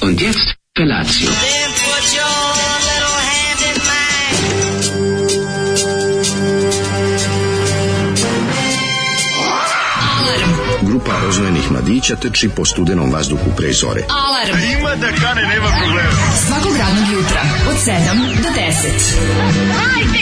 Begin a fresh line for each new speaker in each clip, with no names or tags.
Und jetzt Felatio.
Then put your little hand in mine.
Grupa rozvojenih mladića teči po studenom vazduhu pre zore.
Alarm. Ima da kane, nema problema. Svakog radnog jutra, od 7 do 10.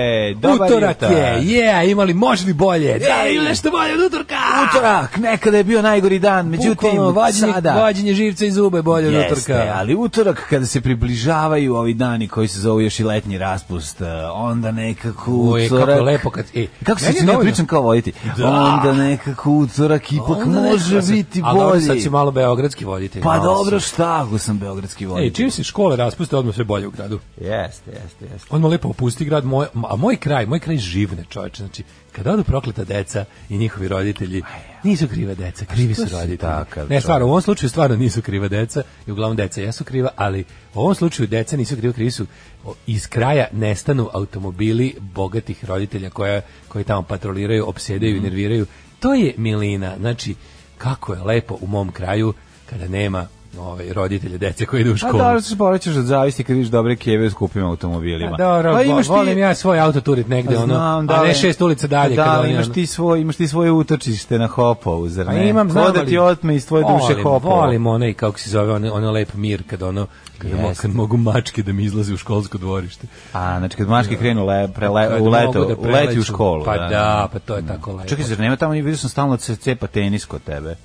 E, dobar
Utorak
jutar.
je, je, a imali, može li bolje? Da, ili nešto bolje od utorka?
Utorak, nekada je bio najgori dan, međutim,
Bukvalno, vađenje,
sada...
vađenje živca iz zuba je bolje od utorka.
ali utorak kada se približavaju ovi dani koji se zovu još i letnji raspust, eh, onda nekako
Oj, kako
utorak...
je lepo kad... E,
Kako se
meni je
ne
dovoljno.
pričam kao voditi?
Da.
Onda nekako utorak ipak
Onda
može
nekako se-
biti
Ali dobro, sad
bolji.
si malo beogradski voditelj.
Pa
malo E,
dobro,
si.
šta ako sam beogradski
Ej,
voditelj?
čim se škole raspuste, odmah sve bolje u gradu.
Jeste, jeste, jeste.
Odmah lepo opusti grad, moj, a moj kraj, moj kraj živne čoveče. Znači, kada odu prokleta deca i njihovi roditelji, nisu kriva deca, krivi su
si
roditelji.
takav
ne, stvarno, u ovom slučaju stvarno nisu kriva deca i uglavnom deca jesu kriva, ali u ovom slučaju deca nisu kriva, krivi su o, iz kraja nestanu automobili bogatih roditelja koja, koji tamo patroliraju, opsjedaju i
Mhm.
nerviraju. To je milina, znači, kako je lepo u mom kraju kada nema ovaj, roditelje dece koji idu u
A
školu.
da li se porećeš od zavisti kad vidiš dobre keve s kupim automobilima?
Pa dobro,
pa
vo- volim ja svoj auto turit negde, ono, a ne
ali-
šest ulica dalje.
Da,
kad
ali
oni,
imaš
ono-
ti svoj, imaš ti svoje utočište na Hopovu, zar
Pa
ne?
imam,
Ko
znam,
da
ali-
ti otme iz tvoje duše
Volim,
Hopovo.
Volim onaj, kako se zove, onaj, onaj lep mir, kad ono, kad, mo, kad mogu mačke da mi izlaze u školsko dvorište.
A, znači kad maške krenu le, prele,
Kad
E, u
mogu
leto,
da
u leti u
preleću.
školu. Mm.
Pa da, pa to je tako lepo.
Čekaj, zar nema tamo, vidio sam stalno da se cepa tenis kod tebe.
E,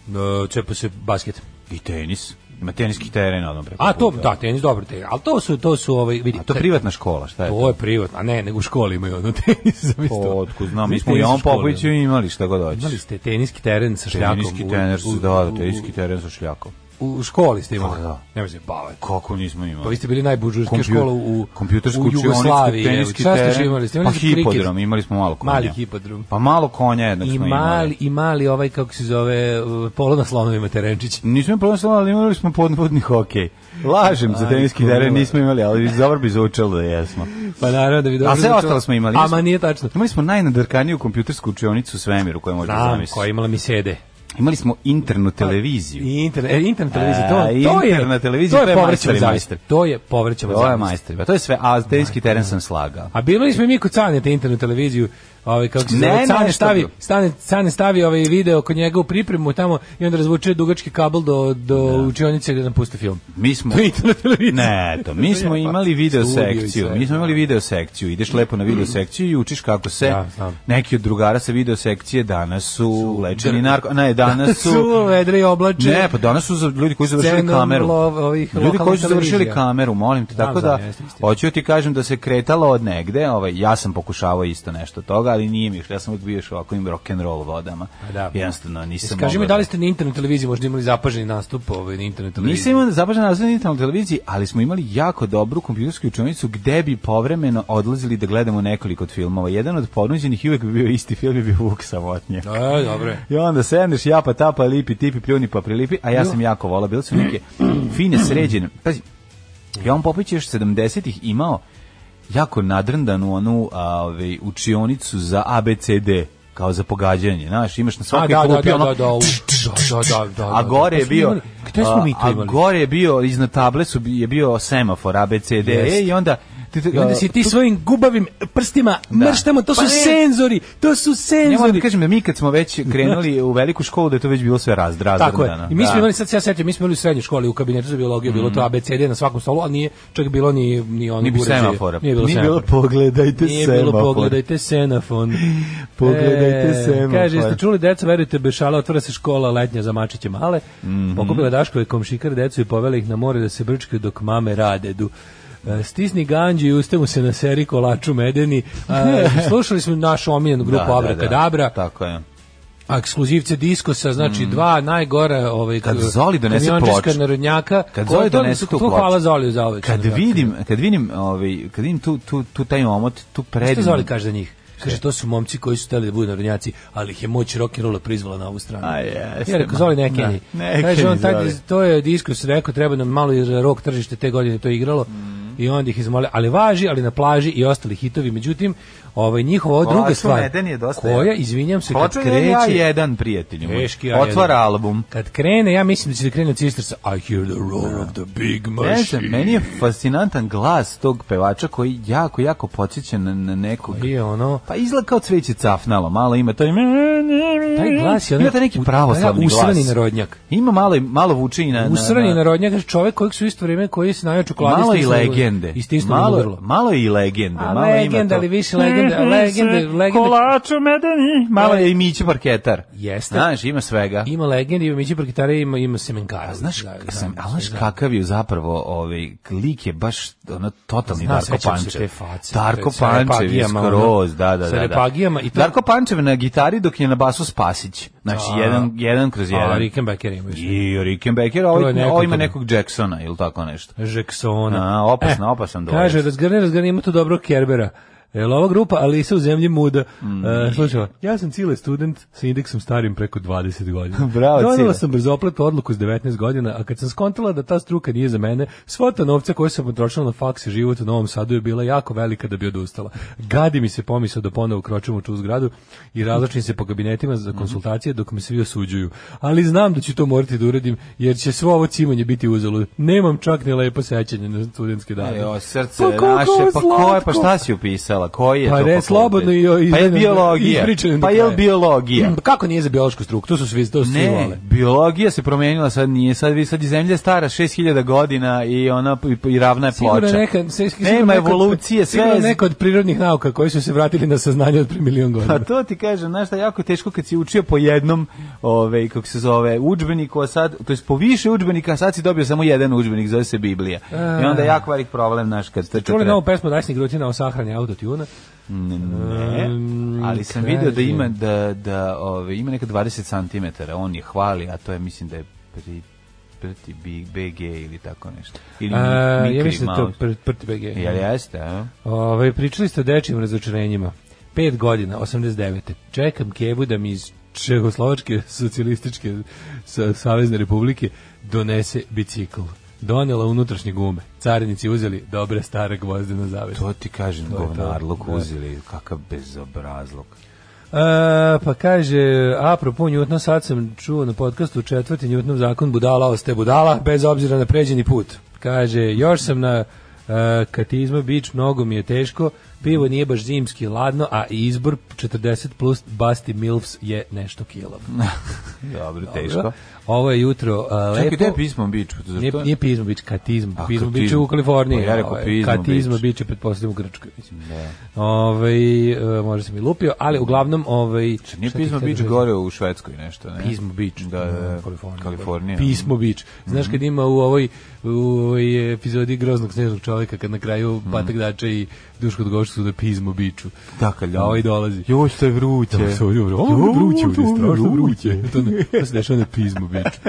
Cepa se basket.
I tenis. Ima teniski teren odmah preko
A to,
puta.
da, tenis, dobro tenis. Ali to su, to su, ovaj, vidi,
A to je privatna škola, šta je to?
To je privatno, a ne, nego u školi imaju ono tenis. zamisli to.
Otko Pa, znam, mi
Zamisli
smo i
tenis u
on
školi,
Popoviću
ono.
imali šta god hoćeš.
Imali ste teniski teren sa šljakom.
Teniski
u-
trener,
u-
da, da,
u-
teniski teren sa šljakom.
U, u školi ste imali.
Pa da.
Nemoj se bavati.
Kako nismo imali?
Pa vi ste bili najbuđurske
Kompju-
škola u,
kompjutersku
u
učionicu,
Jugoslaviji. evo.
teniski
Šta ste
teren,
još imali? Ste imali
pa
ste kriket?
hipodrom, imali smo malo konja.
Mali hipodrom.
Pa malo konja jednog
I
smo imali.
mali, I mali ovaj, kako se zove, uh, polo na slonovima Terenčić.
Nismo imali problem ali imali smo podvodni hokej. Lažem, za
Aj,
teniski
kurva.
teren nismo imali, ali dobro bi zvučalo da jesmo.
Pa naravno da bi dobro...
A sve
zvučalo.
ostalo smo imali.
A ma nije tačno.
Imali smo najnadrkaniju kompjutersku učionicu u svemiru koju možete
Znam,
zamisliti.
koja je imala mi sede.
Imali smo internu televiziju.
I internet, e, internet televizija, to,
E,
to je...
internet televizija, to je
povraćamo
majster i
zavist.
majster.
To je povraćamo
Ovo je
zavist.
majster. Pa to je sve, a teniski teren sam slagao.
A bilo smo i mi kod Cane te internet televiziju, ovaj kako se
Ne,
zove, Cane
nešto
stavi,
bilo.
Cane, Cane stavi ovaj video kod njega u pripremu tamo i onda razvuče dugački kabel do do učionice da napusti film.
Mi smo...
To je internet televizija.
Ne, to mi smo imali video
Studio i
sekciju.
sve,
Mi smo imali video sekciju. Ideš lepo na video sekciju i učiš kako se
Da, znam.
neki od drugara sa video sekcije danas su lečeni narko... Ne, danas
su
su...
vedre i oblače.
Ne, pa danas su za ljudi koji su završili
Scenom
kameru.
lov- ovih
Ljudi koji
lokalnih
su završili
televizija.
kameru, molim te,
Znam,
tako
znam,
da
jeste, istina.
hoću ti kažem da se kretalo od negde, ovaj ja sam pokušavao isto nešto toga, ali nije mi išlo. Ja sam uvijek bio još ovako im rock and roll vodama.
A da.
Jednostavno nisam.
Kaži mi
mogao
da li ste na internet televiziji možda imali zapaženi nastup ovaj na internet
Nisam
televiziji.
imao zapažen nastup na internet televiziji, ali smo imali jako dobru kompjutersku učionicu gde bi povremeno odlazili da gledamo nekoliko od filmova. Jedan od ponuđenih i uvek bi bio isti film, je bio Vuk Samotnjak.
E, dobro. je.
I onda sedneš, ja pa tapa, lipi, tipi, pljuni pa prilipi, a ja sam jako volao, bile su neke fine sređene. Pazi, Jovan Popović je još 70-ih imao jako nadrndanu onu a, ovaj, učionicu za ABCD, kao za pogađanje, znaš, imaš na
A,
svakoj
da, da, da,
klupi
da,
ono
da, da, u- da, da, da, da,
a gore
Pa
je
smo
bio
imali- Gde smo mi to
a-
imali?
A gore je bio iznad table su bi- je bio semafor ABCD
Jeste.
E, i onda ti
I onda si ti svojim gubavim prstima mrštamo, to
Pa
su
ne.
senzori, to su
ne moram
senzori.
da kažem da mi kad smo već krenuli u veliku školu da je to već bilo sve razdrazno.
Tako je. I mi
Da.
smo imali, sad se ja sećam, mi smo imali u srednjoj školi u kabinetu za biologiju, bilo to ABCD na svakom stolu, a nije čak bilo ni, ni ono
Mhm. ni bi
uređaja.
semafora.
Nije bilo
Nije bilo
semafora.
pogledajte
Nije bilo
semafor.
pogledajte senafon. E,
Pogledajte semafor.
Kaže, jeste čuli, deca, verujte, bešala, otvara se škola letnja za mačiće male.
Mhm.
Pokupila Daško i komšikar decu i povela ih na more da se brčkaju dok mame radedu. E, Stisni ganđi i uste mu se na seri kolaču medeni. E, Slušali smo našu omiljenu grupu
Da, da, da.
Abrakadabra.
Tako je.
Znači, A ekskluzivce diskosa, znači dva najgore ovaj,
Mm. Kad Zoli donese
kamiončaska
ploču.
narodnjaka.
Kad Zoli
Ko- to-
donese tu
to Hvala
ploču.
Zoliju za uvek.
Kad vidim, kad vidim, ovaj, kad vidim tu, tu, tu taj omot, tu
Šta
predivnu...
Zoli kaže za njih? Kaže, to su momci koji su hteli da budu narodnjaci, ali ih je moć rock'n'rolla prizvala na ovu stranu.
A jeste,
Ja rekao, Zoli ne
ma,
Kenji.
da, ne
Kaže,
Kenji,
on taj,
Zoli. Mm.
to je diskus, rekao, treba nam malo i rok tržište te godine to igralo. i onda ih izmole, ali važi, ali na plaži i ostali hitovi, međutim, ovaj, njihova ova druga
Ovako
stvar,
Meden je dosta
koja,
jak.
izvinjam se, kad
Otvori ja
kreće,
jedan prijatelju. moj.
Teški A1.
Otvara album.
Kad krene, ja mislim da će da krene od Sisters, I hear the roar of the big
Ne znam,
machine.
meni je fascinantan glas tog pevača koji jako, jako podsjeća na, na nekog...
Koji je ono,
Pa izgleda kao cveće cafnalo, malo ima to ime.
taj glas je ono,
Ima taj neki pravoslavni
usrani
glas.
narodnjak.
Ima malo, malo vuče i na... na-
Usrani narodnjak, čovek kojeg su u isto vrijeme koji se najjaču kladi
Malo i legende.
Istisno
Malo, malo i legende.
A
malo
legenda,
ima to.
ali više legenda, legende, legende.
Kolaču medeni. Eh, Malo je i Miće Parketar.
Jeste.
Znaš, ima svega.
Ima legendi, ima Mići Parkitare, ima, ima Da, Semenkara.
Znaš, sam, a znaš kakav je zapravo ovaj lik je baš ono totalni
Znam,
Darko
sećam se
Pančev.
te face,
Darko
sa
Pančev je
repagijama,
skroz,
ono,
da, da,
sa
da. da.
repagijama i to-
Darko Pančev na gitari dok je na basu Spasić. Znači,
A.
jedan, jedan kroz jedan.
A, Rickenbacker ima još.
I Rickenbacker,
To
ovo,
je neko
ovo ima
to.
nekog Jacksona ili tako nešto.
Žeksona.
A, opasan, opasan dolac.
Eh, Kaže, razgrne, razgrne, ima tu dobro Kerbera. Jel ova grupa, ali se u zemlji muda. Mm. E, slušaj, ja sam Cile student sa indeksom starim preko 20 godina.
Bravo, Cile.
Donela sam brzopletu odluku s 19 godina, a kad sam skontala da ta struka nije za mene, svota novca koju sam potrošila na faks i život u Novom Sadu je bila jako velika da bi odustala. Gadi mi se pomisao da ponovo kročem u tu zgradu i razlačim se po kabinetima za konsultacije dok me svi osuđuju. Ali znam da ću to morati da uradim, jer će svo ovo cimanje biti uzalud. Nemam čak ni lepo sećanje na studentske dane.
Ejo, E, srce
Pa koliko
naše, pa
slatko.
ko je, pa šta si upisala, koji je
Pa
to?
re,
fakultet?
slobodno i- i-
Pa je biologija,
ispričajem do
pa je
kraja.
biologija.
Pa Kako nije za biološku struku? To su svi, to su svi
Ne,
vole.
biologija se promijenila, sad nije, sad vi sad i zemlja je stara 6000 godina i ona i, i ravna je
Sigurno
ploča.
neka, se- sigurno
Nema
neka od-
evolucije, sve
sigurno
je-
neka od prirodnih nauka koji su se vratili na saznanje od pre milion
Pa
godina.
to ti kažem, znaš šta, jako je teško kad si učio po jednom, ovaj, kako se zove, udžbeniku, a sad, to jest po više udžbenika, a sad si dobio samo jedan udžbenik, zove se Biblija. I onda je jako velik problem, znaš, kad ste
E. Čuli
četre-
novu pesmu Dajsnih rutina o sahrani autotuna?
Ne,
Um,
ali sam
kaže-
video da ima da da ovaj ima neka 20 cm, on je hvali, a to je mislim da je pri prti Big BG ili tako nešto. Ili
A,
Mikri
ja mislim da je to
Mouse.
pr- prti BG.
Jel E, jeste, a?
Ove, pričali ste o dečijim razočarenjima. Pet godina, 89. Čekam Kevu da mi iz Čehoslovačke socijalističke sa, savezne republike donese bicikl. Donela unutrašnje gume. Carinici uzeli dobre stare gvozdena zavese.
To ti kažem,
je to.
govnarluk
Da.
uzeli, kakav bezobrazluk.
E, pa kaže, apropo Njutna, sad sam čuo na podcastu četvrti Njutnov zakon budala ostaje budala, bez obzira na pređeni put. Kaže, još sam na e, katizma bić, mnogo mi je teško, pivo nije baš zimski ladno, a izbor 40 plus Basti Milfs je nešto kilav.
Dobro, teško.
Dobro. Ovo je jutro e, lepo.
Čekaj, gde je pismo biću? Zašto?
Nije, nije pizmo bić, katizmo.
A,
Pizmo
katizmo.
bić je u Kaliforniji.
Pa ja rekao
ovaj,
pizmo
Katizmo
bić.
bić je pretpostavljam u Grčkoj. mislim.
Da.
Ovaj, e, možda sam i lupio, ali uglavnom... Ovaj,
Znači, Nije
šta ti
pismo
htio da
bić
kažem?
gore u Švedskoj nešto, ne?
Pismo Beach,
Da, da, da.
Kalifornija.
Kalifornija. Mhm.
Pismo Beach. Znaš kad ima u ovoj, u ovoj epizodi groznog snežnog čovjeka kad na kraju
Mhm.
Batak Dača i Duško Dgošić su da Pismo Beachu.
Da, kad
Da, ovaj dolazi.
Još se vruće.
Da, se ovdje vru- ovo je vruće, ovdje je strašno vruće. To, ne, to se dešava na Pismo Beachu.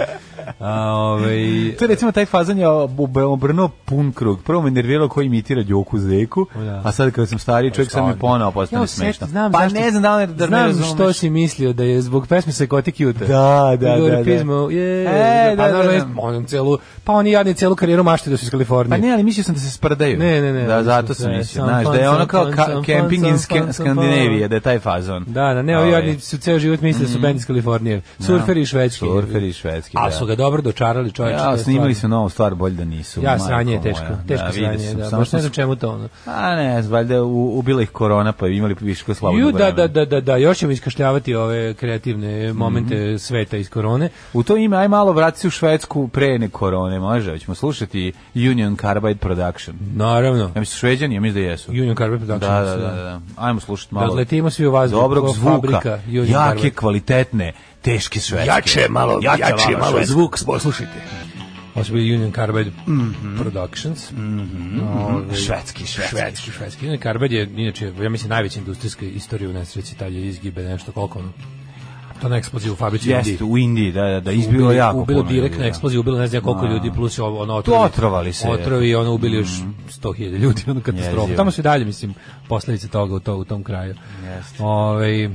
A, ovaj,
To je recimo taj fazan je ob- obrnuo pun krug. Prvo me nerviralo ko imitira Đoku Zeku,
Da.
a sad kada sam stariji čovjek sam mi ponovo postane
Ja,
smešno.
osjećam, znam
pa
zašto-
ne znam da li da ne
znam
razumeš.
što si mislio da je zbog pesme Psychotic Youth.
Da, da,
Gore
da, da.
Pismo, je,
E,
pa
da, da,
naravno,
da.
jest- on celu, pa oni jadni celu karijeru mašte da su iz Kalifornije.
Pa ne, ali mislio sam da se sprdaju.
Ne, ne, ne,
Da,
mislio
zato
sam,
sam
ne,
mislio.
sam
Znaš, da je
fan,
ono
sam
kao
fan,
ka-
sam fan,
camping in
sam fan,
Skan-
sam fan.
Skandinavije, da je taj fazon.
Da, da, ne, ovi
Ovaj,
jadni su ceo život mislili da su bend iz Kalifornije. Surferi i švedski.
Surferi Mhm. i švedski,
A
da.
su ga dobro dočarali čovječe. to
Ja,
je
snimali
stvarno.
su novu stvar, bolje da nisu.
Ja,
majko
sranje je
moja.
teško. Teško
da, vidio
sranje,
sam,
da.
samo
Baš
što
ne znam
sam-
čemu to ono.
A ne, znam, valjda u- ubila ih korona, pa imali viško slobodno
Ju, da,
vremena.
da, da, da, da, još ćemo iskašljavati ove kreativne momente
Mhm.
sveta iz korone.
U to ime, aj malo vrati se u Švedsku pre ne korone, može, hoćemo slušati Union Carbide Production.
Naravno.
Ja mislim šveđani, ja mislim da jesu.
Union Carbide Productions,
Da, da, da,
da.
da. Ajmo slušati
Da
malo.
odletimo svi u vazduh,
Dobrog
ko
zvuka,
fabrika Union
jake,
Carbide.
kvalitetne, teške švedske. švedske.
zvuk, poslušajte. Ovo su bili Union Carbide
Mhm.
Productions. Ove,
Švedski, švedski.
Švedski, švedski. Union Carbide je, inače, ja mislim, najveća industrijska istorija u nesreći, taj je izgibe nešto koliko ono. To na eksploziju u fabrici.
Jeste, u Indiji, da, da, da, izbilo
ubili,
jako
ubilo
puno
direktna
ljudi, da.
eksplozija, ubilo ne znam ja koliko ljudi plus je ovo, ono
To
otrovi.
otrovali se. mm-hmm.
Otrovi i ono ubili još 100.000 ljudi, ono katastrofa.
Jezivo.
Tamo su i dalje mislim posledice toga u to u tom kraju. Ovaj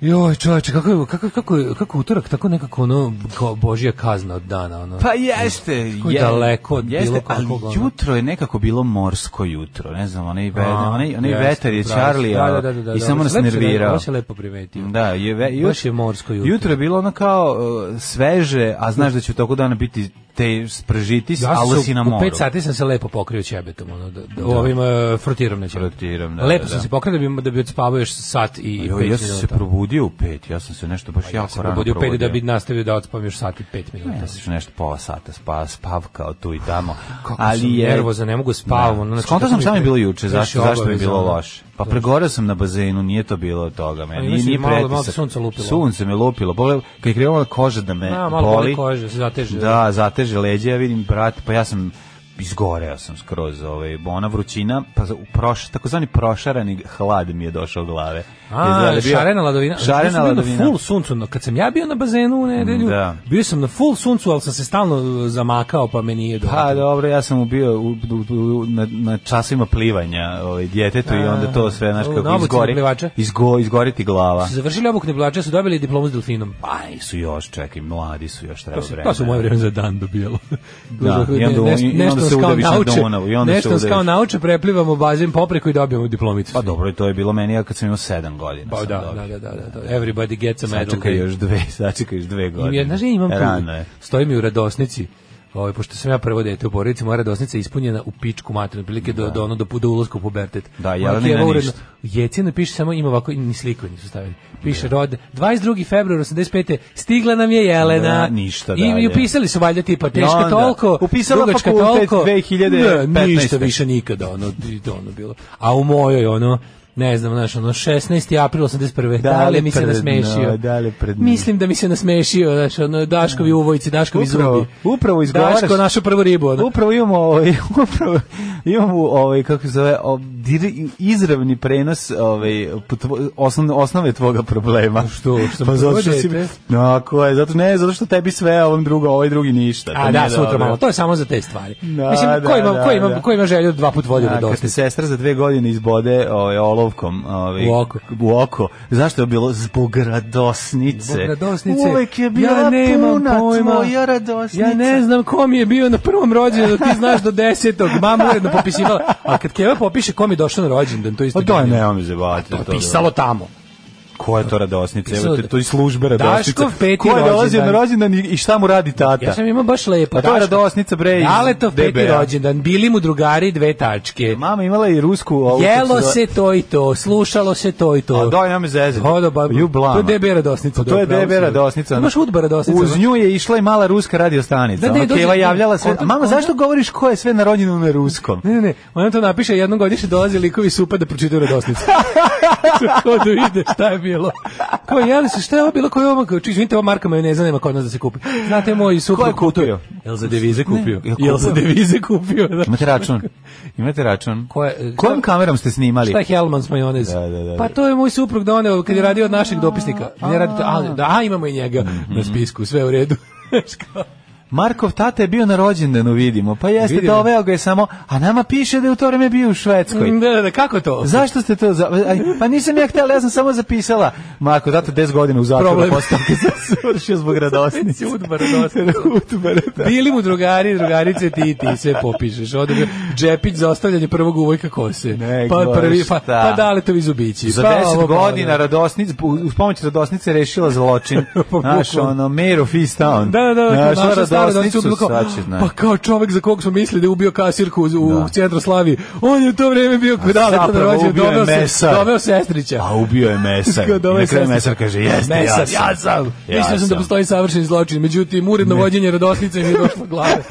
Joj, čoveče, kako je, kako, kako, je- kako je utorak, tako nekako ono, kao božija kazna od dana, ono.
Pa jeste,
Kako je daleko od bilo kakvog,
Ali
ono.
jutro je nekako bilo morsko jutro, ne znam, onaj, ve,
A,
onaj, onaj
jeste,
vetar je
upravo si.
Charlie,
Da, da, da, da, da,
i samo
ovo
nas
si lepo-
nervirao.
Ovo se lepo primetio.
Da, je, ve, jut-
Baš je morsko jutro.
Jutro je bilo ono kao uh, sveže, a znaš da će u toku dana biti te spržiti,
Ja sam
ali
se
si na
u
moru.
5 sati sam se lepo pokrio ćebetom, ono, da, da, ovim uh, frotirom na ćebetu.
Frotirom, da,
Lepo
da,
sam
da.
se pokrio da bi, da bi odspavao još sat i
Jo,
5
ja sam se probudio u pet, ja sam se nešto baš jako
Ja sam
rano
probudio
probudio.
u pet da bi nastavio da odspavam još sat i 5 minuta.
Ja sam se nešto pola sata spa, spavkao tu i tamo.
Kako sam nervozan, ne mogu spavam, ono, znači,
Skontao
tako
Da. sam
mi
šta mi je
pre-
bilo juče, zašto,
previše
zašto mi je bilo
obaveza, ono. Znači-
loše. Pa pregoreo sam na bazenu, nije to bilo od toga. Meni,
Ali
nije,
mislim,
nije
malo- malo
pretisak.
te sunce lupilo.
Sunce me lupilo. Pogledaj, kad je krenula koža da me
Da, malo
boli.
boli koža, se zateže.
Da, zateže leđe, ja vidim, brate, pa ja sam izgoreo sam skroz ovaj ona vrućina pa za- u proš takozvani prošarani hlad mi je došao glave.
A,
Izgleda da je bio-
šarena ladovina. Znači, Ja
Šarena
sam bio
ladovina.
Na full suncu, no, kad sam ja bio na bazenu u nedelju,
Da.
bio sam na full suncu, ali sam se stalno uh, zamakao, pa me nije dobro.
Pa dobro, ja sam bio u, u, u, na, na časovima plivanja ovaj, djetetu i onda to sve, znaš,
u
kako
naobuci
izgori,
na plivače?
izgo, izgoriti glava.
Su završili obuk neblača, su dobili diplomu s delfinom.
Aj, su još, čekaj, mladi su još, treba
To se
vremena.
to se u moje vreme za dan dobijalo.
Da, i onda- i onda se
nešto nas kao
udaviš na
nauče-
Dunavu, i onda se
Nešto nas kao
udaviš.
nauče, preplivamo bazen popreku i dobijemo diplomicu.
Pa dobro, to je bilo meni ja kad sam imao sedam godina.
Pa
sam
da,
dobio.
da, da, da, da, da. Everybody gets a medal.
Sačekaj
day.
još dve, sačekaj još dve godine. E,
I ja, znaš, ja imam tu,
Rano je.
stoji mi u radosnici, ovaj, pošto sam ja prvo dete u porodici, moja radosnica je ispunjena u pičku materinu, prilike do, do, ono, do, do ulazka u pubertet.
Da,
Ona
Jelenina
Kijeva
ništa.
uredno- Jecina piše samo, ima ovako, ni sliku nisu stavili. Piše
Da.
rod, 22. februar 85. stigla nam je Jelena.
Da, ništa
I, i
dalje.
upisali su valjda tipa teška
onda,
toliko,
upisala
dugačka
fakultet
toliko.
2015.
Ne, ništa više nikada, ono, i to ono bilo. A u mojoj, ono, ne znam, znaš, ono, 16. april 81. Da,
Da li
li mi se
pred
nasmešio?
dno, da li pred dno?
Mislim da mi se nasmešio, znaš, ono, Daškovi uvojci, Daškovi
Mm. Upravo,
zubi.
upravo izgovaraš-
Daško, našu prvu ribu, ono.
Upravo imamo ovaj upravo imamo ovaj kako se zove o- dir- izravni prenos ovaj po tvo- osnovne osnove tvoga problema.
Što? Što sam
pa zato što
prvo
si
dete?
no, ko je? Zato ne, zato što tebi sve, a ovom drugo, ovaj drugi ništa. To
A da,
nije
sutra
dobro.
malo. To je samo za te stvari.
Da,
Mislim, ko
da,
ima,
da,
ko ima,
da.
ko ima želju da dva put vodi
A,
na
kad te
dosta?
sestra za dve godine izbode ovaj, olovkom ovaj,
U oko.
u oko, zašto je bilo? Zbog radosnice.
Zbog radosnice.
Uvek je bila
ja nemam
puna
pojma.
tvoja radosnica.
Ja ne znam kom je bio na prvom rođendanu, ti znaš do desetog. Mama uredno popisivala. A kad Keva popiše kom je došao na rođendan, to isto
Pa to je
genijalno.
nemam zebati.
Pa To je pisalo tamo.
Ko je to radosnica?
Pisalo
Evo,
da-
to, to je služba radosnica.
Daškov peti
Ko je dolazio na
rođendan.
rođendan i, i šta mu radi tata?
Ja sam imao baš lepo.
Pa to je radosnica, bre, iz
Ale to peti
DBA.
rođendan, bili mu drugari dve tačke.
Mama imala i rusku... Ovu,
Jelo se to i to, slušalo se to i to.
A daj nam zezet.
Hodo, ba,
Ju blama.
To je DB radosnica.
To je
da, pravo
DB
si.
radosnica.
To je baš udba radosnica.
Uz nju je išla i mala ruska radiostanica.
Da,
Da,
ne,
ne,
dođe-
Keva javljala sve.
konta-
A mama,
konta-
zašto govoriš ko je sve na rođendan na ruskom?
Ne, ne, ne, ona to napiše jednom godišnje dolazi likovi supa da pročitaju radosnicu. Hodu ide, da šta je bilo? Ko je, jeli se, šta je ovo bilo, ko je ovo, čiš, vidite, ova marka majoneza nema kod nas da se kupi. Znate, moj sup
Ko je kupio?
Jel za devize kupio?
jel
Jel za
kupio?
devize kupio? Da.
Imate račun? Imate račun?
Ko je-
Kojom kamerom ste snimali?
Šta je Helmans majonez?
Da, da, da.
Pa to je moj suprug doneo kad je radio od našeg dopisnika. Ne radi to, a, da, a, imamo i njega
Mhm.
na spisku, sve u redu. Znaš kao,
Markov tata je bio na rođendanu, vidimo. Pa jeste,
Vidimo.
doveo ga je samo, a nama piše da je u to vreme bio u Švedskoj.
da, da, da, kako to?
Zašto ste to za... Aj, pa nisam ja htela, ja sam samo zapisala. Marko, zato 10 godina u zatvoru
Problem.
postavke se svršio zbog radosnice.
Udba radosnica.
Udba radosnice.
Bili mu drugari, drugarice, ti i ti, sve popišeš. Ovdje bio džepić za ostavljanje prvog uvojka kose.
Ne,
pa,
gore,
prvi, pa,
šta?
pa daletovi zubići.
Za
pa
10
ovo, pa ono.
godina radosnice, uz pomoć radosnice rešila zločin.
Pa bukvalno.
Naš ono, Mayor of East Town.
Da, da, da,
Našla
našla staru
radosnicu,
bilo kao,
sad će, znaš.
pa kao čovek za kog smo mislili da je ubio kasirku u, u
Da.
Centroslaviji, on je u to vreme bio kod da, da,
zapravo
rođen,
ubio je
doveo, se,
mesar.
doveo sestrića.
A Pa ubio je mesar.
Kao da ovaj
I na kraju
sestra-
mesar kaže, jeste,
Mesar,
ja sam.
ja sam.
Ja
Mislio sam da
sam.
postoji savršen zločin, međutim, uredno vođenje radosnice mi je došlo glave.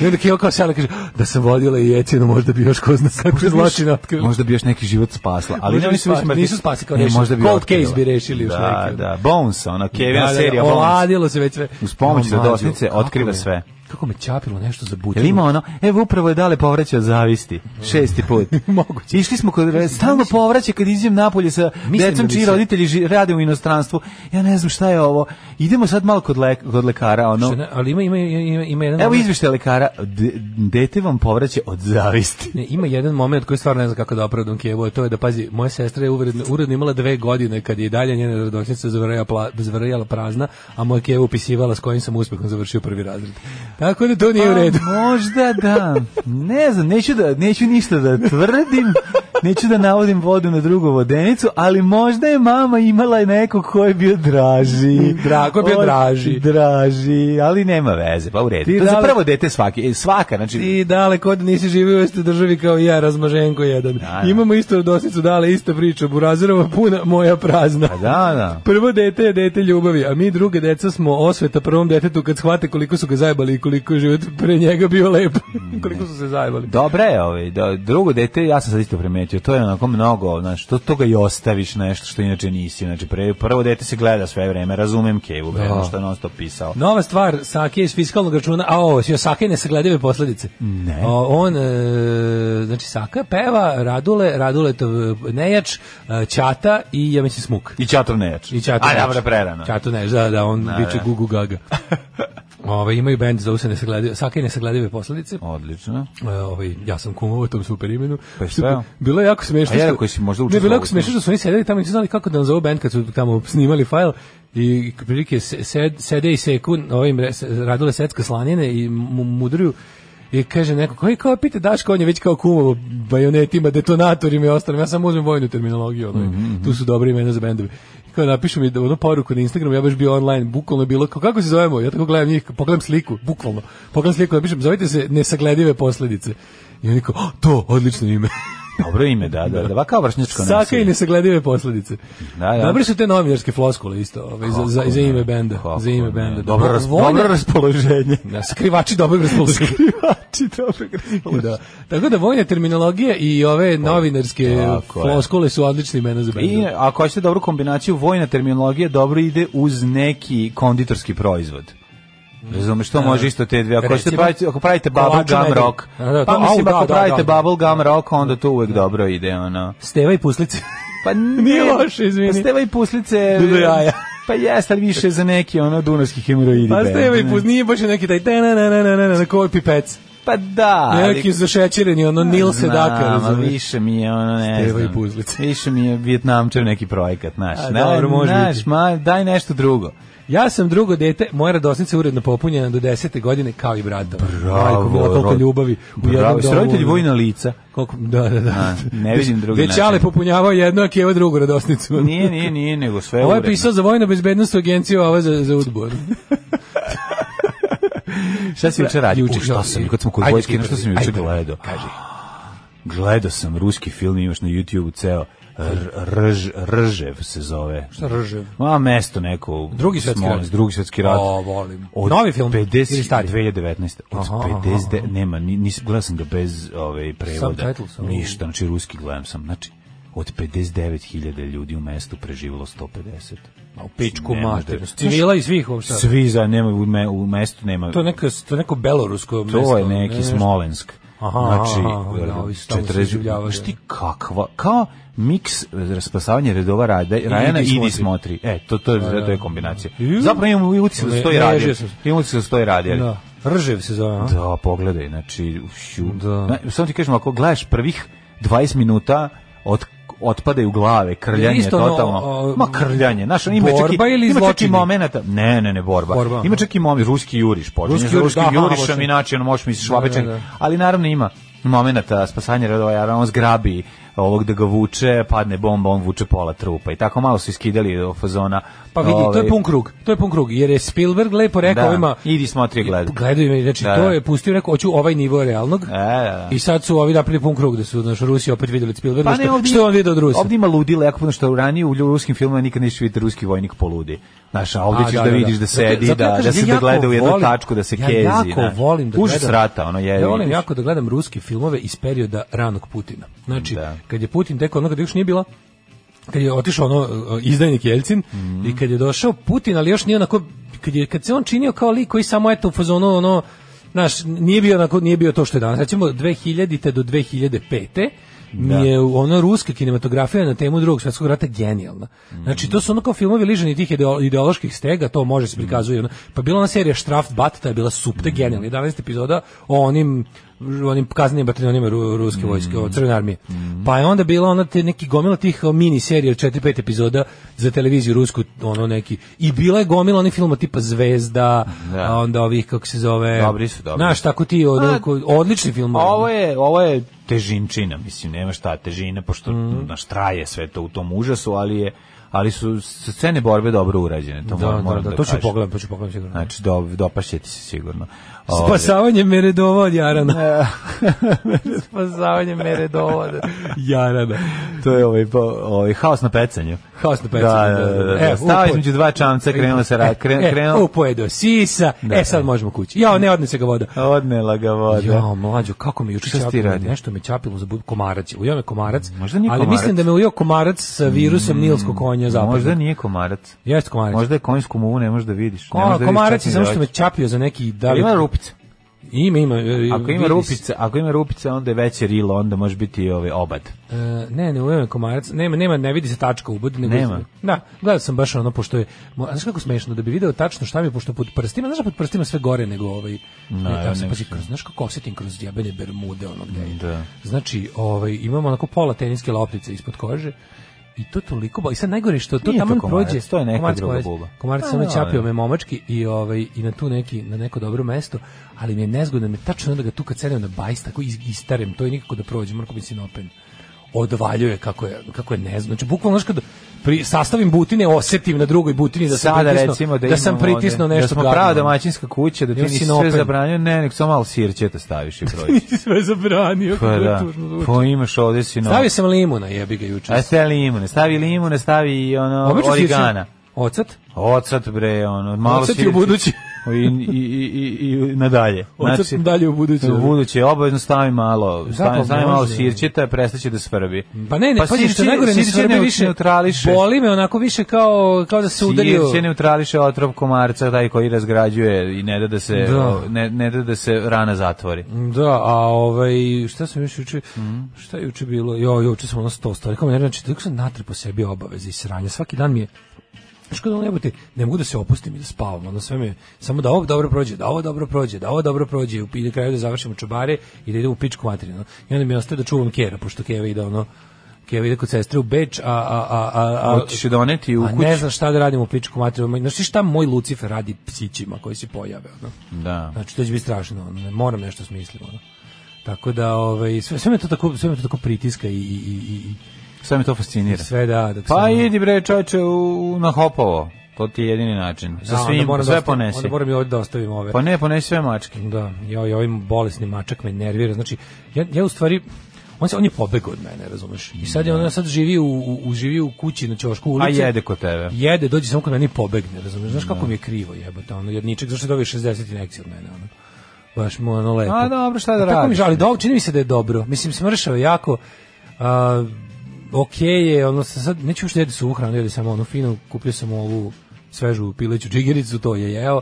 I onda Kjeva kao sjala kaže, da sam vodila i jecinu, možda bi još ko zna kako zločin otkrila.
Možda bi još neki život spasla, ali
Možda
ne,
bi
oni su više
spas-
mrtvi.
nisu spasi kao
Ne,
rešili.
E, možda bi
Cold
otkrila.
case bi rešili još
Da,
neki.
da, Bonesa, ona Kevina
Da, da,
serija Bones.
Oladilo se već sve.
Uz pomoć
No, mlađo,
radosnice
kako
otkriva
je-
sve.
kako me čapilo nešto za butinu.
Jel ima ono, evo upravo je dale povraća od zavisti, šesti put.
Moguće.
Išli smo kod, stalno povraća kad izđem napolje sa
Mislim
decom
da bi
čiji
se-
roditelji ži- rade u inostranstvu. Ja ne znam šta je ovo. Idemo sad malo kod, lek, kod lekara,
Što
ono.
ne- Ali ima, ima, ima, ima jedan...
Evo
moment-
izveštaj lekara, D- dete vam povraća od zavisti.
Ne, ima jedan moment koji stvarno ne znam kako da opravdam Kijevo, to je da pazi, moja sestra je uredno, uredno imala dve godine kad je i dalje njena radočnica zavrjala, pla, zavrjala prazna, a moja Kijevo upisivala s kojim sam uspehom završio prvi razred. Tako da to nije u redu.
Pa, možda da. Ne znam, neću, da, neću ništa da tvrdim, neću da navodim vodu na drugu vodenicu, ali možda je mama imala i nekog ko je bio draži.
Dra- ko je bio
Od-
draži.
Draži, ali nema veze, pa u redu.
Ti
to je za
dale-
prvo dete svaki, e, svaka, znači...
Ti daleko od da nisi živio u istoj državi kao i ja, razmaženko jedan.
da.
Imamo istu radosnicu, dale, ista priča, Burazirova puna, moja prazna.
Pa da, da.
Prvo dete je dete ljubavi, a mi druge deca smo osveta prvom detetu kad shvate koliko su ga zajebali i koliko je život pre njega bio lep.
Mm.
koliko su se zajebali.
Dobre je, ovaj, da, drugo dete, ja sam sad isto primetio, to je onako mnogo, znači, to, to ga i ostaviš nešto što inače nisi, znači, pre, prvo dete se gleda sve vreme, razumem Kevu, bre,
Da.
ono što je non stop pisao.
Nova stvar, Sake iz fiskalnog računa, a ovo, sio Sake nesagledive posledice. Ne. O, on, e, znači Saka peva, Radule, Raduletov e, nejač, e, Ćata i, ja mislim, Smuk.
I Ćator nejač.
I Ćato
A,
Nejač.
dobro, prerano.
Ćato Nejač, da, da, on
Da,
biće
da.
gugu gaga. Ove, imaju bend, zovu se nesagledive, Sake i nesagledive posledice.
Odlično.
E, ovaj, ja sam kumovao tom super imenu.
Pa šta?
Bilo je jako smešno.
A ja
što-
rekao, jesi možda
Ne, bilo je
učestvovao
jako
u
smešno što su oni sedeli tamo i nisu znali kako da nazovu band kad su tamo snimali fajl i prilike se- sed, sede i seku ovim re- se- radile secka slanjene i mu- mudruju i kaže neko, koji kao pita Daško, on je već kao kumovo bajonetima, detonatorima i ostalim, ja samo uzmem vojnu terminologiju, ono,
Mhm,
tu su dobre imena za bendove. I kao napišu mi onu poruku na Instagramu, ja baš bio online, bukvalno je bilo, kao, kako se zovemo, ja tako gledam njih, pogledam sliku, bukvalno, pogledam sliku, napišem, zovite se nesagledive posledice. I oni kao, "O, to, odlično ime.
Dobro ime, da, da, da, kao vršnjačko
Saka i nesagledive posledice.
Da, da.
Dobre su te novinarske floskule isto, ovaj, za, za, za ime benda. za ime benda. da.
Dobro, ras,
Vone-
dobro raspoloženje.
Da, skrivači dobre raspoloženje.
Skrivači dobro
da. Tako da vojna terminologija i ove novinarske
Pa, tako je.
floskule su odlični imena za bendu.
I ako hoćete dobru kombinaciju, vojna terminologija dobro ide uz neki konditorski proizvod. Razumeš, to može isto te dve. Ako, hoćete
Da. Recimo,
pravite, ako pravite bubble
kolača
gum
medalj.
rock,
A, da,
pa
to-
mislim,
au, da,
ako
da,
pravite
da.
bubble gum rock, onda to uvek dobro ide, ono.
Steva i puslice.
Pa
Nije loše, izvini.
Pa steva i puslice.
Do jaja.
Pa jeste, ali više za neki, ono, dunavski hemoroidi.
Pa
band,
Steva i
ne?
puslice, nije baš neki taj tenananananana, koji pipec.
Pa da. ali-
Neki zašećereni, ono Nil
Znam,
Sedaka,
ali
razumiješ?
Više mi je ono, ne
Steva i
znam.
puzlice.
Više mi je Vjetnamčev neki projekat, znaš.
A,
Ne,
dobro, može
znaš,
biti.
ma, daj nešto drugo.
Ja sam drugo dete, moja radosnica je uredno popunjena do 10. godine kao i brata. Majko, mila, koliko
rod-
ljubavi u jednom
Bravo,
domu.
roditelji
ono.
vojna lica.
Koliko, da, da, da.
A, ne vidim drugi
Već
način.
Ale popunjavao jedno, a Keva drugu radosnicu.
Nije, nije, nije, nego sve
Ovo je
uredno.
pisao za vojno bezbednost agenciju, a ovo je za, za udbor.
Šta si juče radio?
Juče,
U, šta
da,
sam,
i-
kad sam kod
ajde
vojske,
ti
na što sam
prvi,
juče
ajde.
gledao? Gledao sam ruski film, imaš na YouTube ceo. R- Rž, Ržev se zove.
Šta Ržev?
Ma, mesto neko.
Drugi svetski
Smolac,
rat.
Drugi svetski rat.
O, volim.
Od
Novi film
50,
ili stari?
2019. Od
Aha, aha,
50, de- nema, ni- nis, gledao sam ga bez ovaj, prevoda.
Subtitles, ali-
Ništa, znači ruski gledam sam. Znači, od 59.000 ljudi u mestu preživilo 150.
A u pičku
Nema da-
mater. Civila i svih uopšte.
Svi za, nema, u, me, u mestu nema...
To je neko, to je neko belorusko mesto.
To je neki
ne,
Smolensk.
Aha,
znači,
aha, da, ovi su tamo se
40
iživljavaju.
znaš ti kakva, kao miks e, spasavanje redova Rada, Rajana
idi
i Idi
smotri.
Smotri.
Da,
E, to, to, je, to je kombinacija.
Ju.
Zapravo imam i utisak da
Ne-
stoji
ne
radio.
ježio sam se.
Imam utisak da stoji radio.
Da. Ržev se zove, a?
Da, pogledaj, znači, ušu.
Da.
Na, samo ti kažem, ako gledaš prvih 20 minuta od otpadaju glave, krljanje
Isto ono,
totalno.
o,
Ma krljanje, znaš, ima čak i
borba ili
ima čak i
zločini?
momenata. Ne, ne, ne, borba.
Borba, aha.
Ima čak i momi ruski juriš, počinje
Ruski
sa
juriš,
ruskim
da, aha,
jurišem,
počinje.
inače ono možeš misliš
Da, da,
šlapećen.
da.
Ali naravno ima momenata spasanje redova, jer on zgrabi ovog da ga vuče, padne bomba, on vuče pola trupa i tako malo su iskidali o fazona.
Pa vidi, to
ovaj,
je pun krug. To je pun krug, jer je Spielberg lepo rekao
Da,
ovima...
idi smotri, gledaj.
Gledaj me, znači
Da,
to
da.
je pustio, rekao, hoću ovaj nivo realnog.
E, da, da.
I sad su ovi napravili pun krug da su naš Rusi opet videli od Spielberga.
Pa ne,
što,
ovdje,
što je on video od Rusa?
Ovdje ima ludila, jako puno što ranije u ruskim filmovima nikad nećeš vidjeti ruski vojnik poludi. Znaš, a ovdje
A,
ćeš
da,
da,
da,
vidiš
da.
da
Zato-
sedi,
zato ja
da,
kažem,
da
ja
se da
jako
gleda u jednu
volim-
tačku, da se
ja
kezi.
jako
ne.
volim da
Užas
gledam-
rata, ono je.
Ja volim jako da gledam ruske filmove iz perioda ranog Putina. Znači,
Da.
kad je Putin tek ono kad još nije bila kad je otišao ono e, izdajnik Jelcin i kad je došao Putin, ali još nije onako kad je kad se on činio kao lik koji samo eto u fazonu ono znaš, nije bio, onako, nije bio to što je danas. Recimo, 2000. do 2005. Da. je ona ruska kinematografija na temu drugog svjetskog rata genijalna. Znači, to su ono kao filmovi liženi tih ideo- ideoloških stega, to može se prikazuje. ono. Pa bila ona serija Straftbat, ta je bila super genijalna. 11 epizoda o onim onim kaznenim bataljonima ru-
Mm,
ruske vojske, o crvene armije. Pa je onda bila ona te neki gomila tih o, mini serija od 4-5 epizoda za televiziju rusku, ono neki. I bila je gomila onih filma tipa Zvezda,
Da.
a onda ovih kako se zove.
Dobri su, dobri
Znaš,
su.
tako ti od,
A,
ko- odlični film.
A Ovo je, ovo je težinčina, mislim, nema šta težina, pošto
Mhm.
naš traje sve to u tom užasu, ali je ali su s- scene borbe dobro urađene, to
da,
moram,
da,
moram
da,
da,
to ću
kažem.
pogledam, to ću pogledam sigurno.
Znači, do, dopašće ti se sigurno.
Pa
Ovaj, Ove,
Spasavanje Meredova od Jarana. Spasavanje Meredova od Jarana.
To je ovaj, pa, ovaj haos na pecanju.
Haos na pecanju,
Da, da, da.
da,
da,
da.
da.
E,
Stao
upo-
između dva čamca, krenula se ra, kren,
E,
krenula,
upo je do sisa,
Da,
e sad
e.
možemo kući. Jao, ne odnese ga voda.
odnela ga voda.
Ja, mlađo, kako mi juče
Šta si ti
ćapilo,
radio?
nešto me ćapilo za bud komarac. Ujeo me komarac,
Možda nije
ali
komarac. Mm,
mislim da me ujeo komarac sa virusom nilskog konja zapadnog.
Možda nije komarac.
Jeste komarac.
Možda je konjsku muvu ne možeš da vidiš. ne
Ko-
možeš da vidiš
komarac
čak
je
ni
samo
za
što me
oči.
ćapio za neki... Da li,
Ima rupica.
Ima, ima. e,
Ako ima
vidi se.
rupica, ako ima rupica, onda je veće rilo, onda može biti i ovaj obad.
E, ne, ne uveme komarac. Nema, nema, ne vidi se tačka u budi. Nego
Nema.
Da, gledao sam baš ono, pošto je... mo- Znaš kako smešno, da bi video tačno šta mi je, pošto pod prstima, znaš da pod prstima sve gore nego ovaj...
No,
ne,
ja
tamo se
ne
pazi,
mislim.
kroz, znaš kako osjetim kroz jebene bermude ono gde je.
Da.
Znači, ovaj, imamo onako pola teniske loptice ispod kože i to toliko boli. I sad najgore je što to
Nije to
tamo
komarac,
prođe.
to je neka
komarac,
druga
komarac.
buba.
Komarac
Pa,
samo
da,
ćapio
ali-
me momački i ovaj i na tu neki na neko dobro mesto, ali mi je nezgodno, mi je tačno onda ga tu kad sedem na bajs tako iz, istarem, to je nikako da prođe, moram biti sinopen. Odvaljuje kako je kako je nezgodno. Znači bukvalno znači kad pri, sastavim butine osetim na drugoj butini da sam
Sada
pritisnuo,
recimo da,
da sam
imamo ovde-
pritisnuo nešto
Da smo
gadno.
prava domaćinska kuća, da ti
Imam
nisi sve
sinopen.
zabranio, ne, nek samo malo sirćeta staviš i prođeš.
Nisi sve zabranio,
Pa
kako je
da,
tužno zvuči.
pa imaš ovde sinopen.
Stavio sam limuna, jebi ga juče.
A stavi limune, stavi limune, stavi i ono
Obično sirću-
origana.
Ocat?
Ocat bre, ono, malo
Ocat i
sirće.
u budući.
I, i, i, i, i nadalje.
Ocat dalje u budući.
Znači, U buduće, obavezno stavi malo, stavi,
da. Zapravo
stavi malo
može.
sirćeta, prestaće da svrbi.
Pa ne, ne, pa pazi, što je najgore ne
sirće
svrbi više.
neutrališe.
Boli me onako više kao, kao da se udario.
Sirće neutrališe otrov komarca, taj koji razgrađuje i ne da da se,
Da.
o, ne, ne da da se rana zatvori.
Da, a ovaj šta sam još juče
Mhm.
šta je juče bilo? Jo, juče sam ono 100 stvari. Kao ne, znači toliko sam natrpao sebi obaveze i sranja. Svaki dan mi je Škoda ono jebote, ne mogu da se opustim i da spavam, ono sve me, samo da ovo dobro prođe, da ovo dobro prođe, da ovo dobro prođe, i na kraju da završimo čobare i da idem u pičku materinu. I onda mi ostaje da čuvam Kera, pošto Keva ide ono, Keva ide kod sestre u Beč, a, a, a, a, a
Hoćeš je doneti u
a
kuću?
ne znam šta da radim u pičku materinu. Znaš ti šta moj Lucifer radi psićima koji se pojave, ono?
Da.
Znači to će biti strašno, ono, ne, moram nešto smisliti, ono. Tako da ovaj sve sve me to tako sve me to tako pritiska i i i i-
Sve me to
i
fascinira.
sve da dok
Pa
sam-
idi bre čoveče u, na hopovo. To ti je jedini način.
Da,
Sa
onda
svim,
moram da
sve
ostavim-
ponesi.
Onda moram i ovdje da ostavim ove.
Pa ne, ponesi sve mačke.
Da, ja ja ovim bolesni mačak me nervira. Znači ja ja u stvari on se on je pobegao od mene, razumeš? I sad je on sad živi u, u, u- živi u kući na ćošku
Da. A
ulici.
jede kod tebe.
Jede, dođe samo kod mene i pobegne, razumeš? Znaš kako mi je krivo, jebote, ono jedničak, zašto je dobio 60 injekcija od mene, ono. Baš mu ono lepo. E,
A, dobro, šta da
Tako mi
radiš?
žali, dobro, čini mi se da je dobro. Mislim, smršao je jako, a, ok je, ono, sa- sad neću ušte jedi suvu hranu, jedi samo ono fino, kupio sam ovu svežu pileću džigericu, to je jeo.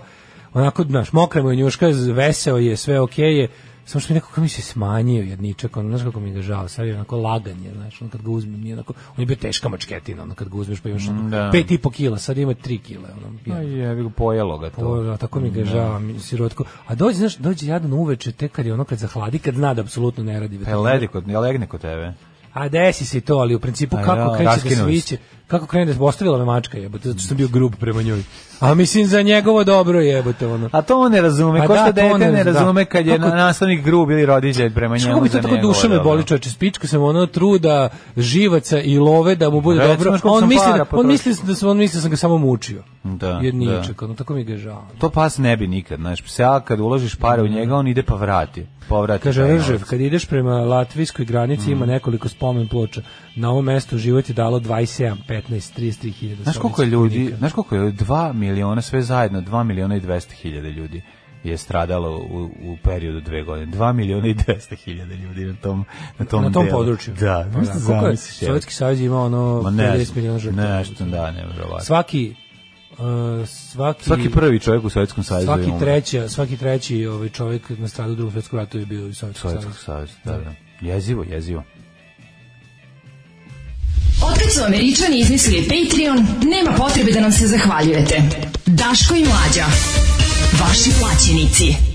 Onako, znaš, mokra mu je njuška, veseo je, sve ok je, samo što mi nekako mi se smanjio jedničak, ono, znaš kako mi ga žao, sad je onako laganje, znaš, on kad ga uzmem, nije onako, on je bio teška mačketina, ono, kad ga uzmeš pa imaš ono,
Da.
pet i po kila, sad ima tri kila, ono,
Pa
je-
jebi ga, pojelo ga to.
Bože, a tako mi ga je žao, mi- sirotko. A dođe, znaš, dođe jadno uveče, te kad je ono kad zahladi, kad zna da apsolutno ne radi.
Pa je ledi kod, ja legne kod tebe.
A desi se i to, ali u principu
A
kako
Pa ja,
kreće da
raskinuo
sviće, kako krene da ostavila me mačka jebote, zato što sam bio grub prema njoj. A mislim za njegovo dobro jebote ono.
A to on ne razume,
A
ko
da,
što
to on
dete ne,
ne zna.
razume kad je
Kako-
na- nastavnik grub ili roditelj prema njemu.
Kako bi to
za
tako
njegovo
duša me
dobro.
boli čoveče, spička sam ono truda, živaca i love da mu bude
Recimo,
dobro.
znaš koliko
On
sam
misli,
para
da, on
potrošio?
misli da sam, on misli da sam ga samo mučio.
Da,
Jedničak, ono, tako mi ga je žao.
To pas ne bi nikad, znaš, psa kad uložiš pare u njega, on ide pa vrati. Povrati.
Da. Kaže
taj
Ržev,
novac. Mm.
kad ideš prema latvijskoj granici ima nekoliko spomen ploča. Na ovom mestu život je dalo 27, 15, 33 hiljada.
Znaš koliko je ljudi, znaš koliko je 2 miliona, sve zajedno, 2 miliona i 200 hiljada ljudi je stradalo u, u periodu dve godine. 2 miliona i 200 hiljada ljudi na tom, na tom,
na tom
delu.
području.
Da,
Pa da, koliko je
zamisliš, je.
Sovjetski savez ima ono
Ma ne
50
znam,
miliona žrtava.
Nešto, da, nevjerovatno.
Svaki uh, svaki,
Svaki prvi čovjek u Sovjetskom savezu je
svaki
umro.
treći, svaki treći ovaj čovjek na stradu u Drugom svjetskom ratu je bio iz Sovjetskog
Sovjetskog
saveza.
saveza, da, da. Jezivo, jezivo.
Otkad su američani izmislili Patreon, nema potrebe da nam se zahvaljujete. Daško i Mlađa. Vaši plaćenici.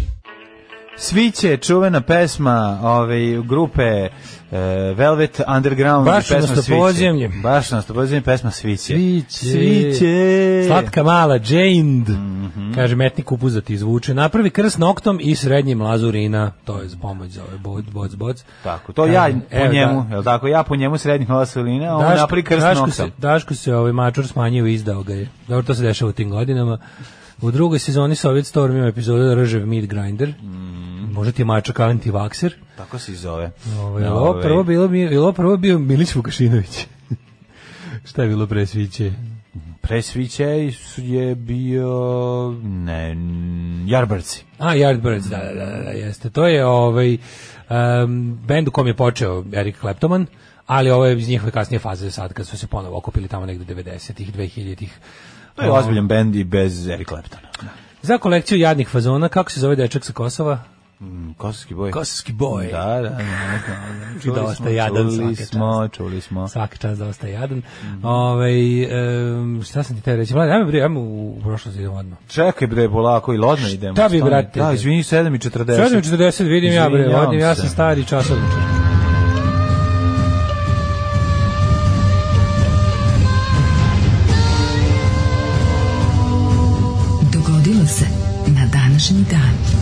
Sviće, čuvena pesma ove grupe e, Velvet Underground
Baš
i pesma
nas na
Sviće.
podzemlje.
Baš nas na podzemlje pesma Sviće.
Sviće.
Sviće. Mhm.
Slatka mala Jane, mm -hmm. kaže metnik upuzati izvuče. Napravi krst noktom i srednjim lazurina. To je za pomoć za ovaj boc, boc, boc.
Tako, to ja
Evo,
po
evo,
njemu,
da.
jel tako? Ja po njemu srednjih lasolina, a on
Daško-
napri krst
Daško
nokta.
Se, Daško se ovaj mačur smanjio i izdao ga je. Dobro, to se dešava u tim godinama. U drugoj sezoni Soviet Storm ima epizodu Ržev Meat Grinder.
Mhm.
Možda ti je mačak antivakser.
Tako se i zove.
Ovo, je
Na
ovo
ovaj-
prvo bilo, mi- je ovo prvo bio Milić Vukašinović. Šta je bilo pre sviće?
Presvićej su- je bio ne n- Jarbarci.
A, Yardbirds, da, da, da, da, jeste. To je ovaj, um, bend u kom je počeo Eric Claptoman, ali ovo je iz njihove kasnije faze sad, kad su se ponovo okupili tamo negde 90-ih, 2000-ih.
To je
Ovo,
ozbiljan bend i bez Eric Claptona.
Za kolekciju jadnih fazona, kako se zove dečak sa Kosova?
Mm, Kosovski boj.
Kosovski boj.
Da, da. da, da. Čuli
dosta
smo,
jadan
čuli
svaka
smo, čuli smo.
Svaka čast da ostaje jadan.
Mhm.
Ovaj, em, šta sam ti te reći? Mladen, ajme, bre, ajmo u prošlost idemo odmah.
Čekaj bre, polako i lodno idemo.
Šta bi,
stani.
brate?
Da, izvini, 7.40.
7.40 vidim ja, bre,
Izvinjavam
odjem, ja sam
se.
stari časovničar.
Dogodilo se na današnji dan.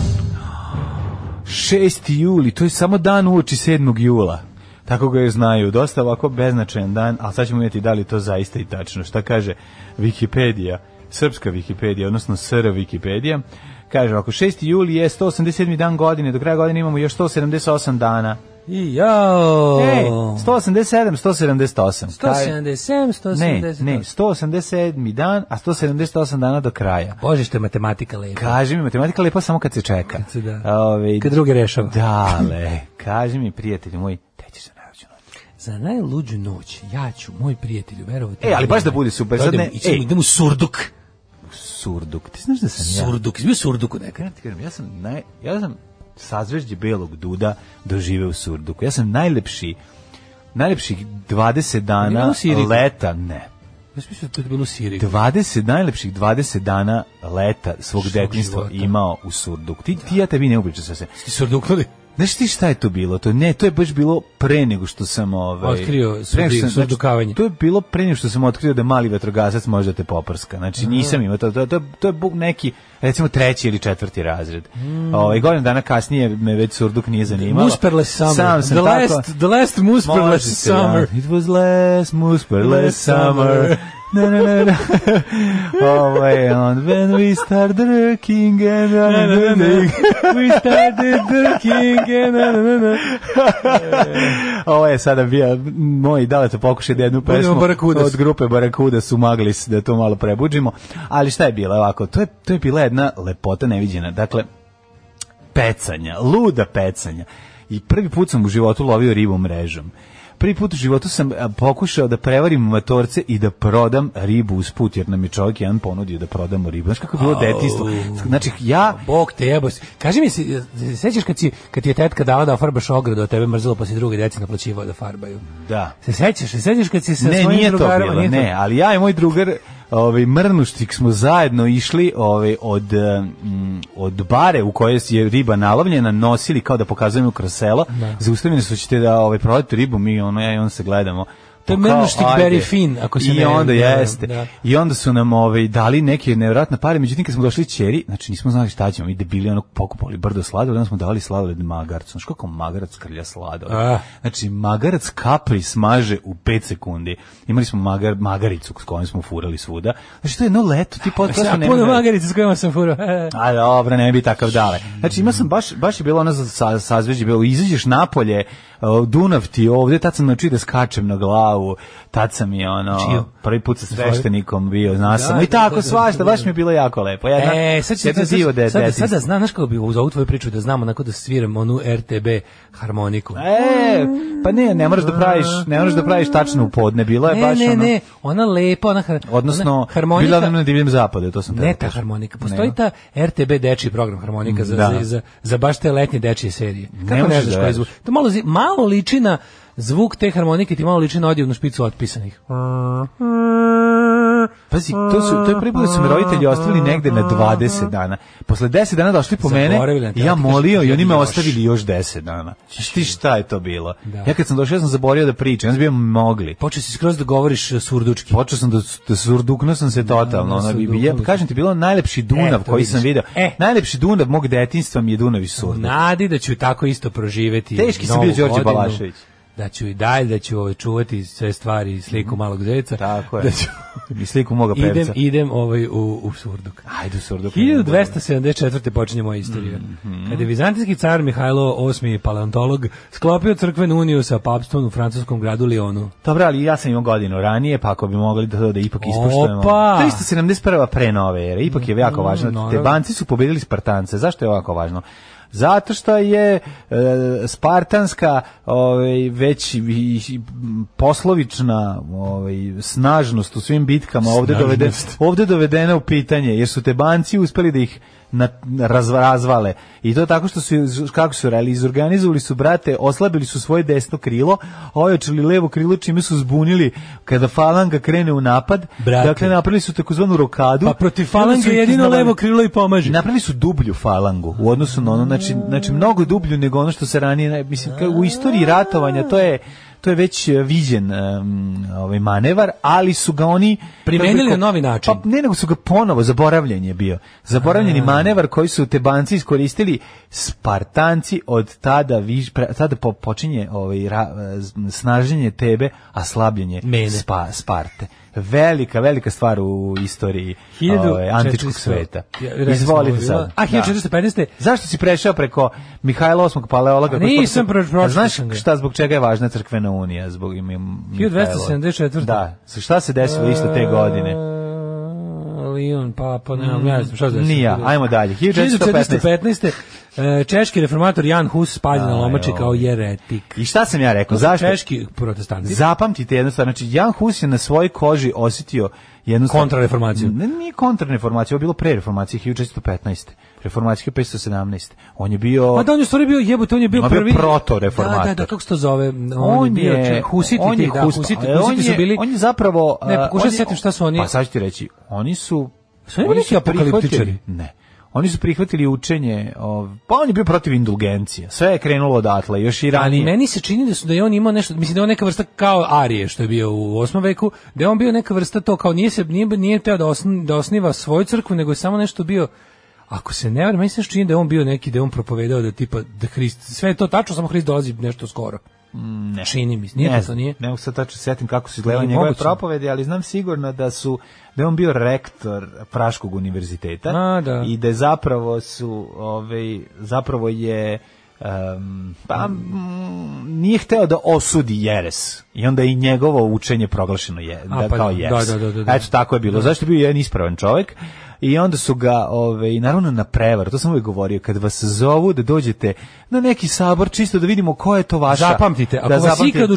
6. juli, to je samo dan uoči 7. jula. Tako ga je znaju. Dosta ovako beznačajan dan, ali sad ćemo vidjeti da li to zaista i tačno. Šta kaže Wikipedia, srpska Wikipedia, odnosno SR Wikipedia, kaže ako 6. juli je 187. dan godine, do kraja godine imamo još 178 dana. E,
I jao!
Ej, 187, 178. Kaj-
177, 178.
Ne, ne, 187. dan, a 178 dana do kraja.
Bože što je matematika lepa.
Kaži mi, matematika lepa samo kad se čeka.
se da.
Ove,
Kad druge rešava.
Dale, kaži mi, prijatelju moj, te ćeš se najveću noć.
Za najluđu noć ja ću, moj prijatelju, verovati.
E, ali baš da bude super, sad ne-
Idemo, idemo,
ej.
idemo u surduk.
Surduk, ti znaš da sam ja?
Surduk, izbio surduku nekad.
Ja ti kažem, ja sam, naj, ja sam sazvežđe belog duda doživeo u Surduku. Ja sam najlepši, najlepših 20
Nije
dana
u Siriku.
leta, ne,
Ja sam mislio da je to bilo u Siriji.
20 najlepših 20 dana leta svog
Svog
detinjstva
života.
imao u Surduk. Ti, ti ja tebi ne upričam sa se.
Ti surduknuli?
Znaš ti šta je to bilo? To ne, to je baš bilo pre nego što sam ovaj
Otkrio
pre nego
surdi-
sam- znači,
surdukavanje.
To je bilo pre nego što sam otkrio da mali vatrogasac može da te poprska. Znači nisam imao to, to, to, to je bog neki recimo treći ili četvrti razred.
Hmm.
Ovaj godinu dana kasnije me već surduk nije zanimalo.
Musperless summer.
Sam sam
the,
tako-
last, the last Musperless
Može se, da.
summer.
It was last Musperless
Last
summer.
summer.
Na, na, na, na. Ovaj, on, when we started working and
Na, na, na, na. We started drinking and na, na, na.
Ovo je sada bio moj daleto pokušaj da jednu
Budemo
pesmu
Barakudas.
od grupe Barakuda su magli s- da to malo prebuđimo. Ali šta je bilo ovako? To je, to je bila jedna lepota neviđena. Dakle, pecanja, luda pecanja. I prvi put sam u životu lovio ribu mrežom. Prvi put u životu sam a, pokušao da prevarim matorce i da prodam ribu usput, jer nam je čovjek jedan ponudio da prodamo ribu. Znaš kako je bilo
Au.
detinjstvo? Znači, ja
Bog te jebo. Kaži mi, se, se sećaš kad, si, kad ti je tetka dala da farbaš ogradu, a tebe mrzilo, pa si druge deci naplaćivao da farbaju?
Da.
Se sećaš? Se sećaš kad si sa
ne,
svojim
nije to
drugarima?
bilo,
nije
ne, ali ja i moj drugar ovaj, Mrnuštik smo zajedno išli ovaj, od, eh, mm, od bare u kojoj je riba nalovljena, nosili kao da pokazujemo kroz selo, zaustavljeni su ćete da ovaj, prodate ribu, mi ono, ja i on se gledamo.
To je
Pa kao,
Mrnuštik
ajde.
very fin, ako se
I
ne-
onda
ne-
jeste.
da.
I onda su nam ovaj, dali neke nevjerojatne pare, međutim kad smo došli čeri, znači nismo znali šta ćemo, mi debili ono pokupali brdo sladoleda, onda smo davali sladoled magarcu. Znaš kako magarac krlja sladoled?
Ah.
Znači, magarac kapri smaže u 5 sekundi. Imali smo magar, magaricu s kojom smo furali svuda. Znači, to je jedno leto, ti potpuno
Ja
nema
puno
vremena.
magarica s kojima sam furao.
A dobro, ne bi takav dale. Znači, ima sam baš, baš je bilo ono za sa, sazveđe, bilo, izađeš napolje, uh, Dunav ti je ovde, tad sam naučio da skačem na glavu, Tad sam i ono,
Čiju?
prvi put sa sveštenikom bio, znaš
Da,
sam, i
da,
tako
da, da,
svašta,
da,
baš
da.
mi je bilo jako lepo. Ja,
E, sad ću
jedno
sad, sad,
divo de,
sad, sad, sad da
detinjstvo.
znam, znaš kako bi uz ovu tvoju priču da znam onako da sviram onu RTB harmoniku.
E, pa ne, ne moraš da praviš, ne moraš da praviš tačno u podne, bilo je baš
ne,
ono,
ne, ona lepa, ona, har-
odnosno,
ona harmonika,
bila nam na divljem zapadu, to sam teo
ne
da
ta
kažem.
harmonika, postoji
Nema.
ta RTB dečiji program harmonika za,
Da.
za, za, za baš te letnje dečije serije. Kako
Ne
ne,
možeš
znaš
da
koji
veruješ.
zvuk? To malo, zi- malo liči na zvuk te harmonike, ti malo liči na odjevnu špicu otpisanih.
Pazi, to su to je prvi put da su me roditelji ostavili negde na 20 dana. Posle 10 dana došli po mene
Zaboravili na te,
i ja
ali ti
molio
kažeš,
i oni me
još.
ostavili još 10 dana. Znaš ti šta je to bilo?
Da.
Ja kad sam došao ja sam zaborio da pričam, ja sam bio mogli.
Počeo si skroz da govoriš e, surdučki.
Počeo sam da, da surduknuo sam se totalno.
da,
ono, bi,
surduknuo
ja,
si.
kažem ti, bilo je najlepši Dunav
E, to
koji
vidiš.
sam video.
E.
Najlepši Dunav mog detinjstva mi je Dunav i
U
Surduk.
Nadi da ću tako isto proživeti.
Teški sam
novu
bio Đorđe
godinu,
Balašević.
Da ću i dalje, da ću ovaj, čuvati sve stvari i sliku malog zeca.
Mhm. Tako je.
Da ću,
I sliku moga pevca.
idem, idem ovaj, u, u surduk.
Ajde u Surduk.
1274. počinje moja istorija.
Mhm.
Kada je vizantijski car Mihajlo VIII. paleontolog sklopio crkvenu uniju sa papstvom u francuskom gradu Lyonu.
Dobro, ali ja sam imao godinu ranije, pa ako bi mogli da to da ipak ispoštujemo.
Opa! Mm,
371. pre nove ere, ipak je jako važno.
naravno.
Tebanci su pobedili Spartance. Zašto je ovako važno? Zato što je e, spartanska ovaj, već i- i- m, poslovična ovaj, snažnost u svim bitkama ovde,
Snažnost.
dovede, ovde dovedena u pitanje, jer su Tebanci uspeli da ih na, na- raz- razvale. I to tako što su, iz- kako su reali, izorganizovali su brate, oslabili su svoje desno krilo, ojačali levo krilo čime su zbunili kada falanga krene u napad.
Brate.
Dakle, napravili su takozvanu rokadu.
Pa
I
protiv
onda su
falange
ih
jedino
iznavali-
levo krilo i pomaže.
Napravili su dublju falangu u odnosu na ono, znači, znači mnogo dublju nego ono što se ranije, ne- mislim, ka- u istoriji ratovanja to je to je već e, viđen em, ovaj manevar, ali su ga oni
Primenili
kako-
na novi način.
Pa ne, nego su ga ponovo zaboravljen je bio. Zaboravljeni manevar koji su Tebanci iskoristili Spartanci od tada viš, pre- tada po- počinje ovaj ra, e, z- snaženje tebe, a slabljenje
Mene.
Spa- Sparte. Velika, velika stvar u istoriji ovaj, antičkog
1400.
sveta.
Ja, rekli smo ovo
Izvolite
je bilo.
sad. Da.
A, 1415.
Zašto si prešao preko Mihajla VIII paleologa?
A
koji-
nisam, pro- pročitao
A Znaš
sam ga.
šta, zbog čega je važna crkvena unija? Zbog im, im,
1274.
Da. Sa- Šta se
E,
desilo isto te godine?
Lion, papa, ne, mm, ne znam šta znači.
Nija, ajmo dalje. 1415.
1415. e, Češki reformator Jan Hus spaljen na
Aj,
lomači kao
ovaj.
jeretik.
I šta sam ja rekao? Zašto?
Češki protestanti.
Zapamtite jednu stvar, znači Jan Hus je na svojoj koži osjetio jednu stvar-
Kontrareformaciju.
Ne, nije kontrareformacija, ovo je bilo pre reformacije 1415. Reformacija 517. On je bio
Pa da, on je u stvari bio jebote, on je bio
Ma bio
prvi...
protoreformator.
Da, da, da, kako se to zove? On,
on
je, bio,
je
husiti,
on je
da,
Hus-
husiti,
ali on
husiti su
je-
bili...
on je zapravo
Ne,
a,
pokušaj
on
se
je-
setim šta su oni-
Pa sad ću ti reći, oni su
Su oni bili neki
prihvatili-
apokaliptičari?
Ne. Oni su prihvatili učenje, ov- pa on je bio protiv indulgencije. Sve je krenulo odatle, još i ranije.
Ali meni se čini da su da je on imao nešto, mislim da je on neka vrsta kao Arije što je bio u 8. veku, da je on bio neka vrsta to kao nije se nije nije teo da osn, da osniva svoju crkvu, nego je samo nešto bio Ako se ne varam, meni se čini da je on bio neki da je on propovedao da tipa da Hrist, sve je to tačno, samo Hrist dolazi nešto skoro. ne. Čini mi se, nije
Mm,
da
ne,
to, to nije.
Ne mogu sad tačno setim kako su izgledale
Nije
njegove
moguće.
propovede, ali znam sigurno da su da je on bio rektor Praškog univerziteta
A, da.
i da je zapravo su ovaj zapravo je em, pa mm, nije hteo da osudi jeres i onda je i njegovo učenje proglašeno je
A,
da,
pa
kao
da,
jeres.
da, da, da, da.
Eto tako je bilo. Zašto je bio jedan ispravan čovjek? I onda su ga, ovaj, naravno na prevar, to sam uvijek govorio, kad vas zovu da dođete na neki sabor, čisto da vidimo ko je to vaša.
Zapamtite, ako
da
vas
zapamtite-
ikad u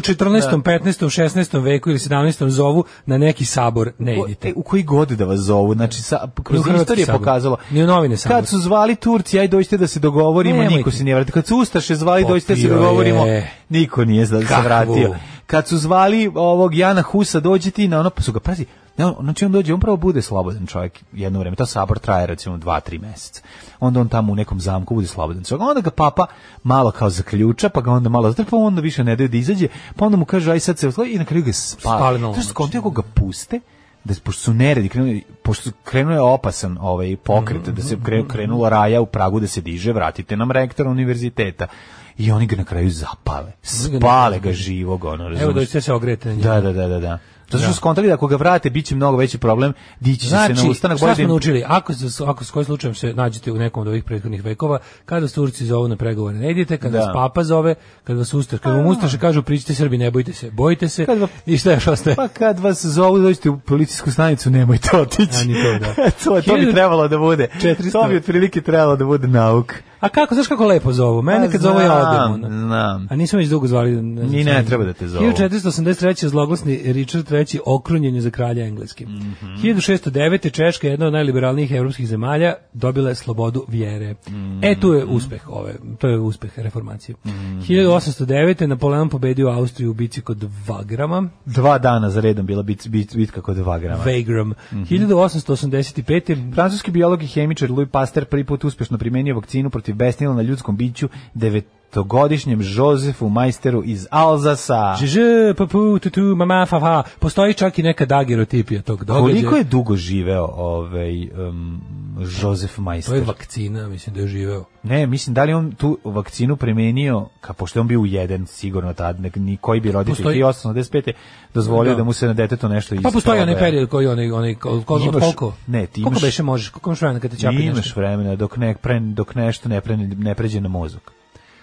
Da.
14., 15., 16. veku ili 17. zovu na neki sabor, ne
Ko-
idite.
e, U koji god da vas zovu, znači sa, kroz
Ni u Hrvatski
istoriju je
sabor.
pokazalo.
Ni u novine sabor.
Kad su zvali Turci, aj dođite da se dogovorimo,
Nemojte.
niko se nije vratio. Kad su Ustaše zvali,
Popio
dođite da se dogovorimo,
je.
niko nije da se
Kakvu?
vratio. Kad su zvali ovog Jana Husa, dođi ti na ono, pa su ga, pazi, ne, on, znači on dođe, on pravo bude slobodan čovjek jedno vreme, to sabor traje recimo dva, tri meseca. Onda on tamo u nekom zamku bude slobodan čovjek. Onda ga papa malo kao zaključa, pa ga onda malo zatrpa, onda više ne daju da izađe, pa onda mu kaže, aj sad se uslovi i na kraju ga spali.
Spali na
Znaš,
lomači.
skontao je kako ga puste, da pošto su neredi krenuli, pošto krenuo je opasan ovaj pokret, da se kre- krenula raja u Pragu da se diže, vratite nam rektora univerziteta. I oni ga na kraju zapale. Spale ga živog, ono,
Evo
razumiješ?
dođite da se ogrete na njega.
Da, da, da, da, da. Zato što
Da. Znači,
skontali da ako ga vrate biće mnogo veći problem, dići će se na ustanak, bolje
šta
da
smo
im-
naučili? Ako, se- ako s kojim slučajem se nađete u nekom od ovih prethodnih vekova, kada vas Turci zovu na pregovore, ne idite, kada
Da.
vas papa zove, kada vas ustaš, kada vam ustaše kažu pričite Srbi, ne bojite se, bojite se,
Kad vam-
i šta još ostaje?
Pa kad vas zovu dođete u policijsku stanicu, nemojte otići.
A, ni to, da.
to, to bi
Hiljadu-
trebalo da bude.
400.
To bi otprilike trebalo da bude nauk.
A kako, znaš kako lepo zovu? Mene
Pa
kad zovu ja
znam,
odem. ono.
znam.
A nisam već dugo zvali. Ne, znam
Ni ne
šta je.
treba da te zovu.
1483. zloglasni Richard III. okrunjen je za kralja engleske.
Mhm.
1609. Češka, jedna od najliberalnijih evropskih zemalja, dobila je slobodu vjere. E, tu je
Mhm.
uspeh ove, to je uspeh reformacije. 1809. Napoleon pobedio Austriju u bici kod Vagrama.
Dva dana za redom bila bit, bit, bitka kod Vagrama.
Vagram.
Mhm.
1885.
Francuski biolog i hemičar Louis Pasteur prvi put uspešno primenio vakcinu protiv besnila na ljudskom biću devetogodišnjem Josefu Majsteru iz Alzasa.
Ž, papu, tu, tu, mama, fa, fa. Postoji čak i neka dagerotipija tog događaja.
Koliko je dugo živeo ovaj um, Josef
To je
Majster?
vakcina, mislim da je živeo.
Ne, mislim, da li on tu vakcinu premenio, ka, pošto je on bio u jedan sigurno tad, nek, ni koji bi roditelj
Postoji-
1895. dozvolio da.
Da.
mu se na detetu nešto isproba.
Pa postoji onaj period koji onaj onaj kol- kol-
Imaš-
koliko?
ne, ti
Koliko
imaš-
beše možeš? Koliko imaš vremena kad te
Ne
ćapi
imaš
nešto?
vremena dok, ne, pre, dok nešto ne, pre, ne pređe na mozak.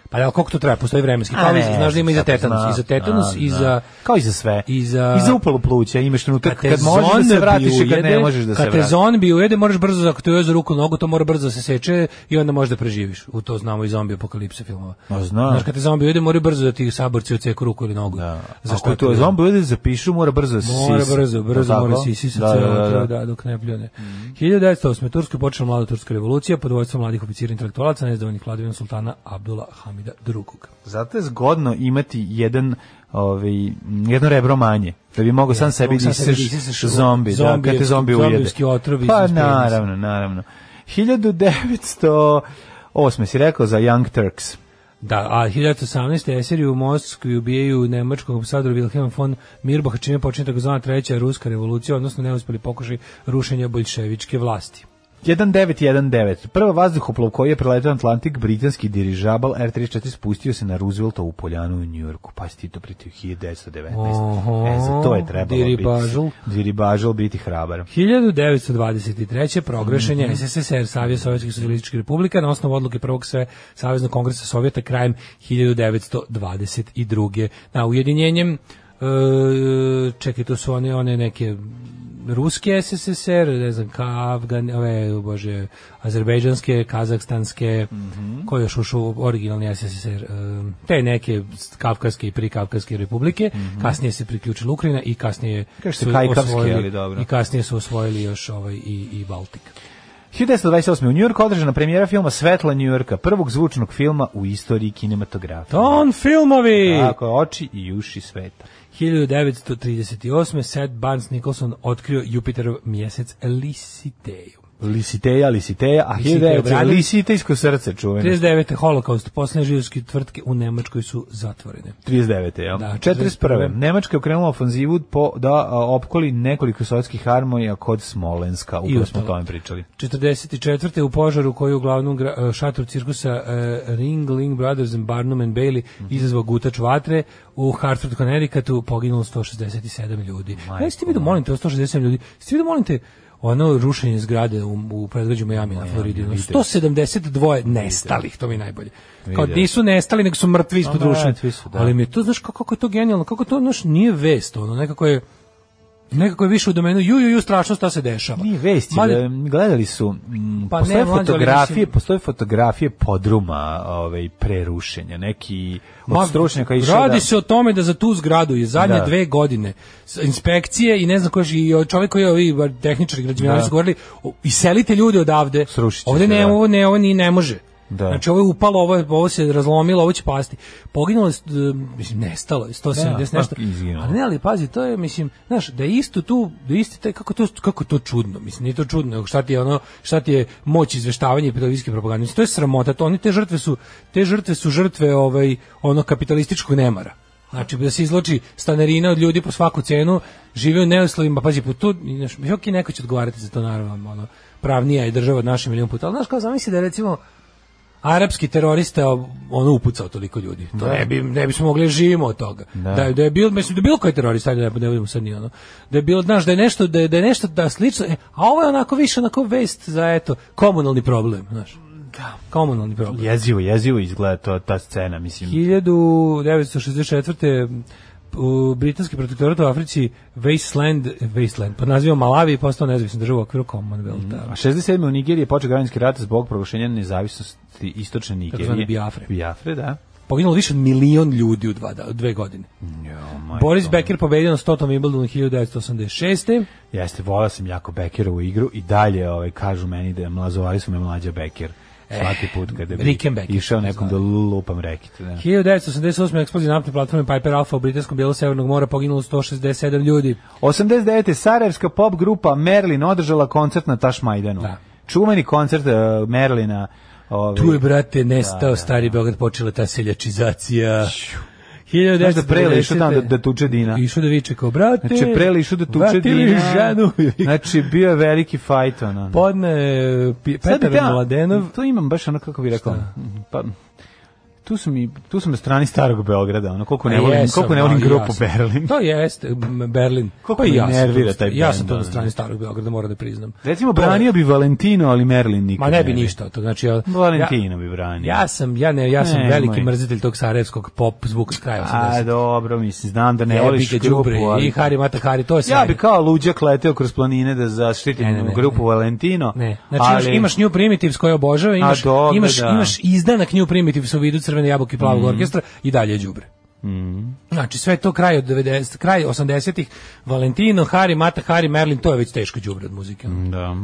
Pa da, koliko to treba? Postoji vremenski.
A
Pa
ne,
znaš da ima i za
sad
tetanus,
znam.
i za tetanus,
A,
i
da.
za
Kao i za sve.
i za-
I za upalu pluća imaš trenutak
te
kad možeš da se
zombi
vratiš i kad ne
ujede-
možeš da se
kad te
vratiš.
zombi ujede, moraš brzo, ako te ujede za ruku nogu, to mora brzo da se seče i onda možeš da preživiš. U to znamo i zombi apokalipse filmova.
Ma znam.
Znaš, kad te zombi ujede, mora brzo da ti saborci oceku ruku ili nogu.
Da.
Za
Ako
šta
je to
ti-
zombi ujede zapišu, mora brzo da se
Mora
sisa.
brzo, brzo
Jel'
mora
tako?
se isisati
Da, da, Mhm. da, da.
dok ne pljune. 1908. u Turskoj počela mlada turska revolucija pod vojstvom mladih oficira i intelektualaca nezadovoljnih vladavinom sultana Abdullah Hamida II.
Zato je zgodno imati jedan ovaj jedno rebro manje da bi mogao sam sebi
mogu sam sebi
da
da
iseš
isiseš
zombi, da, kad te
zombijevski-
zombi ujede.
zombijevski otrov iz-
Pa
iz prednosti.
naravno, naravno. 1908 si rekao za Young Turks.
Da, a 1918. Eseri u Moskvi ubijaju nemačkog ambasadora Wilhelma von Mirbaha, čime počinje takozvana treća ruska revolucija, odnosno neuspeli pokušaj rušenja boljševičke vlasti.
1919. Prva vazduhoplov koji je preletao Atlantik, britanski dirižabal R-34 spustio se na Rooseveltovu poljanu u Njujorku. Pa si ti to pritio 1919. E, za to je trebalo
Diribažul.
biti. Diribažal biti hrabar.
1923. prograšen
Mhm.
je SSSR, Savjez Sovjetskih socijalističkih republika, na osnovu odluke prvog sve Savjeznog kongresa Sovjeta krajem 1922. Na ujedinjenjem, e, čekaj, tu su one, one neke ruske SSSR, ne znam, ka Afgan, ove, bože, azerbejdžanske, kazahstanske,
Mhm.
koji je još ušao u originalni SSSR, e, te neke kafkarske i prikafkarske republike,
Mhm.
kasnije se priključila Ukrajina i kasnije
Kaže se
su
kajkavski,
osvojili-
ali dobro.
I kasnije su osvojili još ovaj i, i Baltik.
1928. u Njujorku održana premijera filma Svetla Njujorka, prvog zvučnog filma u istoriji kinematografije.
Ton filmovi!
Tako, je, oči i uši sveta.
1938. Seth Barnes Nicholson otkrio Jupiterov mjesec Elisiteju.
Lisiteja, Lisiteja, a
Lisitej
1900
obradi.
Lisitejsko srce čuveno.
39. Holokaust. Poslednje židovske tvrtke u Nemačkoj su zatvorene.
39. Jel?
Da,
41. Nemačka je okrenula ofanzivu po, da a, opkoli nekoliko sovjetskih harmonija kod Smolenska. Upravo smo o
uspela.
tome pričali.
44. u požaru koji je u glavnom gra- šatoru cirkusa eh, Ringling Brothers and Barnum and Bailey izazvao gutač vatre u Hartford, Connecticutu poginulo 167 ljudi. Ja ste vidio, molim te, da o 167 ljudi. Ste vidio, molim te, ono rušenje zgrade u, u predgrađu Miami na Floridi. ono, 172 nestalih, to mi je najbolje. Kao
Vidio.
nisu nestali, nego su mrtvi ispod
Ma,
rušenja.
mrtvi su, da.
Ali mi je to, znaš, kako kako je to genijalno, kako to, znaš, nije vest, ono, nekako je nekako je više u domenu ju ju ju strašno šta se dešava.
Nije vest, je
Mada-
da, gledali su, mm,
Pa ne,
postoje,
mlađe, ali
fotografije,
mislim-
postoje fotografije podruma ovaj, prerušenja, neki od stručnjaka je išao
Radi
da...
se o tome da za tu zgradu je zadnje
Da.
dve godine s- inspekcije i ne znam koji i čovjek koji je ovi bar tehničari građevinari
Da.
su govorili "O, iselite ljude odavde.
Srušit će
Ovde
se,
ne,
da.
ovo ne, ovo ni ne može.
Da.
Znači ovo je upalo, ovo, je- ovo se razlomilo, ovo će pasti. Poginulo je, st- mislim, nestalo je 170
Da,
nešto.
pa, izginulo.
Ali ne, ali pazi, to je, mislim, znaš, da je isto tu, da je isti taj, kako to, kako to čudno, mislim, nije to čudno, nego šta ti je ono, šta ti je moć izveštavanja i pedagogijske propagande, mislim, to je sramota, to oni te žrtve su, te žrtve su žrtve, ovaj, ono, kapitalističkog nemara. Znači, da se izloči stanerina od ljudi po svaku cenu, žive u neuslovima, pazi, po tu, znaš, ok, neko će odgovarati za to, naravno, ono, pravnija je država od naše milijon puta, ali znaš, kao zamisli da je, recimo, arapski terorista ono upucao toliko ljudi. To ne bi ne bismo mogli da živimo od toga. Da, da, je bil mislim da je bilo koji terorista ajde, da ne budemo sad ni ono. Da je bilo znaš da je nešto da je, da je nešto da slično, e, a ovo je onako više onako vest za eto komunalni problem, znaš. Da, komunalni problem.
Jezivo, jezivo izgleda to, ta scena, mislim.
1964. u britanski protektorat u Africi Wasteland, Wasteland pod nazivom Malawi i postao nezavisna država u okviru Commonwealtha.
A 67. u Nigeriji je počeo građanski rat zbog proglašenja nezavisnosti istočne
Takozvane
Nigerije.
Biafre.
Biafre, da.
Poginulo više od milion ljudi u dva, da- u dve godine.
Jo, majko.
Boris Becker pobedio na 100. Wimbledonu 1986.
Jeste, volao sam jako Bekerovu igru i dalje ovaj, kažu meni da je mlazovali su me mlađa Beker.
Eh,
Svaki put kada bi
Rickenbacker,
išao nekom da
znam.
lupam rekit. Da.
1988. eksplozija naftne platforme Piper Alpha u britanskom dijelu Severnog mora poginulo 167 ljudi.
89. Sarajevska pop grupa Merlin održala koncert na Tašmajdanu.
Da.
Čuveni koncert eh, Merlina. Ovaj,
Tu je, brate, nestao
Da,
stari Beograd, počela ta seljačizacija.
Znaš da Prele išao tamo da,
1990.
da tuče Dina.
Išao da viče kao, brate,
Znači, Prele išao da tuče
vatili
Dina.
ženu. Pa
Znači, bio je veliki fajt, ono.
Podne je Pi-
Sad bi
Petar
ja-
Mladenov.
To imam baš ono kako bi rekao. Pa, tu sam i tu sam na strani starog Beograda, ono koliko ne
A
volim,
jesam,
koliko ne
da,
volim grupu
jasno.
Berlin.
To jeste, m, Berlin.
Koliko
i
me
ja sam tu-
nervira taj
Ja
bend,
sam to na
ono.
strani starog Beograda, moram da priznam.
Recimo
To je-
branio bi Valentino, ali Merlin nikad.
Ma ne bi ništa od toga. Znači, ja, ja,
Valentino bi branio.
ja sam, ja, ne, ja sam
Nemoj.
veliki mrzitelj tog sarajevskog pop zvuka s kraja 80.
A dobro, mislim, znam da ne
da Jebi
voliš
ga,
grupu,
đubre,
ali...
I Hari Mata Hari, to je sve.
Ja bi kao luđak leteo kroz planine da zaštitim
Ne, ne, ne,
grupu
ne.
Valentino.
Ne, znači imaš, imaš New Primitives koje obožava, imaš,
dobro,
imaš,
da. Mhm.
imaš izdanak New Primitives u vidu Crvene jabuke i Plavog orkestra i dalje je đubre. Znači sve to kraj od 90, kraj 80-ih, Valentino, Hari, Mata, Hari, Merlin, to je već teško đubre od muzike.
Da.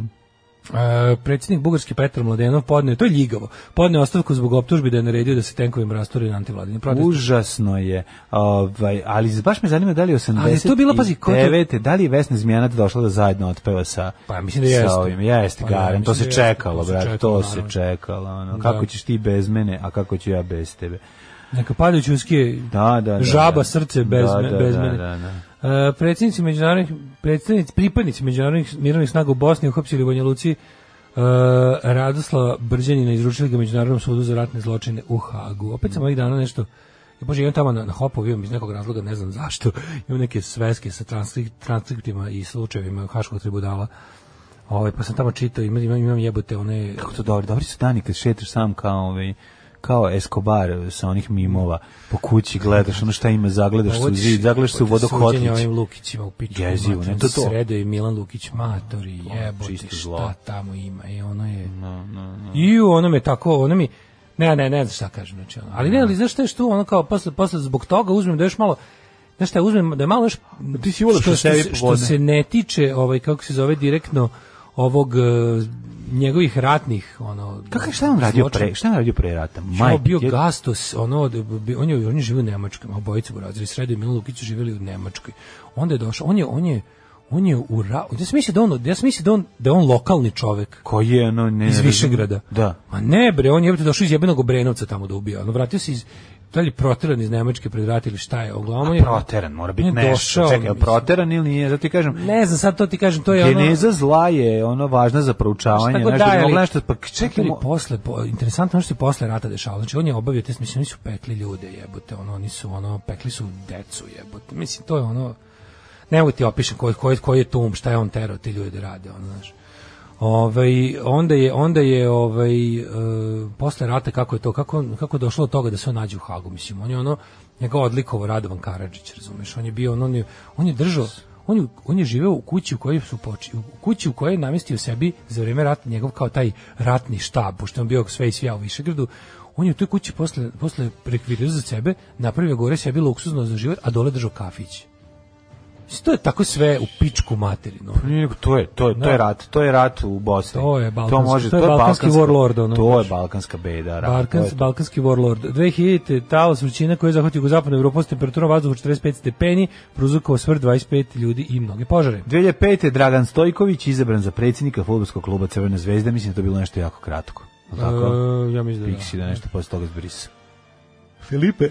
E, predsjednik Bugarski Petar Mladenov podneo, to je ljigavo, podneo ostavku zbog optužbi da je naredio da se tenkovim rasturi na antivladini protest.
Užasno je. Ovaj, ali baš me zanima da li je 80
Ali je to bila, pazi, ko je to-
da li je Vesna Zmijanac došla da zajedno otpeva sa
Pa, mislim da jeste.
Sa ovim. Jeste,
Pa, da,
garan. to
mislim
se
da jeste,
čekalo,
to se
brate,
čekalo,
to se
naravno.
čekalo. Ono.
Da.
Kako ćeš ti bez mene, a kako ću ja bez tebe?
Neka padajući uskije
Da, da, da.
žaba,
da.
srce bez,
Da,
me-
da,
bez
da,
mene.
da, da.
E, predsjednici međunarodnih, predsjednici, pripadnici međunarodnih mirovnih snaga u Bosni uhapsili u Banja Luci e, Radoslava Brđanina izručili ga Međunarodnom sudu za ratne zločine u Hagu. Opet sam ovih dana nešto Ja bože, imam tamo na, na hopu, imam iz nekog razloga, ne znam zašto, imam neke sveske sa transkri- transkriptima i slučajevima Haškog tribunala. Ovaj, pa sam tamo čitao, imam, imam, imam jebote one...
Kako to dobro, dobri su dani kad šetaš sam kao ovaj kao Escobar sa onih mimova po kući gledaš ono šta ima zagledaš se u zid zagledaš se u
Suđenje
vodokotlić
ovim Lukićima u pičku.
Jezivo,
mater,
ne, to je to.
Sredo i Milan Lukić, matori, jebote,
čisto zlo.
šta tamo ima. I ono je... I ono me tako, ono mi... Ne, ne, ne znam šta kažem. Znači, ono. Ali
Da.
ne, ali znaš šta je što ono kao posle, posle zbog toga uzmem da još malo Znaš šta, uzmem da je malo još...
ti si volio
što,
po
što,
sebi
se, što
povodne.
se ne tiče, ovaj, kako se zove direktno, ovog e, njegovih ratnih ono
Kako je šta je on radio
zločina.
pre? Šta je on radio pre rata?
Maj,
Majke
bio
ti-
Gastos, ono, od- bi- on je, on je živio u Nemačkoj, a obojica burazira, Sredo i Milan Lukić su živjeli u Nemačkoj. Onda je došao, on je, on je, on je u ra... Ja sam mislio da on, ja sam mislio da on, da je on lokalni čovek
koji je ono ne
iz Višegrada.
Da.
Ma ne bre, on je jebote došao iz jebenog Obrenovca tamo da ubija. Ono, vratio se iz, da li je proteran iz Nemačke pred rat ili šta je, uglavnom on je...
Proteran, mora biti
on je
nešto.
došao,
Čekaj, je li
mislim.
proteran ili nije? Zato ti kažem,
Ne znam, sad to ti kažem, to je ono...
geneza zla je ono važna za proučavanje.
Šta god
znaš,
da,
da bi
ali-
mogla nešto, pa čekaj,
Čekaj,
mo-
posle, po, interesantno je ono što se posle rata dešavalo. Znači, on je obavio test, mislim, oni su pekli ljude, jebote, ono, oni su, ono, pekli su decu, jebote. Mislim, to je ono, ne mogu ti opišem koji, koji, koji je tum, šta je on terao ti ljudi da rade, ono, znaš. Ovaj onda je onda je ovaj e, posle rata kako je to kako on- kako je došlo do toga da se on nađe u Hagu mislim on je ono njega odlikovo Radovan Karadžić razumeš on je bio on, on je on je držao on je, on je živeo u kući u kojoj su poči, u kući u kojoj je namestio sebi za vrijeme rata njegov kao taj ratni štab pošto je on bio sve i svija u Višegradu on je u toj kući posle posle rekvirirao za sebe napravio gore sebi luksuzno za život a dole držao kafić Mislim, to je tako sve u pičku materinu
Nije, nego to je, to je, to je
Da.
rat, to je rat u Bosni.
To je balkanski-
može,
to je balkanski
balkanska-
warlord, ono.
To je balkanska beda, rat. Da, to je
Balkans,
to.
Balkanski warlord. 2000. talas vrućina koja je zahvatio jugozapadnu Evropu s temperaturom vazduha 45 stepeni, pruzukao smrt 25 ljudi i mnoge požare.
2005. Dragan Stojković izabran za predsjednika fudbalskog kluba Crvena zvezda, mislim da je to bilo nešto jako kratko. Je li Tako?
E, ja mislim da.
Pixi da nešto posle toga zbrisa.
Felipe,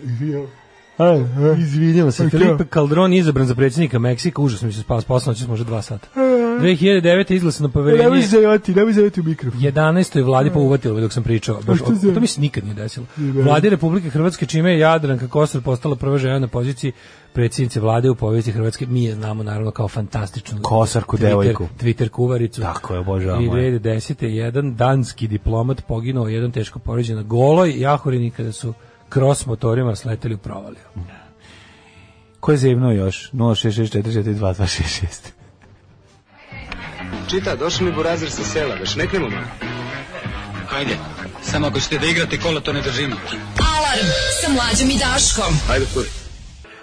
Pa da.
izvinjavam se. Felipe Calderon je izabran za predsjednika Meksika, užasno mi se spao s posla, noćas možda dva sata. 2009. izglasano
E. Nemoj
poverenje.
zajati, nemoj zajati u mikrofon. E.
11. vladi pa uvatilo me dok sam pričao. Baš,
što
o-
se-
to mi se nikad nije desilo. Vladi Republike Hrvatske, čime je Jadranka Kosor postala prva žena na poziciji predsjednice vlade u povijesti Hrvatske. Mi je znamo naravno kao fantastičnu
Kosarku
Twitter,
devojku.
Twitter kuvaricu.
Tako je, obožavamo je.
2010. je jedan danski diplomat poginuo, jedan teško poređen na goloj jahorini kada su kros motorima sleteli u provaliju.
Ko je zevno još? 066442266.
Čita, došli mi burazir sa sela, već neknemo malo.
Ajde, samo ako ćete da igrate kola, to ne držimo.
Alarm sa mlađom i Daškom.
Ajde, furi.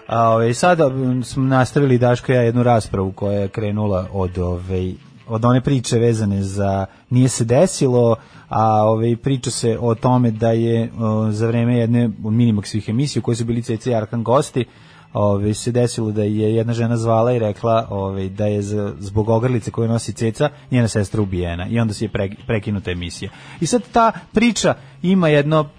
A ove, sada m, smo nastavili Daško i ja jednu raspravu koja je krenula od ove od one priče vezane za nije se desilo, a ove priča se o tome da je o, za vreme jedne od minimaksovih emisija u kojoj su bili CC i Arkan gosti, ove, se desilo da je jedna žena zvala i rekla ove, da je za- zbog ogrlice koju nosi ceca njena sestra ubijena i onda se je pre- prekinuta emisija. I sad ta priča ima jedno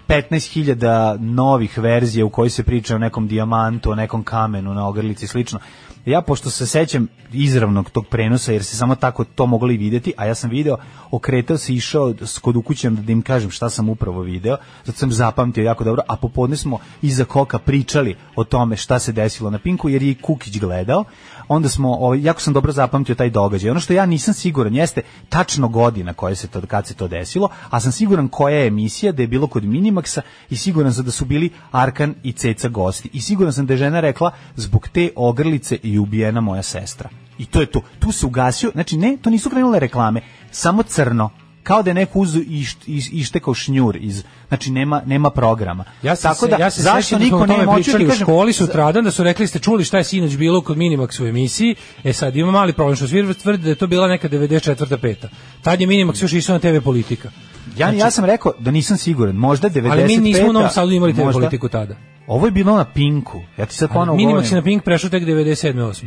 15.000 novih verzija u kojoj se priča o nekom dijamantu, o nekom kamenu na ogrlici i slično. Ja pošto se sećam izravnog tog prenosa jer se samo tako to moglo i videti, a ja sam video, okretao se i išao s kod ukućem da im kažem šta sam upravo video, zato sam zapamtio jako dobro, a popodne smo iza koka pričali o tome šta se desilo na Pinku jer je i Kukić gledao. Onda smo o, jako sam dobro zapamtio taj događaj. Ono što ja nisam siguran jeste tačno godina koja se to kad se to desilo, a sam siguran koja je emisija da je bilo kod Minimaxa i siguran sam da su bili Arkan i Ceca gosti. I siguran sam da je žena rekla zbog te ogrlice i ubijena moja sestra. I to je to. Tu se ugasio, znači ne, to nisu krenule reklame, samo crno kao da je neko uzu i ištekao šnjur iz znači nema nema programa
Ja se,
tako da
ja se
zašto
sećam da smo o
niko
tome
nema hoću
pričali
ti
u
kažem,
školi sutradan da su rekli ste čuli šta je sinoć bilo kod Minimax u emisiji. E sad ima mali problem što svi tvrde da je to bila neka 94. peta. Tad je Minimax još išao na TV politika.
Ja, ja sam rekao da nisam siguran, možda 95.
Znači- Ali mi nismo u Novom Sadu imali TV politiku tada.
Ovo je bilo na Pinku. Ja ti sad ponovo
Minimax je na
govorim. Pa
Pink prešao tek 97. 8.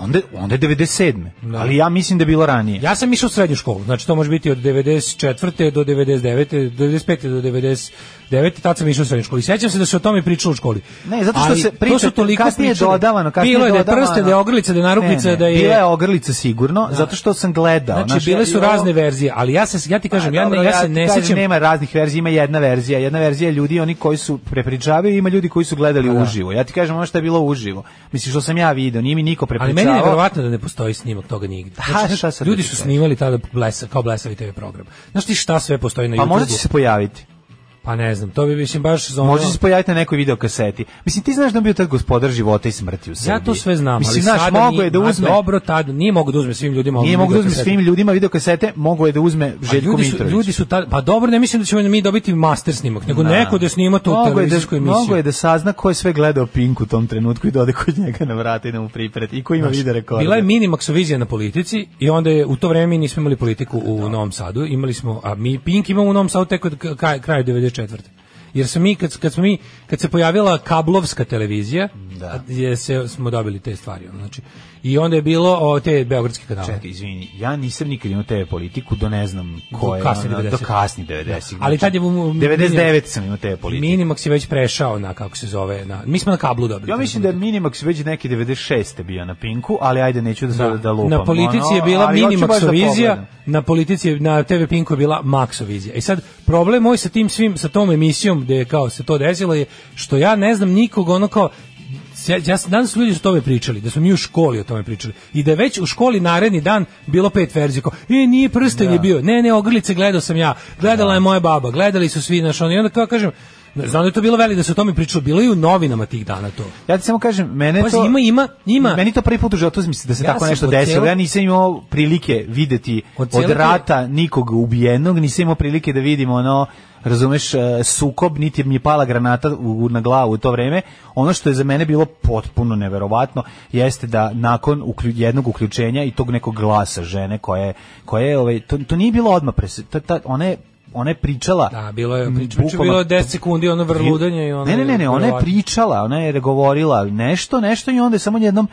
Onda, onda je 97.
Da.
Ali ja mislim da je bilo ranije.
Ja sam išao u srednju školu, znači to može biti od 94. do 99. 95. do 99. Tad sam išao u srednju školu. I sećam se da se o tome pričalo u školi.
Ne, zato što
Ali
se
to
priča-
su toliko
kasnije je
pričali.
dodavano, kasnije
Bilo je da je
dodavano.
prste, da je ogrlica, da je narukvica,
Ne, ne,
da je... Da.
Bila je ogrlica sigurno, zato što sam gledao.
Znači, bile su
Da, ja-
razne verzije, ali ja se ja ti kažem,
Pa,
ja, ne-
dobro,
ja se ne
ti kažem,
sećam.
Nema raznih verzija, ima jedna verzija. Jedna verzija je ljudi oni koji su prepričavaju, ima ljudi koji su gledali
Da,
uživo. Ja ti kažem ono što je bilo uživo. Misliš što sam ja video, nije mi niko
Ali
prepričavao.
meni je nevjerovatno da ne postoji snimak toga nigde.
Ha, šta sad
ljudi
da ti
su
kažem?
snimali tada blesa, kao blesavi TV program. Znaš ti šta sve postoji na
Pa
YouTubeu?
možda će se pojaviti.
Pa ne znam, to bi mislim baš za ono...
Može se pojaviti na nekoj videokaseti. Mislim, ti znaš da on bio tad gospodar života i smrti u Srbiji.
Ja to sve znam,
Mislim,
ali
znaš,
sada
mogo
nije-
je da
Ma
uzme...
Dobro, tad nije mogu da uzme svim ljudima.
Nije
ono
mogu da uzme
videokasete.
svim ljudima videokasete, mogu je da uzme
A
Željko
ljudi su,
Mitrović.
ljudi su tad, pa dobro, ne mislim da ćemo mi dobiti master snimak, nego neko da snima tu
Mogo je da,
televizijsku emisiju.
mogo je da sazna ko je sve gledao Pink u tom trenutku i da ode kod njega na vrata i da mu pripreti. I ko ima video rekorder.
Bila je minimaksovizija vizija na politici i onda je u to vreme mi nismo imali politiku u
Da.
Novom Sadu, imali smo a mi Pink imamo u Novom Sadu tek od k- kraj- kraja 94. Jer smo mi kad, kad smo mi kad se pojavila kablovska televizija, a-
Da.
je se smo dobili te stvari, ono, znači. I onda je bilo o, te beogradski kanale.
Čekaj, izvini, ja nisam nikad imao TV politiku do ne znam ko je.
kasnih
ona,
90-ih.
Do kasnih 90-ih.
Da. Ali tad je u- u-
99 sam imao TV politiku.
Minimax je već prešao na kako se zove, na mi smo na kablu dobili.
Ja mislim da je Minimax već neki 96. bio na Pinku, ali ajde, neću da sada da, lupam.
Na politici je
ono,
bila
ali hoću baš da
Minimaxovizija,
pogledam.
na politici je, na TV Pinku je bila Maxovizija. I sad problem moj sa tim svim sa tom emisijom gde je kao se to desilo je što ja ne znam nikog ono kao Ja, ja sam- danas su ljudi su o tome pričali, da smo mi u školi o tome pričali. I da je već u školi naredni dan bilo pet verzija. Kao, e, nije prsten
Da.
je bio. Ne, ne, ogrlice gledao sam ja. Gledala je moja baba. Gledali su svi naš ono. I onda kao kažem, znam da je to bilo veliko da se o tome pričalo. Bilo je i u novinama tih dana to.
Ja ti samo kažem, mene
Pazi,
E to...
ima, ima, ima.
Meni to prvi put u životu mislim da se
Ja
tako
sam
nešto
od
desilo.
cijelog-
Ja nisam imao prilike videti
Od
od,
cijelog-
rata nikog ubijenog, nisam imao prilike da vidim ono razumeš, e, sukob, niti mi je pala granata u, na glavu u to vreme. Ono što je za mene bilo potpuno neverovatno jeste da nakon uklju- jednog uključenja i tog nekog glasa žene koja je, koja je ovaj, to, to nije bilo odmah, pres, ta, ta, ona je ona je pričala
Da, bilo je, priča, priča,
Mm, bukvalno-
bilo je 10 sekundi ono vrludanje i ono...
ne, ne, ne, ne, ona je
verovatno.
pričala, ona je govorila nešto, nešto i onda je samo jednom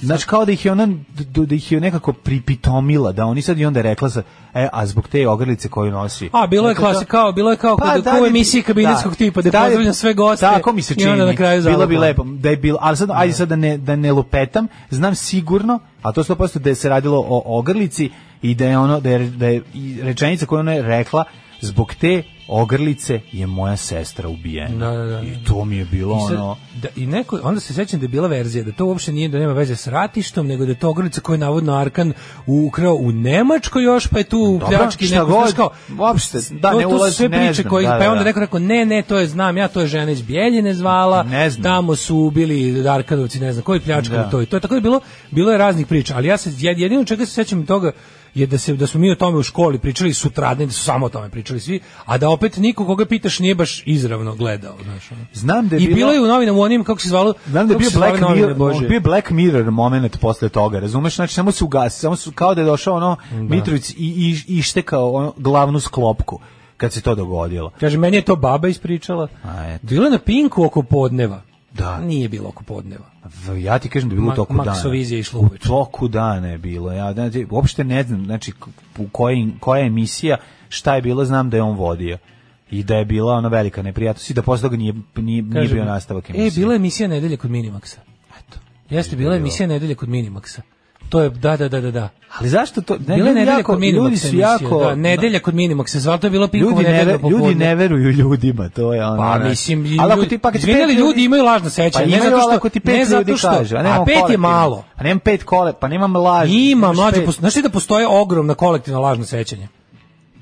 Znači kao da ih je ona da, da ih je nekako pripitomila, da oni sad i onda je rekla sa, e, a zbog te ogrlice koju nosi.
A bilo je
Dakle,
klasi kao, bilo je kao kod da, u
li-
emisiji kabinetskog
da,
tipa da,
li-
pozdravljam sve goste.
Tako mi se čini.
I onda na kraju
bilo bi
zalupam.
lepo da je bilo, ali sad ajde sad da ne da ne lupetam, znam sigurno, a to 100% da je se radilo o ogrlici i da je ono da je, da je i rečenica koju ona je rekla zbog te ogrlice je moja sestra ubijena.
Da, da, da.
I to mi je bilo
I sad-
ono.
Da, I neko, onda se sećam da je bila verzija da to uopšte nije da nema veze s ratištom, nego da je to ogrlica koju je navodno Arkan ukrao u Nemačkoj još, pa je tu u
Dobro,
pljački
šta
neko,
god,
znaš kao,
uopšte, da,
to-
ne
to su
ulazi,
sve
ne
priče
znam,
koje,
da,
pa je
da,
onda
da.
neko rekao, ne, ne, to je znam, ja to je žena iz Bjeljine zvala,
Ne znam.
tamo su ubili Arkanovci, ne znam, koji pljačkali
Da.
to i to. Tako je bilo, bilo je raznih priča, ali ja se jed- jedino čega se sećam toga je da se da smo mi o tome u školi pričali sutradne, da su samo o tome pričali svi, a da opet niko koga pitaš nije baš izravno gledao, znaš. ono.
Znam da je
I bilo
bilo
je u novinama u onim, kako se zvalo,
Znam da je
kako
bio
se zvale
Black
novine,
Mirror,
Bože.
bio je Black Mirror moment posle toga, razumeš? Znači samo se ugasi, samo su kao da je došao ono Mitrović i, i ištekao ono, glavnu sklopku kad se to dogodilo.
Kaže, meni je to baba ispričala.
A, eto.
Bilo je na Pinku oko podneva.
Da.
Nije bilo oko podneva.
V- Ja ti kažem da je bilo
Ma-
u toku dana.
Maksovizija je išla
u
uveče.
toku dana je bilo. Ja znači uopšte ne znam, znači k- u kojoj koja je emisija, šta je bilo, znam da je on vodio i da je bila ona velika neprijatnost i da posle toga nije nije, nije
Kaže,
bio nastavak
E,
emisije.
bila je emisija nedelje kod Minimaxa. Eto. Jeste, bila je emisija nedelje kod Minimaxa. To je, da, da, da, da, da.
Ali zašto to? Ne,
Bila je
ljudi
nedelja
jako-
kod
ljudi
Minimaxa
su
emisija,
jako
da, nedelja kod Minimaxa, zvala to je bilo Pinkovo
Ljudi ne,
nedelja
ver, ljudi
popodne.
ne veruju ljudima, to je ono.
Pa
ne.
mislim,
ali ako
ljudi-
ti pa kad ti
izvinjali,
pet
ljudi imaju lažno sećanje,
Pa
ne
imaju,
zato
ali
što-
ako ti
ne
pet
zato
ljudi
što-
kaže, a, nemamo
a pet je
kolektivno.
malo.
A nemam pet kole, pa nemam laž.
Ima
nemaš
mlađe,
pet.
pos- znaš ti da postoje ogromna kolektivna lažna sećanja.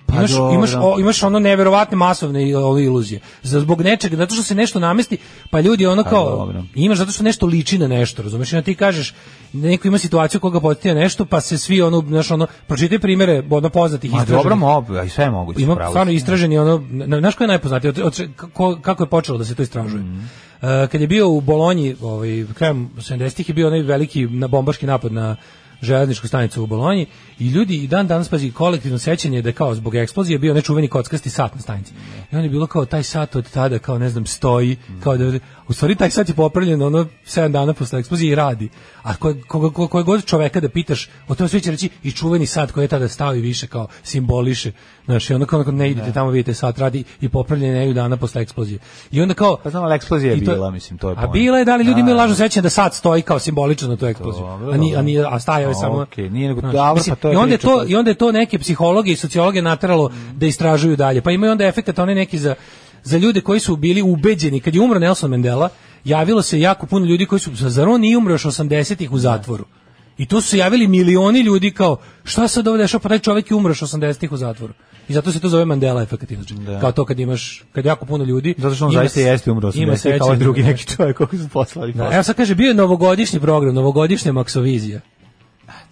Pa
imaš,
dobro.
imaš, o, imaš ono neverovatne masovne i- ove iluzije. Za- Zbog nečega, zato što se nešto namesti, pa ljudi ono kao,
dobro.
imaš zato što nešto liči na nešto, razumeš? I onda ti kažeš, neko ima situaciju koga potitija nešto, pa se svi ono, znaš ono, pročitaj primere ono poznatih
Ma
istraženih.
dobro, mogu, a i sve je moguće.
Ima
pravo si.
stvarno istraženi ono, na- na- znaš ko je najpoznatiji, od, od, kako, kako je počelo da se to istražuje. E, kad je bio u Bolonji, ovaj, krajem 70-ih je bio onaj veliki na bombaški napad na železničku stanicu u Bolonji i ljudi i dan danas pazi kolektivno sećanje je da je kao zbog eksplozije bio nečuveni kockasti sat na stanici. I on je bilo kao taj sat od tada kao ne znam stoji, kao da u stvari taj sat je popravljen ono 7 dana posle eksplozije i radi. A koje, koga, ko- kojeg god čoveka da pitaš, o tome svi će reći i čuveni sat koji je tada stao i više kao simboliše. Znaš, i onda kao, ne idete
Da.
tamo, vidite sat radi i popravljen je 7 dana posle eksplozije. I onda kao...
Pa znam, ali eksplozija je
i to-
bila, mislim, to je
A
poenta.
bila je, da li ljudi
Da,
imaju
da.
lažno sećanje da sat stoji kao simbolično na tu eksploziju.
Dobro,
A, ni, a, ni,
dobro.
a stajao je
A,
samo...
okej, nije nego-
Znaš,
dobro, pa
mislim,
to je
I onda je
priča
to,
koja-
i onda je to neke psihologe i sociologe nateralo da istražuju dalje. Pa imaju onda efekat onaj neki za, za ljude koji su bili ubeđeni. Kad je umro Nelson Mandela, javilo se jako puno ljudi koji su, zar on nije umro još 80-ih u zatvoru? I tu su se javili milioni ljudi kao, šta se ovde dešava, pa taj čovjek je umro još 80-ih u zatvoru. I zato se to zove Mandela efekat inače.
Da.
Kao to kad imaš, kad jako puno ljudi...
Zato što on
ima
zaista
s-
jeste umro 80
ima
kao
sećanje
ovaj drugi
na
neki čovjek koga su poslali.
Da, evo sad kaže, bio je novogodišnji program, novogodišnja Maksovizija.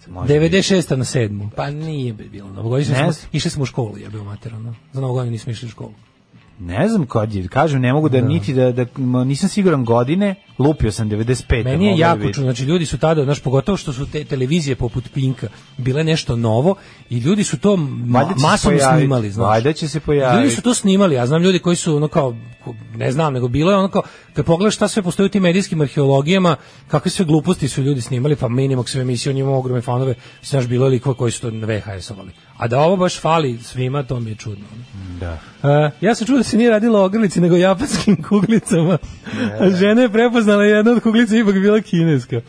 Može biti.
96. na 7. Pa nije bi bilo novogodišnje.
Pa, Ne
Smo,
znam.
išli smo u školu, ja bio materano. Za novogodinu nismo išli u školu.
Ne znam kad je, kažem, ne mogu da, niti da, da, ma, nisam siguran godine, lupio sam 95.
Meni je
mogu da
jako
vidim.
čudno, znači ljudi su tada, znaš, pogotovo što su te televizije poput Pinka bile nešto novo i ljudi su to ma,
Valjda će se
masovno
pojaviti,
snimali, znaš.
valjda će se pojaviti.
Ljudi su to snimali, ja znam ljudi koji su ono kao ko- ne znam, nego bilo je ono kao kad pogledaš šta sve postoji u tim medijskim arheologijama, kakve sve gluposti su ljudi snimali, pa minimum sve emisije, on ima ogromne fanove, znaš, bilo je likova koji su to VHS-ovali. A da ovo baš fali svima, to mi je čudno.
Da.
A, ja sam čuo da se nije radilo o ogrlici, nego japanskim kuglicama. A žena je prepoznala i jedna od kuglica ipak bila kineska.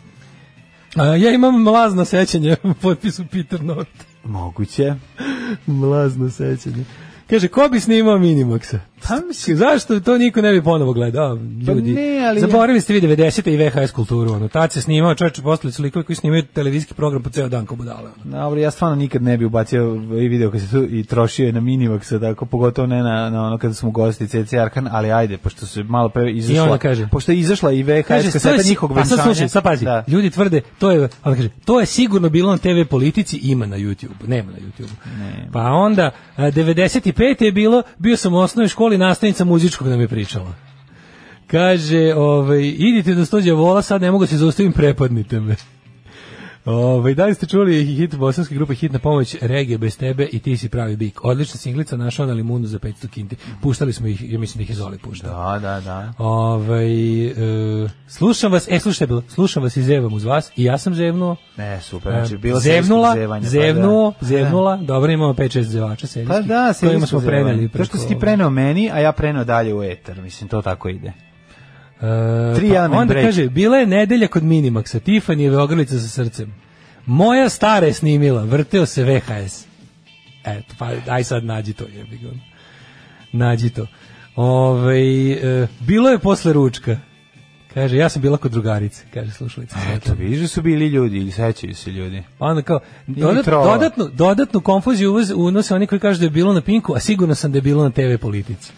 A, ja imam mlazno sećanje, u potpisu Peter Not.
Moguće.
Mlazno sećanje. Kaže, ko bi snimao Minimaxa?
Pa mislim- Pa
Zašto to niko ne bi ponovo gledao? A, Ljudi,
ne, ali-
zaboravili ste vi 90. i VHS kulturu. Ono. Tad se snimao čovječe postali su likovi koji snimaju televizijski program po ceo dan kao budale. Ono.
Dobro, ja stvarno nikad ne bi ubacio i video kad se tu i trošio je na minimaksa, tako pogotovo ne na, na ono kada smo gosti CC Arkan, ali ajde, pošto se malo pre izašla.
I ona kaže-
Pošto je izašla i VHS
Kaže, to
kaseta
je si-
njihovog
A
venčanja.
sad slušaj, sad pazi.
Da.
Ljudi tvrde, to je, ona kaže, to je sigurno bilo na TV politici, ima na YouTube, nema na YouTube. Pa onda, a, 95. je bilo, bio sam u osnovnoj školi, nastavnica muzičkog nam je pričala. Kaže, ovaj, idite do stođe vola, sad ne mogu da se zaustavim, prepadnite me. Ove, da li ste čuli hit bosanske grupe Hit na pomoć Regije bez tebe i ti si pravi bik. Odlična singlica našao na limunu za 500 kinti. Puštali smo ih, ja mislim da ih je Zoli puštao.
Da, da, da.
Ovaj e, slušam vas, e slušaj, bilo, slušam vas i zevam uz vas i ja sam zevnuo.
Ne, super.
E,
Znači, bilo
zevnula,
serijskog zevanja,
zevnuo,
pa da.
zevnula. Dobro, imamo 5-6 zevača
Pa
serijskih.
da,
kojima smo
serijsko
preneli.
zevanje.
preko-
To što si ti preneo meni, a ja preneo dalje u eter. Mislim, to tako ide.
E,
Tri element
onda
break.
kaže, bila je nedelja kod Minimaxa, Tifanijeve ogrlice sa srcem. Moja stara je snimila, vrteo se VHS. Eto, pa aj sad nađi to, jebi ga. Nađi to. Ove, e, bilo je posle ručka. Kaže, ja sam bila kod drugarice, kaže slušalica. Pa
Eto, vidiš da su bili ljudi ili sećaju se ljudi.
Onda kao, dodat,
trola.
dodatnu, dodatnu konfuziju uvez- unose oni koji kažu da je bilo na Pinku, a sigurno sam da je bilo na TV politici.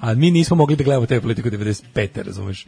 a mi nismo mogli da gledamo TV politiku 95. razumeš?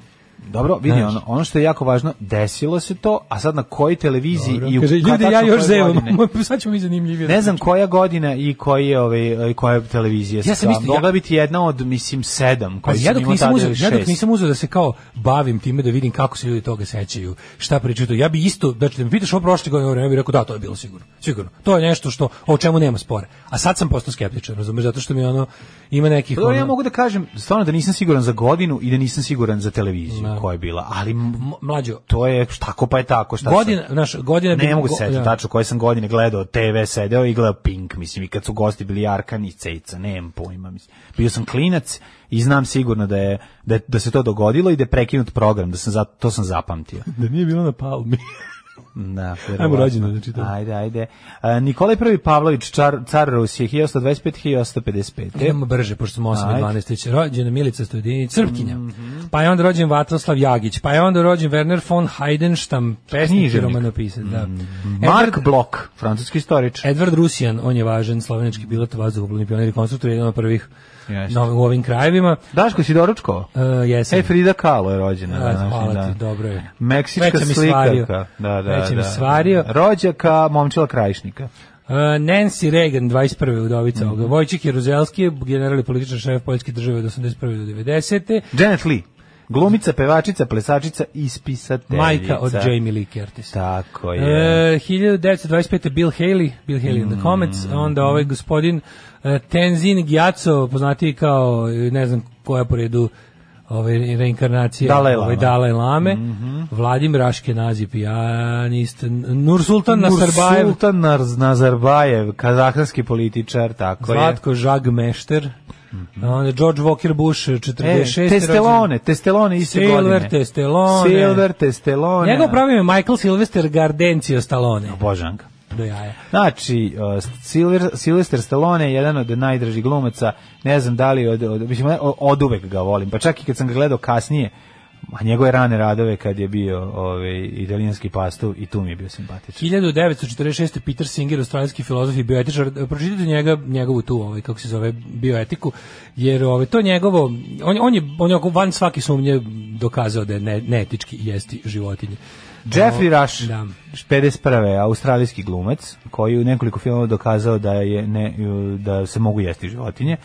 Dobro, vidi,
Znaš.
ono, ono što je jako važno, desilo se to, a sad na kojoj televiziji i u
Kaže,
kad
ljudi,
tačno
ja
koje
još zevam,
godine?
sad ćemo mi zanimljivije.
Ne znam koja godina i koji je ovaj i koja je televizija.
Ja sam isto-
mogla
ja-
biti jedna od mislim sedam
Pa
koji
ja
sam
dok
imao
nisam
tada
uzeo,
ili
ja dok
šest.
nisam uzeo da se kao bavim time da vidim kako se ljudi toga sećaju, šta pričaju to. Ja bi isto, znači da me pitaš o prošle godine, ovo vreme, ja bih rekao da, to je bilo sigurno. Sigurno. To je nešto što o čemu nema spora. A sad sam postao skeptičan, razumeš, zato što mi ono ima nekih
Dobro, ja
ono-
mogu da kažem stvarno da nisam siguran za godinu i da nisam siguran za televiziju
Da.
koja je bila, ali m-
M- mlađo.
to je tako pa je tako šta
Godina,
sad?
naš godina bi-
Ne mogu se
go-
setiti
da.
tačno koje sam godine gledao TV, sedeo i gledao Pink, mislim, i kad su gosti bili Arkan i Cejica, nemam pojma, mislim. Bio sam klinac i znam sigurno da je da, je- da se to dogodilo i da je prekinut program, da sam za, to sam zapamtio.
Da nije bilo na palmi.
Da,
Ajmo rođendan da čitamo.
Ajde, ajde. A, Nikolaj I Pavlović, čar, car Rusije, 1825-1855.
Idemo brže, pošto smo 8
E, Ajde. Mhm.
i 12. već. Rođena Milica Studinić, Crpkinja. Pa je onda rođen Vatoslav Jagić. Pa je onda rođen Werner von Heidenstam, pesnik i
Književnik. Mhm.
romanopisac. Da.
Mark
Edward-
Block, francuski istorič.
Edward Rusijan, on je važan slovenički pilot, vazduhoplovni pionir i konstruktor, jedan od prvih
Jeste.
na, u ovim krajevima.
Daško, si doručkovao?
E, jesam.
E, Frida Kahlo je rođena. znači,
Da,
današnji
hvala
dan.
ti, dobro je.
Meksička
Već sam i svario.
slikarka. Da, da,
Već sam i
da.
svario.
Rođaka momčila krajišnika.
E, Nancy Reagan, 21. udovica
Mhm.
ovoga. Vojčik Jeruzelski, general i političar šef Poljske države od 81. do 90.
Janet Lee, glumica, pevačica, plesačica i spisateljica.
Majka od Jamie Lee Curtis.
Tako Pa je. Mm.
E, 1925. Bill Haley, Bill Haley and the Comets, a onda ovaj gospodin e, Tenzin Gyatso, poznatiji kao e, ne znam koja po redu ove reinkarnacije
Dalaj Lama. Mhm.
ovaj Dalaj Lame, Vladimir Aškenazi pijanist, Nursultan Nasarbajev,
Sultan Naz- Nazarbajev, kazahstanski političar, tako je. E,
Zlatko Žag Mešter, onda George Walker Bush 46.
Mhm. E, testelone, testelone iste
Silver
godine.
Testelone.
Silver testelone.
Njegov pravi ime je Michael Sylvester Gardencio Stallone.
Božanka.
Do jaja.
Znači, uh, Silver, Sylvester Stallone je jedan od najdražih glumaca, ne znam da li, od, od, mislim, o- od uvek ga volim, pa čak i kad sam ga gledao kasnije, a njegove rane radove kad je bio ovaj, italijanski pastuv i tu mi je bio simpatičan.
1946. Peter Singer, australijski filozof i bioetičar, pročitajte njega, njegovu tu, ovaj, kako se zove, bioetiku, jer ovaj, to njegovo, on, on je, on je oko van svake sumnje dokazao da je ne, neetički jesti životinje.
Jeffrey Rush,
Da.
51. australijski glumac, koji je u nekoliko filmova dokazao da, je ne, da se mogu jesti životinje.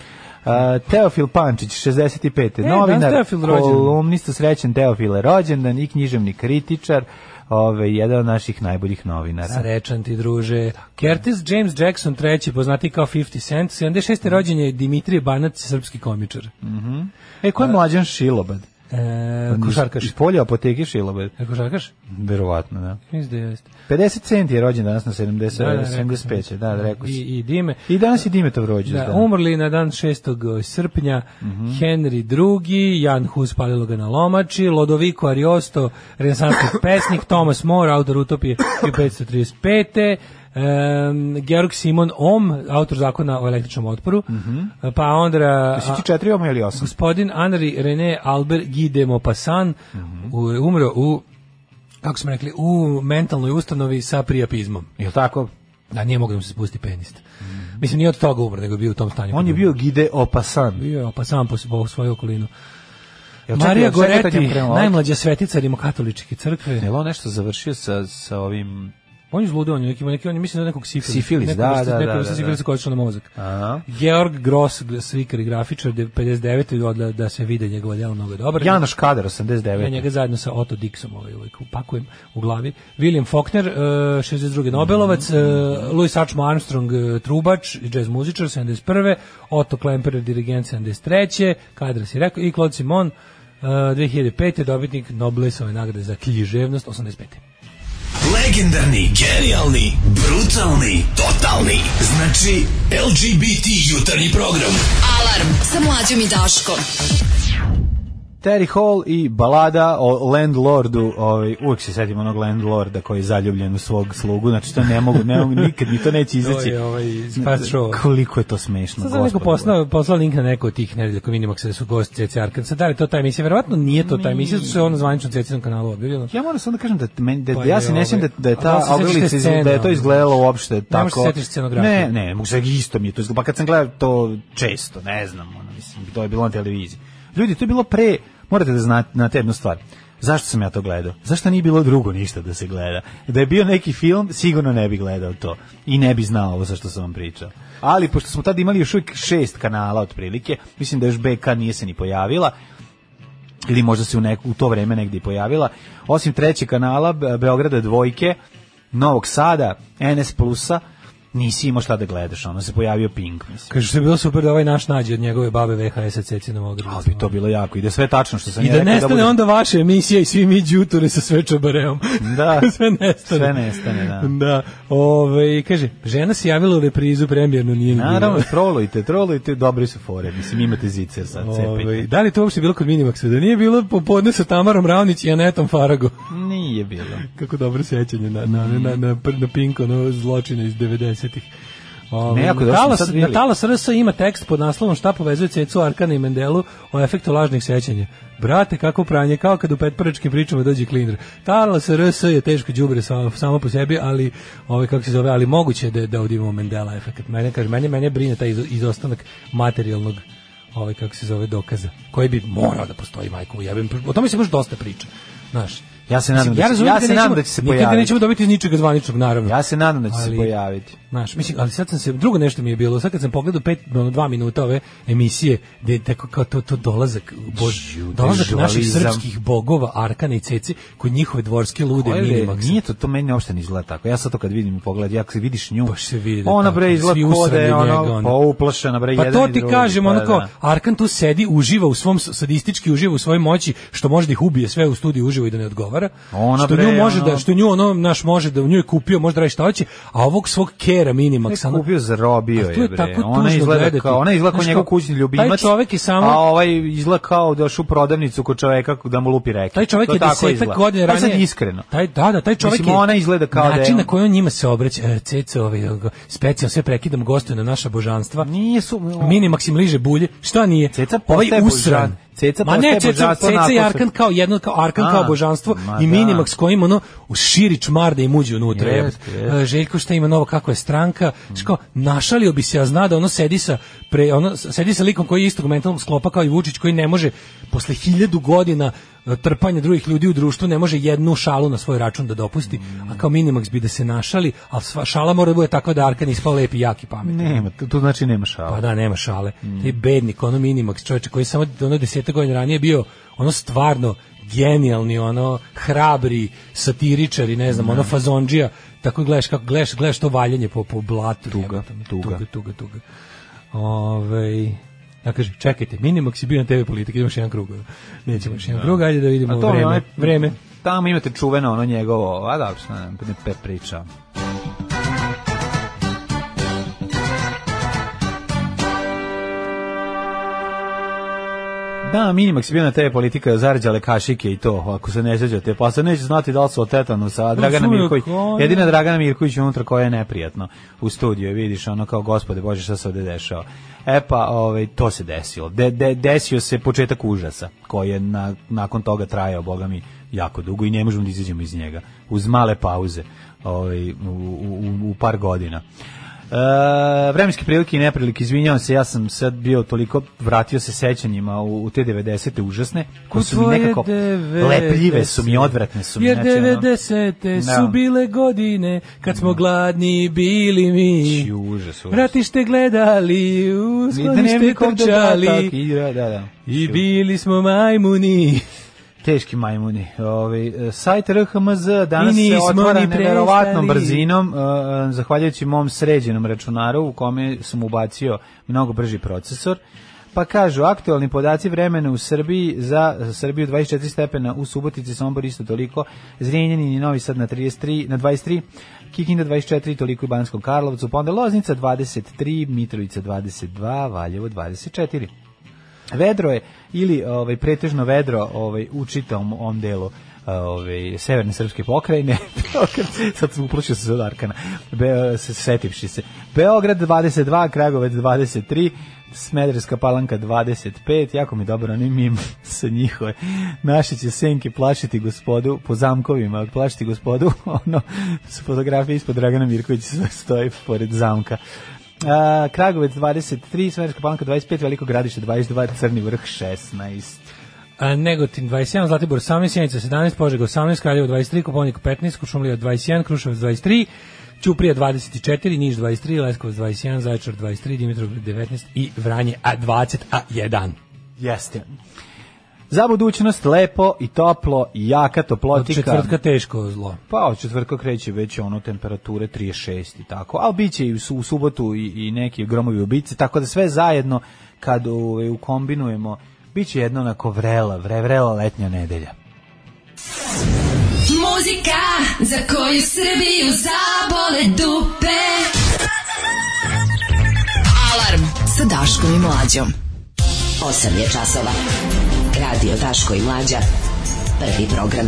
Uh, Teofil Pančić, 65.
E, danas
novinar,
Teofil rođen.
kolumnista, srećen Teofil je rođendan i književni kritičar, ove, jedan od naših najboljih novinara.
Srećan ti, druže. Curtis James Jackson, treći, poznati kao 50 Cent, 76. rođen je Dimitrije Banac, srpski komičar.
E, ko je mlađan Šilobad? Pa
E, košarkaš.
Iz polja apoteke Šilobad.
E, košarkaš?
Verovatno, da.
Mislim da jeste.
50 centi je rođen danas na 70,
Da, da, rekao sam.
75. Da, da, rekao si.
I, I dime.
I danas je Dimetov rođen.
Da, umrli na dan 6. srpnja
Mhm.
Henry II, Jan Hus palilo ga na lomači, Lodovico Ariosto, renesansni pesnik, Thomas More, autor Utopije 1535. Um, Georg Simon Ohm, autor zakona o električnom otporu,
Mhm.
pa onda
Si ti četiri ovamo ili osam?
gospodin Henri René Albert Guy de Maupassant
Mhm.
u- umro u kako smo rekli, u mentalnoj ustanovi sa prijapizmom.
Jel tako?
Da, nije mogao da mu se spusti penis. Mislim, nije od toga umro, nego je bio u tom stanju.
Mhm. On je bio Gide Opasan.
Bio je opasan po, po svoju okolinu.
Jel čekaj, da
Marija
jel čekaj kad je
Goretti,
krenuo?
najmlađa svetica rimokatoličke crkve.
Jel on nešto završio sa, sa ovim
On je zludeo, on je neki, neki, on je mislim da je nekog sifilis.
Sifilis,
Neko
da,
vrsta-
da,
neka
da,
vrsta
da,
Sifilis
da.
koji na mozak.
Aha.
Georg Gross, slikar i grafičar, de- 59. odla da se vide njegova djela mnogo je dobra.
Janoš Kader,
Ja
89.
njega zajedno sa Otto Dixom ovaj uvijek upakujem u glavi. William Faulkner, eh, 62. Nobelovac, eh, Louis Sačmo Armstrong, eh, trubač, i jazz muzičar, 71. Otto Klemperer, dirigent, 73. Kadra si rekao, i Claude Simon, eh, 2005. dobitnik Noblesove nagrade za književnost, 85.
Legendarni, genijalni, brutalni, totalni. Znači LGBT jutarnji program.
Alarm sa mlađom i Daškom.
Terry Hall i balada o landlordu, ovaj, uvijek se setim onog landlorda koji je zaljubljen u svog slugu, znači to ne mogu, ne mogu nikad mi to neće
To
izaći.
je ovaj iz Fast Show.
Koliko je to smešno,
Sad sam neko
gospodo.
poslao, poslao link na neko od tih nedelja koji vidimo da su gosti CC Arkan. Sad da li je to taj emisija? Verovatno nije to taj emisija, zato što je ono zvanično CC kanalu objavljeno.
Ja moram samo da kažem da, meni, da,
Pa
da ja
je
se ne sjećam da,
ovaj-
da je
A da li
ta
se sjećaš te
aulica, iz-
scene,
da je to
ono?
izgledalo uopšte tako.
možeš se sjetiti scenografije.
Ne, ne, mogu se isto mi je to izgledalo. Pa kad sam gledao to često, ne znam, ono, mislim, to je bilo na televiziji. Ljudi, to je bilo pre, morate da znate na jednu stvar. Zašto sam ja to gledao? Zašto nije bilo drugo ništa da se gleda? Da je bio neki film, sigurno ne bi gledao to. I ne bi znao ovo sa što sam vam pričao. Ali, pošto smo tad imali još uvijek šest kanala otprilike, mislim da još BK nije se ni pojavila, ili možda se u, neku, u to vreme negdje i pojavila. Osim trećeg kanala, Be- Beograda dvojke, Novog Sada, NS Plusa, nisi imao šta da gledaš, ono se pojavio Pink, mislim.
Kaže što je bilo super da ovaj naš nađe od njegove babe VHS-a CC na mogu.
Ali bi to bilo jako, i da je sve tačno što sam
I
ja
da
rekao
nestane
bude-
onda vaša emisija i svi mi đuture sa sve čobareom.
Da.
sve nestane.
Sve nestane, da.
Da. Ove, kaže, žena se javila u reprizu premijernu, nije ni bilo.
Naravno, trolujte, trolujte, dobri su fore, mislim, imate zicer sad,
Ove,
cepajte.
da li to uopšte bilo kod Minimaxa? Da nije bilo popodne sa Tamarom Ravnić i Anetom Farago?
Nije bilo.
Kako dobro sećanje na, na, na, na, pr- na Pink, ono zločine iz Ovaj, 90-ih. Ove,
Nejako
na
da smo
talas-
sad
na
bili.
talas RS ima tekst pod naslovom šta povezuje Cecu Arkana i Mendelu o efektu lažnih sećanja. Brate, kako pranje, kao kad u petprčkim pričama dođe klinder. Talas RS je teško đubre samo, samo po sebi, ali ove, kako se zove, ali moguće je da, da ovdje imamo Mendela efekt. Mene, kaže, mene, mene brine taj izo- izostanak materijalnog ovaj kako se zove dokaza koji bi morao da postoji majko jebem o tome se baš dosta priča znaš
Ja se nadam
Mislim,
da će-
razumem
ja se
nećemo-
nadam da će se
nikad ga
pojaviti.
nećemo dobiti iz ničega zvaničnog, naravno.
Ja se nadam da će
Ali-
se pojaviti.
Znaš, mislim, ali sad sam se, drugo nešto mi je bilo, sad kad sam pogledao pet, ono, dva minuta ove emisije, gde je tako kao to, to dolazak, bož,
Ju, da
dolazak naših
dežualizam.
srpskih bogova, Arkana i Ceci, kod njihove dvorske lude,
Koje li-
Minimax.
Nije to, to meni uopšte ne izgleda tako. Ja sad to kad vidim i pogledam, ja kad vidiš nju,
Baš se vidi da
ona
tako,
bre
svi
izgleda ko da je
usrani
ono,
njega, ono.
pa uplašena bre
Pa
jedan
to
i
ti
drugi,
kažem,
pa
ono
da,
kao,
da.
Arkan tu sedi, uživa u svom, sadistički uživa u svojoj moći, što može da ih ubije sve u studiju uživo i da ne odgovara.
Ona
što
bre,
nju može
ono-
da, što nju ono, naš može da u nju je kupio, može da radi šta hoće, a ovog svog kera Minimax,
Nek
ono,
kupio zarobio
A to je
je bre.
tako
Ona
tužno
izgleda
gledati.
kao, ona izgleda kao
Znaš
njegov
kao,
kućni
taj
ljubimac.
čovek je samo-
a ovaj izgleda kao da šu prodavnicu kod čoveka da mu lupi reke.
Taj čovjek
To
je
tako
desetak
izgleda.
godina
Pa sad
ranije.
iskreno.
Taj, da, da, taj čovjek
Mislim,
je...
ona izgleda kao da je
način
on-
na koji on njima se obraća, e, ceca, ovaj, specijal, sve prekidam, gostuje na naša božanstva.
Nije su
Mini Maksim liže bulje, šta nije?
Ceca
ovaj
postaje
usran.
božan. Ceca
Ma ne,
postaje
ceca,
božanstvo
ceca i
nakon
Arkan
što-
kao jedno, kao Arkan
A,
kao božanstvo
ma
i
da.
Minimax kojim ono u širi čmar da im uđe unutra.
Jest,
jebote.
jest.
E, Željko šta ima novo, kako je stranka, znaš kao, našalio bi se, a zna da ono sedi sa, pre, ono, sedi sa likom koji je istog mentalnog sklopa kao i Vučić, koji ne može posle hiljadu godina e, trpanja drugih ljudi u društvu ne može jednu šalu na svoj račun da dopusti, a kao Minimax bi da se našali, ali sva šala mora da bude takva da Arkan ispao lep i jak i pametan.
Nema, tu- tu znači nema šala.
Pa da, nema šale. Taj bednik, ono minimax čovječe koji je samo ono deseta godina ranije bio ono stvarno genijalni, ono hrabri satiričar i ne znam,
Da.
ono fazondžija. Tako gledaš kako gledaš, gledaš to valjanje po, po blatu.
Tuga,
jebote me,
tuga.
tuga, tuga, tuga. Ovaj, ja kažem, čekajte, Minimax je bio na TV politika, idemo još jedan krug. Nećemo još jedan krug, ajde da
A
vidimo
to
vreme.
onaj-
vreme.
Tamo imate čuveno ono njegovo, a da, ne, ne pe priča. Da, Minimax je bio na TV politika, zarđale kašike i to, ako se ne sjećate. Pa se neće znati da li su od tetanusa, a Dragana
čuj,
Mirković,
koja-
jedina Dragana Mirković je unutra koja je neprijatno u studiju, je, vidiš, ono kao, gospode Bože, šta se ovde dešava. E pa, ovaj, to se desilo. De, de, desio se početak užasa, koji je na, nakon toga trajao, boga mi, jako dugo i ne možemo da izađemo iz njega, uz male pauze ovaj, u, u, u par godina. E, vremenske prilike i neprilike, izvinjavam se, ja sam sad bio toliko, vratio se sećanjima u, u te 90. užasne, koje su mi
Tvoje
nekako lepljive su mi, odvratne su mi.
Jer
znači, ono,
90.
Da. Mm.
su bile godine kad smo gladni bili mi.
Či, užas, užas.
Vratište gledali, u
I
sklonište
dnevnik ovde, da, tako,
trčali
igra, da, da.
i bili smo majmuni.
Teški majmuni. Ovaj e, sajt RHMZ danas
Mi
se
nismo
otvara
ni
neverovatnom
prestali.
brzinom, e, e, zahvaljujući mom sređenom računaru u kome sam ubacio mnogo brži procesor. Pa kažu, aktualni podaci vremena u Srbiji za Srbiju 24 stepena, u Subotici Sombor isto toliko, Zrenjanin i Novi Sad na 33, na 23, Kikinda 24, toliko i Banskom Karlovcu, pa onda Loznica 23, Mitrovica 22, Valjevo 24. Vedro je ili ovaj pretežno vedro ovaj u čitavom ovom delu ovaj severne srpske pokrajine. Beograd- Sad sam uplošio se od Arkana. Be, se setivši se. Beograd 22, Kragujevac 23, Smederska Palanka 25, jako mi je dobro onim mim sa njihove. Naše će senke plašiti gospodu po zamkovima, plašiti gospodu, ono, su fotografije ispod Dragana Mirkovića stoji pored zamka. Uh, Kragovec 23, Smederska palanka 25, Veliko gradište 22, Crni vrh 16.
A, Negotin 21, Zlatibor 18, Sjenica 17, Požega 18, Kraljevo 23, Koponik 15, Kušumlija 21, Kruševac 23, Ćuprija 24, Niš 23, Leskovac 21, Zaječar 23, Dimitrov 19 i Vranje a 20, a 1.
Jeste. Za budućnost lepo i toplo i jaka
Od
toplotika.
četvrtka teško zlo.
Pa od četvrtka kreće već ono temperature 36 i tako, ali bit će i u, su- u subotu i, i neki gromovi ubice, tako da sve zajedno kad ovaj, ukombinujemo, bit će jedna onako vrela, vre, vrela letnja nedelja.
Muzika za koju Srbiju zabole dupe. Alarm sa Daškom i Mlađom.
8 je časova. Radio Daško i Mlađa. Prvi program.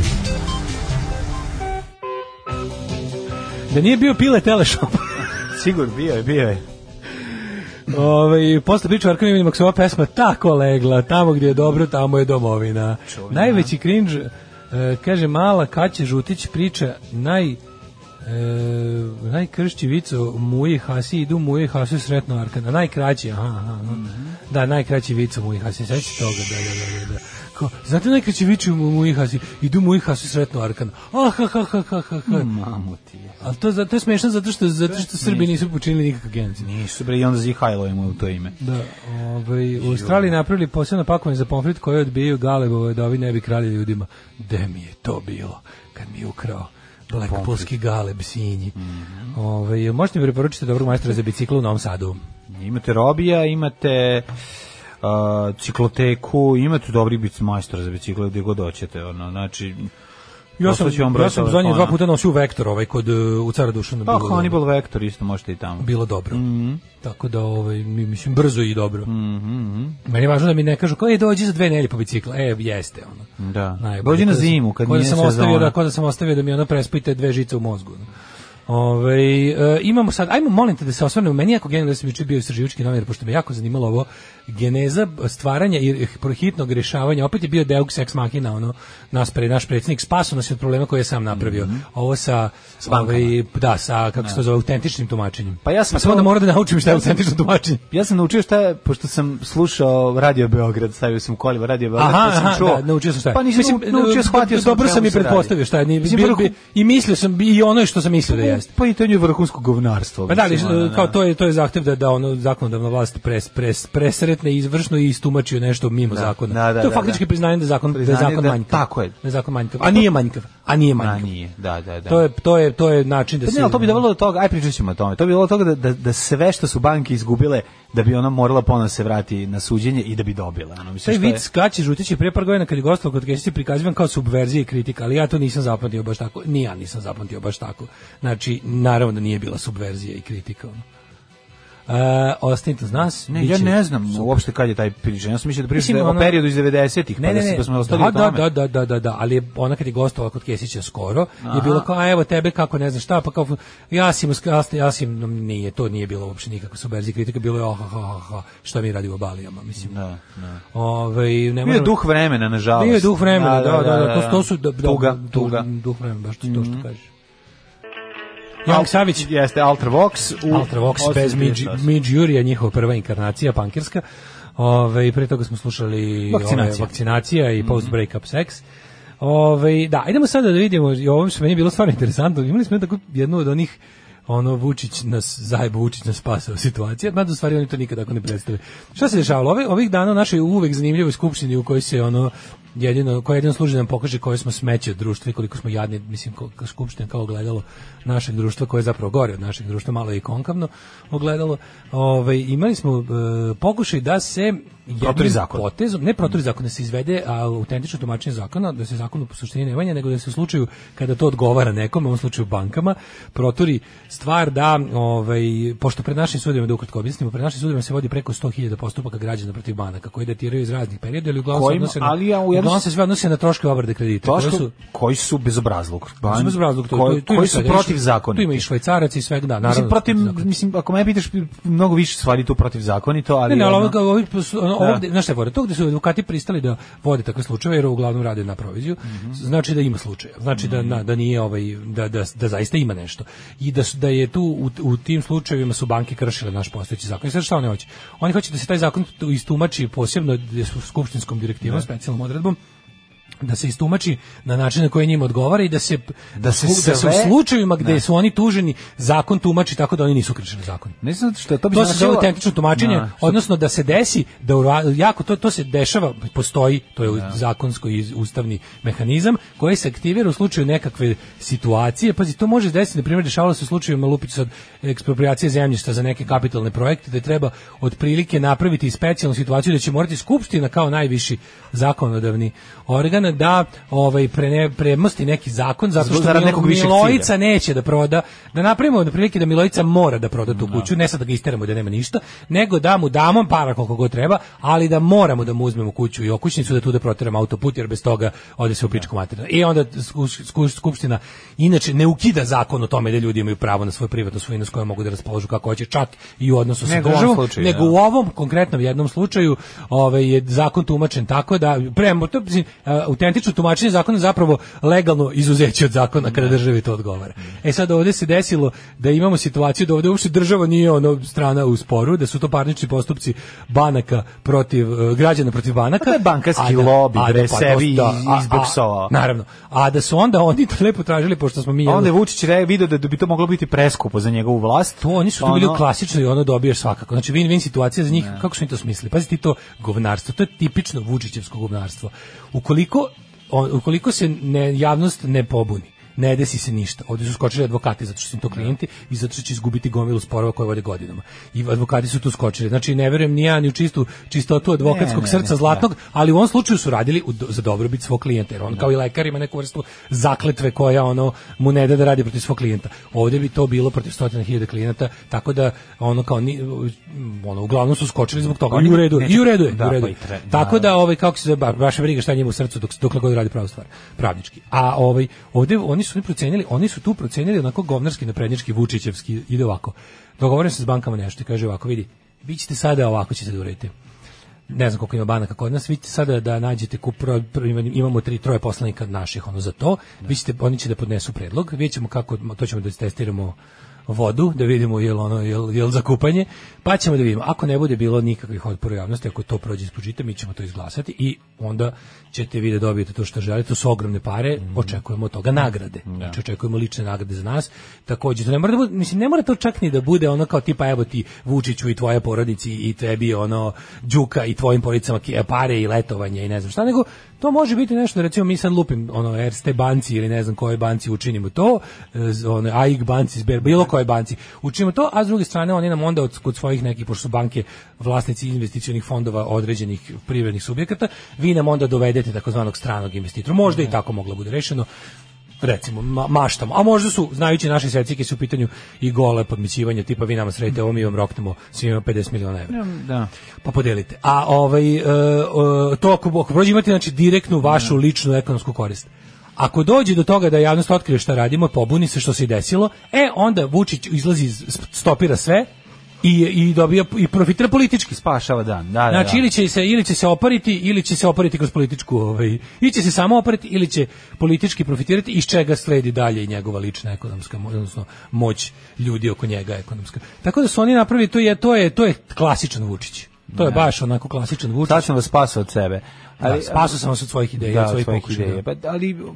Da nije bio pile teleshop.
Sigur, bio je, bio je.
Ove, Ovaj, posle priča o Arkanu vidimo kako se ova pesma tako legla, tamo gdje je dobro, tamo je domovina. Najveći cringe, e, kaže mala Kaće Žutić priča naj... E, najkršći vic o Muji i Hasi idu Muji i Hasi sretno Arkana najkraći aha, aha, aha. da najkraći vic o Muji i Hasi sećate se toga da, da, da, da, da. Kao, znate najkraći vic o Muji i Hasi idu Muji i Hasi sretno Arkana ah, ha, ha, ha, ha, ha, ha.
Mamo ti je.
ali to, za- to je smešno zato što, zato što Srbi nisu počinili nikakav genocid
Nisu bre i onda zihajlujemo u to ime.
da, ovaj, u Australiji napravili posebno pakovanje za pomfrit koje odbijaju galebove da ovi ne bi krali ljudima. De mi je to bilo kad mi je ukrao Blackpoolski galeb sinji. Ovaj, možete mi preporučiti dobrog majstora za biciklu u Novom Sadu?
Imate robija, imate uh, cikloteku, imate dobri bic majstora za bicikle gdje god hoćete, ono, znači
Ja sam,
Poslaću vam broj
ja sam zadnje
telefona.
dva puta nosio vektor ovaj kod e, u cara Dušana.
pa
bilo-
Hannibal Vector isto možete i tamo.
bilo dobro. Tako da ovaj mi- mislim brzo i dobro. Meni je važno da mi ne kažu kao e dođi za dve nedelje po bicikla. E jeste ono.
Da. Dođi
Najbolje.
na
Kao da sam-
zimu, kad
kao da
nije
sam
sezona.
ostavio da kao da sam ostavio da mi ona prespite dve žice u mozgu. Ove, imamo sad, ajmo molim te da se osvrnemo, meni je jako genijalno da sam juče bio istraživački novinar, pošto me jako zanimalo ovo geneza stvaranja i prohitnog rešavanja, opet je bio Deux Ex Machina, ono, nas pre, naš predsjednik spaso nas je od problema koje je sam napravio.
Mhm.
Ovo sa, ovaj, da, sa, kako se to zove, autentičnim tumačenjem.
Pa ja sam
samo
to-
da moram da naučim šta je autentično tumačenje.
Ja sam naučio šta je, pošto sam slušao Radio Beograd, stavio sam koliva Radio Beograd,
Aha,
pa sam
aha,
čuo.
da, naučio sam šta je. e,
Pa nisam nau- naučio, shvatio sam. o
Dobro
čemu
sam i
se radi.
pretpostavio šta je. ni-
Mislim,
bi-
vrhu-
bi- I mislio sam bi- i ono što sam mislio da jeste.
Pa i to je vrhunsko govnarstvo.
Pa da li,
mislim, ono,
kao to je to je zahtev da da ono zakonodavna vlast pres, pres, presretne izvršno i istumači nešto mimo zakona.
da, da,
to je
da,
faktički
da.
priznanje da je zakon da je
Priznanje
zakon
da-
manjkav.
tako je.
Da je zakon manjkav. A nije manjkav. A nije
Da,
manjkav.
nije. Da, da, da.
To je to je to je način da
Pa
se
ne, ali to bi dovelo do toga, aj pričat ćemo o tome, to bi dovelo do toga da, da, da sve što su banke izgubile, da bi ona morala ponovno se vrati na suđenje i da bi dobila. Ono, mislim,
Taj
što je-
vic Kaći Žutić je pre par godina kad je gostovao kod Kesića prikazivan kao subverzija i kritika, ali ja to nisam zapamtio baš tako. Ni ja nisam zapamtio baš tako. Znači, naravno da nije bila subverzija i kritika. ono. E, ostanite uz nas.
Ne,
bit
ja
će
ne znam
super.
uopšte kad je taj pričan. Ja sam mislio da pričam
Mislim,
da je o
ono-
periodu iz 90-ih, pa
Ne,
da,
ne,
se-
ne.
da smo ostali u
da,
tome.
da, da, da, da, da, ali je ona kad je gostovala kod Kesića skoro, je bilo kao, a evo tebe kako ne znam šta, pa kao, Jasim, Jasim, Jasim no, nije, to nije bilo uopšte nikako subverzija i kritika, bilo je, oh, oh, oh, oh, šta mi radimo balijama, mislim.
Da, da.
Ovaj, ne
Bio je
možemo-
duh vremena, nažalost.
Bio je duh
Da,
da, vremena, da, da, da, to, to su da, da,
tuga,
duh-
tuga.
duh vremena, baš to, to što kažeš. Janko
Al-
Savić.
Jeste Ultravox. u
Ultravox bez
838.
Mid Jurija, njihova prva inkarnacija pankirska. Ove, i pre toga smo slušali
Vakcinacija.
ove, vakcinacija i post break up sex. Ove, da, idemo sada da vidimo, i ovo što meni je bilo stvarno interesantno, imali smo tako jednu od onih ono Vučić nas zajebo Vučić nas spasao situacija, mada u stvari oni to nikad tako ne predstave. Šta se dešavalo? Ove, ovih dana u našoj uvek zanimljivoj skupštini u kojoj se ono jedino koja jedino služi da nam pokaže koje smo smeće od društva i koliko smo jadni, mislim ko- ko- skupština kao ogledalo našeg društva koje je zapravo gore od našeg društva, malo je i konkavno ogledalo. Ove, imali smo e, pokušaj da se
Proturi
jednim
zakon.
potezom, ne protiv zakona se izvede, a autentično tumačenje zakona, da se zakon u suštini ne vanja, nego da se u slučaju kada to odgovara nekome, u ovom slučaju bankama, proturi stvar da, ovaj, pošto pred našim sudima, da ukratko objasnimo, pred našim sudima se vodi preko 100.000 postupaka građana protiv banaka, koji datiraju iz raznih perioda, ali uglavnom,
Kojim-
se, odnose na,
ali ja u jednom-
uglavnom se sve odnose na troške obrade kredita. koje
Troško-
su-
koji su bezobrazluk.
Mislim, bez razloga, tu- tu-
koji,
tu ima
koji su
svega,
protiv
i š-
zakona.
da Tu ima i švajcarac i svega, da, naravno.
Mislim, protiv,
protivzakonito.
mislim, ako me pitaš, mnogo više stvari tu protiv zakonito, ali...
Ne, ne, ali
ono-
ovo, ovo, ono,
Da.
ovo gde, znaš šta je fora, to gde su advokati pristali da vode takve slučaje, jer uglavnom rade na proviziju,
Mhm.
znači da ima slučaja, znači da, na- da nije ovaj, da, da, da zaista ima nešto. I da, su- da je tu, u, u tim slučajevima su banke kršile naš postojeći zakon. I sad šta oni hoće? Oni hoće da se taj zakon tu istumači posebno gde su skupštinskom direktivom, specijalnom odredbom, da se istumači na način na koji njima odgovara i da se
Da se
da se u
sve- da.
slučajevima gde su oni tuženi zakon tumači tako da oni nisu kršili zakon.
Ne znam što to bi
To se
značilo-
zove autentično tumačenje,
Da, što-
odnosno da se desi da u, ra- jako to to se dešava, postoji, to je
Da.
zakonsko i ustavni mehanizam koji se aktivira u slučaju nekakve situacije. Pazi, to može se desiti, na primjer, dešavalo se u slučaju Malupić sad ekspropriacije zemljišta za neke kapitalne projekte, da treba otprilike napraviti i specijalnu situaciju da će morati skupština kao najviši zakonodavni organ da ovaj prene, premosti neki zakon zato
Zbog-
što
zarad
Milo-
nekog višeg cilja.
Milojica neće da proda, da napravimo od prilike da Milojica mora da proda tu kuću, ne sad da ga isteramo da nema ništa, nego da mu damo para koliko god treba, ali da moramo da mu uzmemo kuću i okućnicu da tu da proteramo autoput, jer bez toga ode se u pičku
Da.
materinu. I onda sku- sku- skupština inače ne ukida zakon o tome da ljudi imaju pravo na svoju privatnu svojinu s kojom mogu da raspolažu kako hoće, čak i u odnosu sa
Nego u ovom
državom,
slučaju,
nego
da.
u ovom konkretnom jednom slučaju ovaj je zakon tumačen tako da premo to mislim, a, autentično tumačenje zakona je zapravo legalno izuzeće od zakona
Da.
kada državi to odgovara. E sad ovdje se desilo da imamo situaciju da ovdje uopšte država nije ono strana u sporu, da su to parnični postupci banaka protiv e, građana protiv banaka.
Pa to je bankarski
A da-
lobby,
a da,
bre,
pa,
sebi
da, a-
izboksovao.
a- Naravno. A da su onda oni lepo tražili pošto smo mi
A
jedno-
onda je Vučić re, video da bi to moglo biti preskupo za njegovu vlast.
to oni su tu bili
Pa Ono-
u klasičnoj ono dobiješ svakako. Znači win-win situacija za njih. Kako su oni to smislili? Pazi ti to govnarstvo, to je tipično Vučićevsko govnarstvo. Ukoliko on- ukoliko se ne, javnost ne pobuni, ne desi se ništa. Ovdje su skočili advokati zato što su im to klijenti i zato što će izgubiti gomilu sporova koje vode godinama. I advokati su tu skočili. Znači ne verujem ni ja ni u čistu čistotu advokatskog
Ne, ne,
srca
ne,
zlatnog, ali u ovom slučaju su radili u do- za dobrobit svog klijenta. Jer on kao i lekar ima neku vrstu zakletve koja ono mu ne da da radi protiv svog klijenta. Ovdje bi to bilo protiv stotina hiljada klijenata, tako da ono kao ni, ono uglavnom su skočili zbog toga. I u redu, je, i u redu, je,
Da,
u redu.
pa i
je.
tre- da,
Tako da ovaj kako se zove ba- baš je briga šta njemu u srcu dok dokle god radi pravu stvar, pravnički. A ovaj ovde oni su oni procenili, oni su tu procenili onako govnarski naprednjački Vučićevski ide ovako. Dogovorim se s bankama nešto i kaže ovako, vidi, vi ćete sada ovako ćete da uredite ne znam koliko ima banaka kod nas, vi ćete sada da nađete kup, pro- pro- imamo tri troje poslanika naših ono za to, vi ćete, oni će da podnesu predlog, vidjet ćemo kako, to ćemo da testiramo vodu, da vidimo jel ono jel, jel za kupanje, pa ćemo da vidimo. Ako ne bude bilo nikakvih otpora javnosti, ako to prođe ispod žita, mi ćemo to izglasati i onda ćete vi da dobijete to što želite, to su ogromne pare, očekujemo od toga nagrade. Znači očekujemo lične nagrade za nas. Takođe to ne mora da bude, mislim ne mora to čak ni da bude ono kao tipa evo ti Vučiću i tvoje porodici i tebi ono đuka i tvojim porodicama ki- pare i letovanje i ne znam šta, nego to može biti nešto da recimo mi sad lupim ono Erste banci ili ne znam kojoj banci učinimo to, e, z- ono AIG banci, Sber, bilo kojoj banci učinimo to, a s druge strane oni nam onda od, kod svojih nekih pošto su banke vlasnici investicionih fondova određenih privrednih subjekata, vi nam onda dovedete takozvanog stranog investitora. Možda i tako moglo bude rešeno recimo ma, maštamo, a možda su, znajući naše secike su u pitanju i gole podmićivanja tipa vi nama sredite ovo mi vam roknemo svima 50 miliona evra
Da.
pa podelite. A ovaj e, e, to ako, ako prođe imate znači direktnu vašu ličnu ekonomsku korist. Ako dođe do toga da javnost otkrije šta radimo, pobuni se što se i desilo, e onda Vučić izlazi iz- stopira sve i, i dobija i profitira politički.
Spašava dan. Da, da,
Znači
da.
ili će se ili će se opariti ili će se opariti kroz političku ovaj ili će se samo opariti ili će politički profitirati iz čega sledi dalje i njegova lična ekonomska moć, odnosno moć ljudi oko njega ekonomska. Tako da su oni napravili to je to je to je klasičan Vučić. To je baš onako klasičan Vučić.
Da. Sad sam vas spasao od sebe.
Da, spasao sam vas od svojih ideja,
da,
od svojih
svojih
pokušaja.
ideja. Pa, ali m,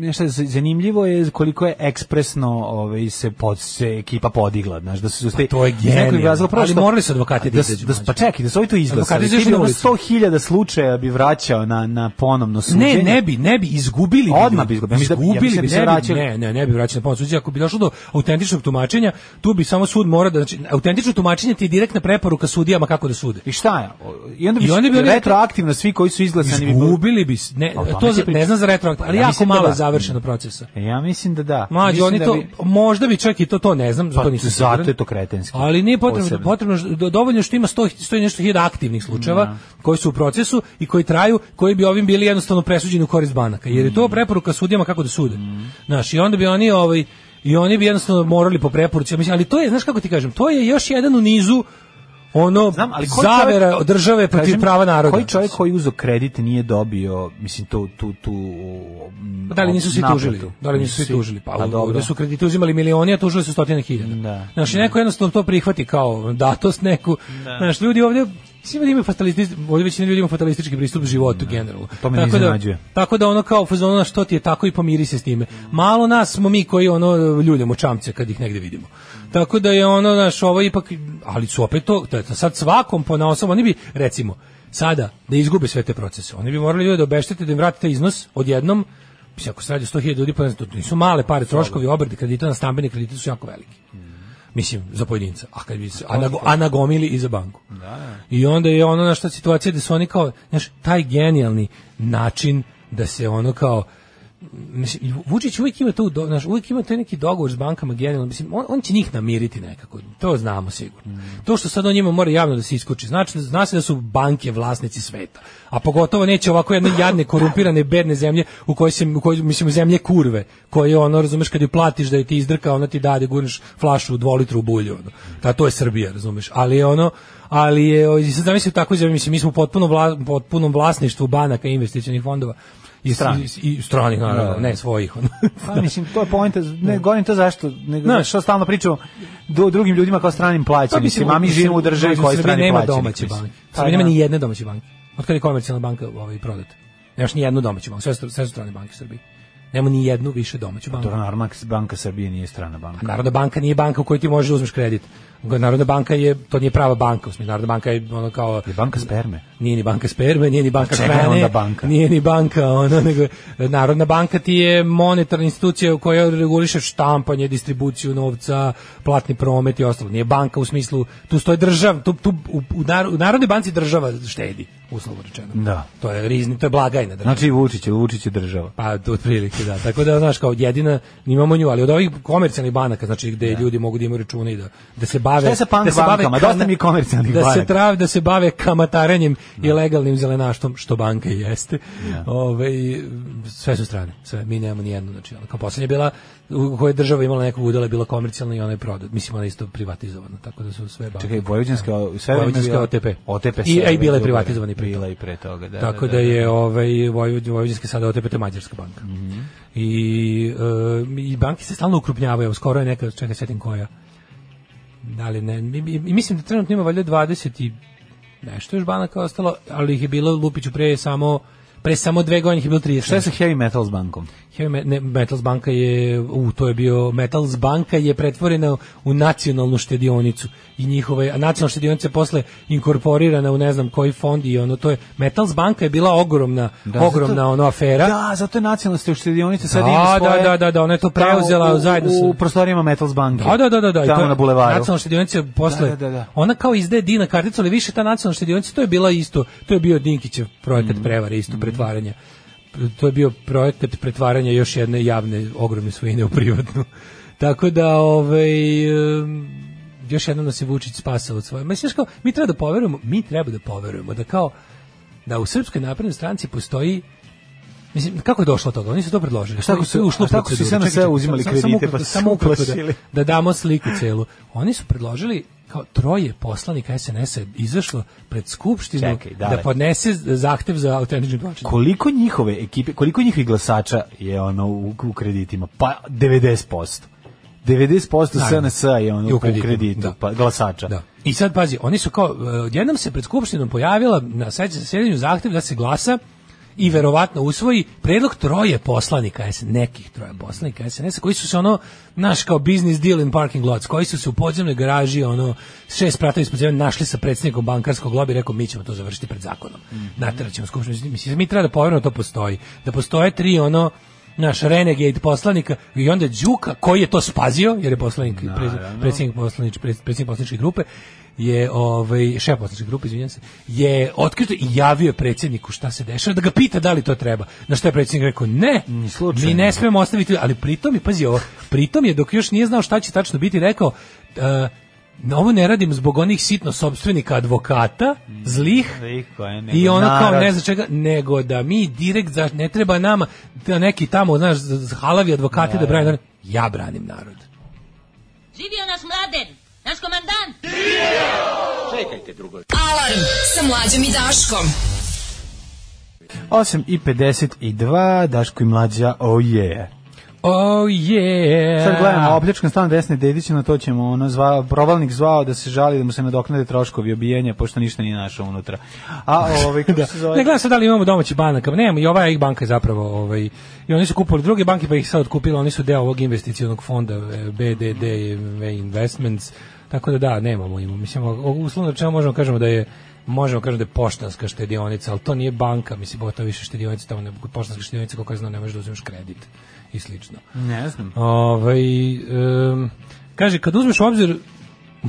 nešto z- zanimljivo je koliko je ekspresno ovaj, se, pod, se ekipa podigla. Znaš, da su, ste,
Pa to je
iz nekog
genijalno.
razloga, prvo
Ali
što-
morali su advokati da
da, s-
izađu,
da s- Pa
mlađe.
čekaj, da su ovi to
Advokati
izglasali.
izašli
Ti bi
na
ono
ulicu.
100.000 slučaja bi vraćao na, na ponovno suđenje.
Ne, ne bi, ne bi izgubili. bi
Odmah
ljudi.
bi izgubili. Ja mislim da- ja
Izgubili
mislim da
bi,
bi se
ne bi-
vraćali.
Ne, ne, ne bi vraćali na pomoć suđenja. Ako bi došlo do autentičnog tumačenja, tu bi samo sud mora da znači autentično tumačenje ti je direktna preporuka sudijama kako da sude.
I šta je? I onda bi,
I onda bi oni rekli-
retroaktivno svi koji su izglasani bi bili-
Izgubili bi, s- ne,
A o tome
to
ti
za-
pričam.
ne znam za retroaktivno, ali
Ja
jako
mislim da
malo
da.
je završeno procesa.
Ja mislim da da.
Mlađi,
Mislim
oni
da
to,
bi-
možda bi čak i to, to ne znam, za
Pa,
to nisam
zato
siguran.
je to kretenski.
Ali nije potrebno, da
Posebno.
potrebno što- do- dovoljno što ima 100, 100 i nešto hiljada aktivnih slučajeva
Da.
koji su u procesu i koji traju, koji bi ovim bili jednostavno presuđeni u korist banaka. Jer
Mm.
je to preporuka sudijama kako da sude. Znaš, i onda bi oni ovaj, i oni bi jednostavno morali po preporuci. Mislim, ali to je, znaš kako ti kažem, to je još jedan u nizu ono
Znam, ali koji
zavera
čovjek-
države protiv
Kažem,
prava naroda.
Koji čovjek koji uzo kredit nije dobio, mislim, tu... tu, tu mm,
Pa Da li nisu svi
naplatu?
tužili? Da li nisu svi tužili? Pa
A, dobro.
ovdje su kredite uzimali milioni, a tužili su stotine hiljada.
Da.
Znači, neko jednostavno to prihvati kao datost neku.
Da.
Znaš, ljudi ovdje svi ljudi imaju fatalistički, ovdje većina ljudi ima fatalistički pristup
Da.
životu generalno.
To me ne iznenađuje.
Da, tako da ono kao u fazonu "Na što ti je tako i pomiri se s time. Malo nas smo mi koji ono ljuljamo čamce kad ih negde vidimo. Tako da je ono naš ovo ipak ali su opet to, to je to sad svakom ponaosob oni bi recimo sada da izgube sve te procese. Oni bi morali ljude da obeštete da im vratite iznos odjednom. Mislim, ako se radi o 100.000 ljudi, pa ne znam, to nisu male pare, troškovi obrade kredita na stambene kredite su jako veliki.
Mm.
Mislim, za pojedinca. A, kad bi se, a, na, a nagomili i za banku. I onda je ono na šta situacija gde su oni kao, znaš, taj genijalni način da se ono kao, mislim, Vučić uvijek ima to, znaš, uvijek ima taj neki dogovor s bankama generalno, mislim, on, on će njih namiriti nekako, to znamo sigurno. To što sad on njima mora javno da se iskuči, znači, zna se da su banke vlasnici sveta, a pogotovo neće ovako jedne jadne, korumpirane, bedne zemlje u kojoj se, u kojoj, mislim, zemlje kurve, koje, ono, razumeš, kad ju platiš da je ti izdrka, ona ti dade, gurneš flašu u dvolitru u bulju, ono. Ta, to je Srbija, razumeš, ali je ono, ali je, o, i sad zamisli u takvoj zemlji, mislim, mi smo u potpuno vla, potpunom vlasništvu banaka i investicionih fondova, i stranih, i, i stranih
Da,
naravno, ne svojih. ono.
Pa, mislim, to je pojenta,
Da.
ne govorim to zašto, nego
Znaš.
što stalno pričamo do drugim ljudima kao stranim
Pa,
plaćenicima, mislim, a mi živimo u državi
mislim,
koja je
Srbija
strani
nema
plaćenik.
domaće
mislim.
banke.
Pa,
Srbija nema
da.
ni jedne domaće banke. Od kada je komercijalna banka ovaj, prodata? Nemaš ni jednu domaću banku, sve, su- sve su strane banke u Srbiji. Nema ni jednu više domaću banku.
Dobro, naravno, Banka Srbije nije strana banka.
A Narodna banka nije banka u kojoj ti možeš da uzmeš kredit. Narodna banka je, to nije prava banka, u smislu, Narodna banka je ono kao...
Je banka sperme.
Nije ni banka sperme, nije ni banka
Čega je
hrane,
onda banka?
nije ni banka, ono, nego Narodna banka ti je monetarna institucija u kojoj reguliše štampanje, distribuciju novca, platni promet i ostalo. Nije banka u smislu, tu stoje država, tu, tu u, u nar- u Narodnoj banci država štedi, uslovno rečeno.
Da.
To je rizni, to je blagajna država.
Znači, Vučić je, Vučić je država.
Pa, to otprilike, da. Tako da, znaš, kao jedina, imamo nju, ali od ovih komercijalnih banaka, znači gde ljudi mogu da imaju račune i da, da se bave...
Šta je sa punk
da se bave
bankama?
kana-
Dosta mi je komercijalnih
da Se
banaka. Da.
trav, da se bave kamatarenjem i legalnim zelenaštom, što banka i jeste. Ovaj, sve su strane, sve, mi nemamo nijednu, znači, ono, kao poslednja je bila, u kojoj je država imala nekog udela, je bila komercijalna i ona je prodat, mislim, ona je isto privatizovana, tako da su sve banke.
Čekaj, Vojvođanska, sve
Vojvođanska OTP.
OTP
I- a i bila
Srbija,
je privatizovana i pre
Bila
toga.
i pre toga, da. Mhm.
Tako da je ovaj Vojvod- Vojvodinska sada otepet je mađarska banka. I e, i banke se stalno ukrupnjavaju, evo, skoro je neka čeka setim koja. Da li ne, i, i- i mislim da trenutno ima valjda 20 i nešto još banaka ostalo, ali ih je bilo Lupiću pre samo pre samo dve godine ih je bilo 30.
Šta je sa Heavy Metals bankom?
Heavy Me- ne, Metals banka je, u, to je bio, Metals banka je pretvorena u nacionalnu štedionicu i njihove, a nacionalna štedionica je posle inkorporirana u ne znam koji fond i ono to je, Metals banka je bila ogromna,
Da,
ogromna
zato-
ono afera.
Da, zato je nacionalna štedionica sad
Da,
ima svoje...
da, da, da, da, ona je to
Tamo
preuzela
u,
zajedno sa-
u, u prostorijama Metals banke.
Da, da, da, da, da. i to
Tamo
je
na bulevaru.
Nacionalna štedionica je posle.
Da, da, da, da.
Ona kao izdaje Dina karticu, ali više ta nacionalna štedionica, to je bila isto, to je bio Dinkićev projekat
Mm.
prevare, isto pretvaranja. To je bio projekat pretvaranja još jedne javne ogromne svojine u privatnu. Tako da, ovaj, em, još jednom nas je Vučić spasao od svoje. Mislim, znaš kao, mi treba da poverujemo, mi treba da poverujemo da kao, da u Srpskoj naprednoj stranci postoji Mislim, kako je došlo do toga? Oni su to predložili.
šta ako su-
To je ušlo u
a šta ako su
proceduru.
sve na
Čekaj,
sve
čekaj,
uzimali
sam-
kredite,
samo ukratko-
pa su
samo ukratko da-
uplašili?
da damo sliku celu. Oni su predložili kao troje poslanika SNS-a je izašlo pred skupštinu
Čekaj,
da
dale.
podnese zahtev za autentični tumačenje.
Koliko njihove ekipe, koliko njihovih glasača je ono u, u kreditima? Pa 90%. 90%
Naravno.
SNS -a je ono
I
u
u
kreditu,
kreditu, da.
pa, glasača.
Da. I sad pazi, oni su kao e, odjednom se pred skupštinom pojavila na sledećem zasedanju zahtev da se glasa i verovatno usvoji predlog troje poslanika SNS, nekih troje poslanika SNS koji su se ono naš kao business deal in parking lots, koji su se u podzemnoj garaži ono šest sprata ispod zemlje našli sa predsjednikom bankarskog lobija i rekao mi ćemo to završiti pred zakonom. Mm -hmm. Nateraćemo skupštinu, mislim mi treba da poverimo da to postoji, da postoje tri ono naš renegade poslanika i onda Đuka koji je to spazio jer je poslanik pre- predsjednik poslanič pred- predsjednik poslaničke grupe je ovaj šef poslaničke grupe izvinjavam se je otkrito i javio je predsjedniku šta se dešava da ga pita da li to treba na što je predsjednik rekao ne
slučajno.
mi ne smemo ostaviti ali pritom je pazi ovo pritom je dok još nije znao šta će tačno biti rekao e, ovo ne radim zbog onih sitno sopstvenika advokata zlih
Zlih koje nego
i ono kao
narod.
ne znam čega, nego da mi direkt, za, ne treba nama da neki tamo, znaš, z- z- halavi advokati da, brane narod. Ja branim narod.
Živio naš mladen, naš komandant.
Alarm sa mlađom i Daškom.
8 i 52, Daško i mlađa, oh yeah.
Oh yeah.
Sad gledamo, opljačkan stan desne Dedića, na to ćemo, ono, zvao, provalnik zvao da se žali da mu se nadoknade troškovi obijenja, pošto ništa nije našao unutra. A ovaj, kako
Da.
se zove?
Ne gledam sad da li imamo domaći banaka, nemamo i ova ih banka je zapravo ovaj, i oni su kupovali druge banke pa ih sad otkupili, oni su deo ovog investicionog fonda eh, BDD e, Investments, tako da da, nemamo imamo, mislim, o- o- uslovno rečeno možemo kažemo da je možemo kažemo da je poštanska štedionica, ali to nije banka, mislim, bo to je više štedionica, tamo ne, kod poštanske štedionice, koliko je znao, ne možeš da uzmeš kredit i slično.
Ne znam.
Ovaj em, kaže kad uzmeš u obzir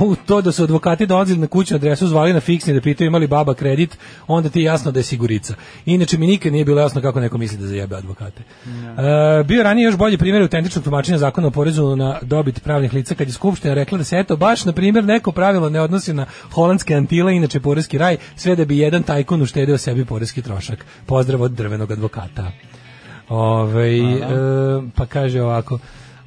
u to da su advokati dolazili na kućnu adresu zvali na fiksni da pitaju imali baba kredit, onda ti je jasno da je sigurica. Inače mi nikad nije bilo jasno kako neko misli da zajebe advokate. E, bio je ranije još bolji primjer autentičnog tumačenja zakona o porezu na dobit pravnih lica kad je skupština rekla da se eto baš na primjer neko pravilo ne odnosi na holandske antile, inače poreski raj, sve da bi jedan tajkun uštedeo sebi poreski trošak. Pozdrav od drvenog advokata. Ove, e, pa kaže ovako,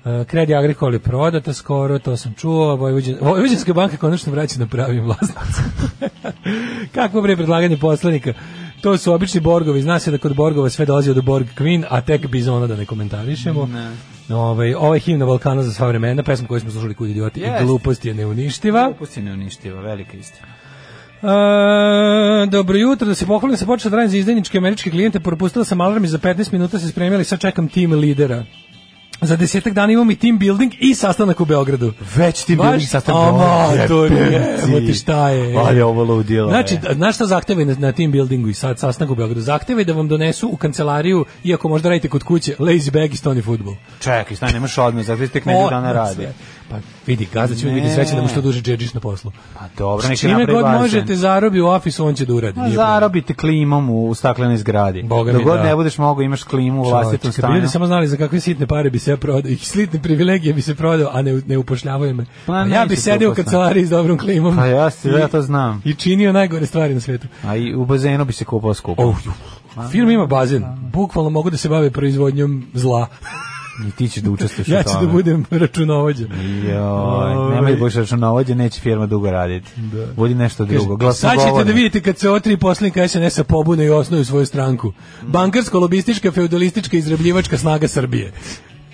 e, Kredi Agricol je prodata skoro, to sam čuo, Vojvođan, Vojvođanska banka konačno vraća na pravim vlasnicima. Kako bre predlaganje poslanika? To su obični borgovi, zna se da kod borgova sve dolazi od Borg Queen, a tek bizona da ne komentarišemo. Ne. Ove, ovaj himna Balkana za sva vremena, pesma koju smo slušali kod idioti
Jest.
i glupost je neuništiva.
Pusti ne uništiva, velika istina.
E, dobro jutro, da se pohvalim, sam počela da radim za izdajničke američke klijente, propustila sam alarm i za 15 minuta se spremila i sad čekam tim lidera. Za desetak dana imam i team building i sastanak u Beogradu.
Već ti
Baš
bili sastav
amatori, evo ti šta je.
Pa, Ali ovo ludilo. e.
Znači,
je.
da- znaš šta zahteva na, na team buildingu i sad sastanak u Beogradu? Zahteva je da vam donesu u kancelariju, iako možda radite kod kuće, lazy bag i stoni futbol.
čekaj, stani, nemaš odmah, zato tek nedelju dana radi.
Pa vidi, gazda će mi biti
Ne.
srećan da mu što duže džedžiš na poslu.
Pa dobro,
S
neki
Čime
napravi
god
bazen.
možete zarobi u ofisu, on će da uradi.
A
nije problem.
Zarobite klimom u staklenoj zgradi.
Boga mi
Dok god
da.
ne budeš mogao, imaš klimu u vlastitom
Čovječe, kad bi
stanu.
Ljudi samo znali za kakve sitne pare bi se ja prodao, i sitne privilegije bi se prodao, a ne, ne upošljavaju me.
Pa
Pa, ja
neće
bi
te
sedeo u
uposlati.
kancelariji s dobrom klimom.
Pa ja, si- ja
I-
to znam.
I činio najgore stvari na svetu.
A i u bazenu bi se kupao skupo.
Oh, ju. Firma ima bazen. Bukvalno mogu da se bave proizvodnjom zla.
I ti ćeš da učestvuješ
ja
u
ću
tome.
da budem računovođa.
Joj,
Ovaj.
nemoj da budeš računovođa, neće firma dugo raditi. Budi nešto drugo.
Da. Sad ćete da
glasnogovornik.
vidite kad se otri poslanika SNS-a pobune i osnuju svoju stranku. Bankarsko-lobistička, feudalistička, izrabljivačka snaga Srbije.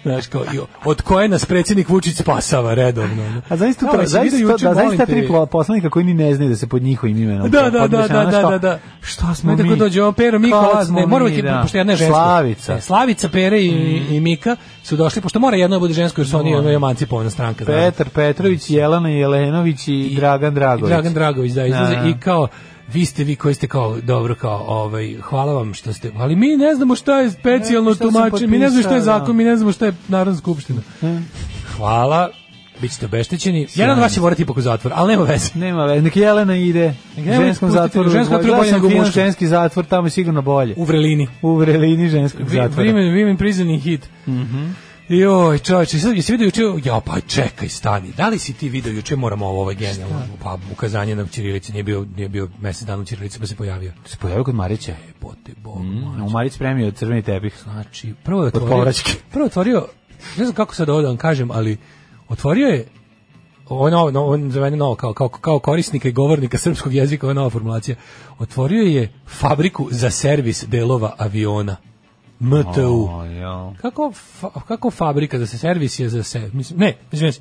Znaš, kao, i od koje nas predsjednik Vučić spasava redovno. ono.
A zaista
Da,
to,
ali si
zaista
vidio
to,
juče,
da,
molim
zaista
te.
tri plo- poslanika koji ni ne znaju da se pod njihovim imenom.
Da, da,
podmeće,
da, da,
ono što-
da, da, da.
Šta smo mi?
Ne, tako dođe ovo Pero, Miko,
Kad
Laz,
smo
ne, mora
mi,
biti,
da.
pošto jedna je žensko.
Slavica. Mm.
E, Slavica, Pere i, i Mika su došli, pošto mora jedno da bude žensko, jer su oni ono emancipovana stranka. znaš.
Petar Petrović, Jelena Jelenović i, Dragan Dragović.
da. I Dragan Dragović, da, izlaze
Da, da.
i kao vi ste vi koji ste kao dobro kao ovaj hvala vam što ste ali mi ne znamo šta je specijalno
Ne, šta sam
tumačenje mi ne znamo šta je
potpisao, da.
zakon mi ne znamo šta je narodna skupština hvala bićete obeštećeni jedan od da vas će morati ipak u zatvor ali nema veze
Nema veze, nek Jelena ide
Nek
u
Jelena
ženskom
pustite,
zatvoru.
u ženskom
Gledao
zatvoru bolje
sam
nego u
film
muškom.
Ženski zatvor, tamo je sigurno bolje.
u vrelini
U vrelini ženskog
Vi-
zatvora.
Women, women prison in heat. Mhm. Joj, čovječe, sad jesi vidio juče, ja pa čekaj, stani, da li si ti vidio juče, moramo ovo, ovo je genijalno, pa ukazanje na Ćirilici, nije bio, nije bio mesec dana u Ćirilici, pa se pojavio.
Se pojavio kod Marića.
Pote bog,
U Marić spremio crveni tepih.
Znači, prvo je
Od
otvorio,
povraćke.
prvo je otvorio, ne znam kako sad ovo da vam kažem, ali otvorio je ovo je novo, novo, ovo je za mene novo, kao, kao, kao korisnika i govornika srpskog jezika, ovo je nova formulacija, otvorio je fabriku za servis delova aviona. MTU.
O, jao.
Kako, fa, kako fabrika za se servis je za se, mislim, ne, izvijem se,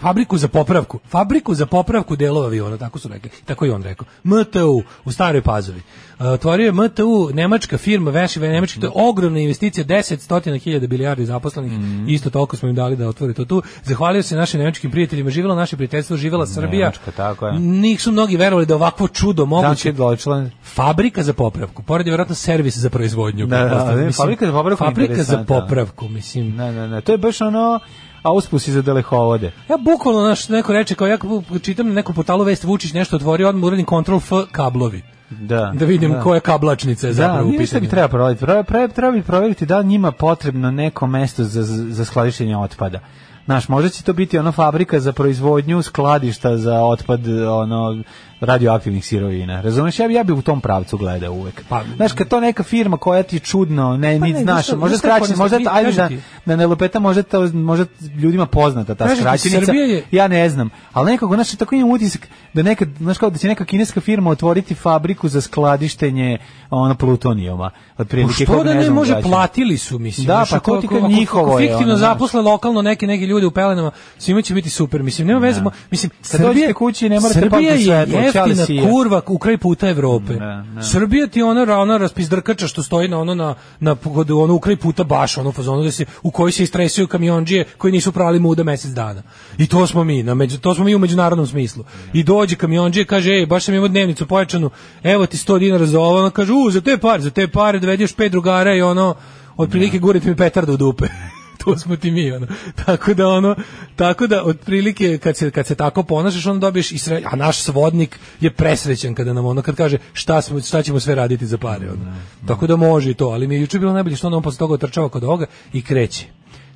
fabriku za popravku, fabriku za popravku delova aviona, tako su rekli, tako i on rekao. MTU u Staroj Pazovi. E, Otvorio je MTU, nemačka firma, veši nemački, to je ogromna investicija, 10 stotina hiljada bilijardi zaposlenih,
Mhm.
isto toliko smo im dali da otvore to tu. Zahvalio se našim nemačkim prijateljima, živjelo naše prijateljstvo, živjela Srbija.
Nemačka, tako je.
Njih su mnogi verovali da je ovakvo čudo moguće.
Znači, Deutschland.
Fabrika za popravku, pored je vjerojatno servis za proizvodnju.
Da, da,
pretpostavljam.
da,
Mislim,
fabrika za popravku je
Fabrika za
interesantna.
popravku, mislim.
Ne, ne, ne, to je baš ono auspusi za dalehovode.
Ja bukvalno naš neko reče kao ja čitam na nekom portalu vest Vučić nešto otvorio, odmah uradim Ctrl F kablovi.
Da.
Da vidim
da.
koja kablačnica je
Da,
zapravo u
nije šta bi
pitanju.
treba proveriti. Pre, pre, treba bi proveriti da li njima potrebno neko mesto za, za skladištenje otpada. Znaš, možda će to biti ono fabrika za proizvodnju skladišta za otpad ono radioaktivnih sirovina. Razumeš, ja bi, ja bi u tom pravcu gledao uvek.
Pa-
Znaš, kad to neka firma koja ti je čudno, ne,
Pa
ni
ne, znaš
znaš,
šta-
možda
znaš kako,
skraćenica, možda,
mi-
ta- ajde
kažem
da,
ti.
da ne lupeta, možda, to, možda ljudima poznata ta
Kažem ti,
skraćenica.
Srbija je-
Ja ne znam, ali nekako, znaš, tako imam utisak da nekad, znaš kao da će neka kineska firma otvoriti fabriku za skladištenje ono, plutonijoma.
Pa
Otprilike,
Što
kog
da ne
znam
može,
gađa.
platili su, mislim.
Da,
Znaš,
pa
ako-
to ti
ako-
kad
ako- ako
njihovo je, ono,
Fiktivno
znaš.
zaposle lokalno neke, neke ljude u pelenama, svima će biti super, mislim. Nema veze, mo- mislim,
Da. Kad dođete kući, ne morate
Srbija
pamtiti
je
svetlo, čale
jeftina
sija.
kurva u kraj puta Evrope.
Da, da.
Srbija ti je ona, ona raspizdrkača što stoji na ono, na, na, kod- ono u kraj puta baš, ono u fazonu da se, u kojoj se istresaju kamionđije koji nisu prali muda mesec dana. I to smo mi, na među, to smo mi u međunarodnom smislu. I dođe kamionđije, kaže, ej, baš sam imao dnevnicu pojačanu, evo ti 100 dinara za ovo, ono kaže, u, za te pare, za te pare, dovedi još pet drugara i ono, otprilike gurite mi petardu u dupe. to smo ti mi ono. Tako da ono, tako da otprilike kad se kad se tako ponašaš on dobiješ i sre, a naš svodnik je presrećan kada nam ono kad kaže šta smo šta ćemo sve raditi za pare ono. Tako da može i to, ali mi je juče bilo najbolje što on on posle toga otrčava kod ovoga i kreće.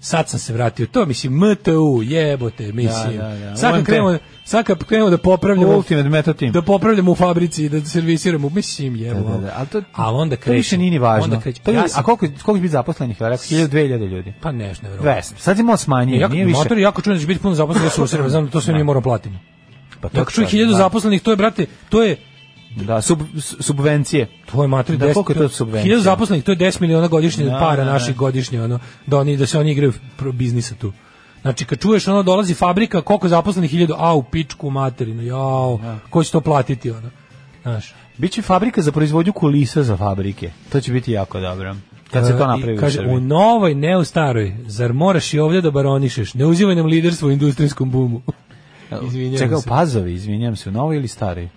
Sad sam se vratio, to mislim MTU, jebote, mislim.
Da, da, da.
Sad kad
UMT.
krenemo, sad kad krenemo da popravljamo
Ultimate Method Team.
Da popravljamo u fabrici i da servisiramo, mislim, jebo.
Da, da, da, ali to-
ali onda kreće.
To više nije ni važno.
Onda kreće.
To je-
Ja sam-
a koliko, koliko će biti zaposlenih? Verovatno 1000, 2000 ljudi.
pa nešto, nevjerovatno.
200. Sad imamo smanjenje,
jako,
nije više.
Motor je jako čudan da će biti puno zaposlenih u Srbiji, znam da to sve mi moramo platiti.
pa to
Tako
je
što je
stvar,
1000
da.
zaposlenih, to je, brate, to je
Da, sub, s- subvencije.
tvoj matri
Da, koliko je to subvencija?
1000 zaposlenih, to je 10 miliona godišnje
Da,
para
da, da.
naših godišnje, ono, da, oni, da se oni igraju pro- biznisa tu. Znači, kad čuješ, ono, dolazi fabrika, koliko je zaposlenih, 1000, a, u pičku materinu, jao,
Da.
ko će to platiti, ono, znaš.
Biće fabrika za proizvodnju kulisa za fabrike. To će biti jako dobro. Kad se
E,
to
i
napravi u
Kaže,
Srbiji.
u novoj, ne u staroj, zar moraš i ovdje da baronišeš? Ne uzivaj nam liderstvo u industrijskom bumu. Izvinjavam
Čekaj,
se.
pazovi, izvinjam se, novi ili stari?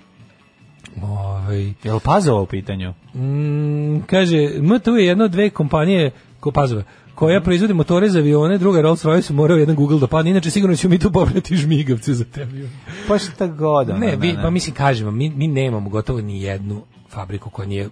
Ovaj,
Jel pazovo u pitanju?
Mm, kaže, MTU je jedna od dve kompanije, ko pazove, koja proizvodi motore za avione, druga je Rolls-Royce, morao jedan Google da padne, inače sigurno ćemo mi tu pobrati žmigavce za te avione.
Pa šta god. ono,
Ne, vi, pa mislim, kažem vam, mi, mi nemamo gotovo ni jednu fabriku koja nije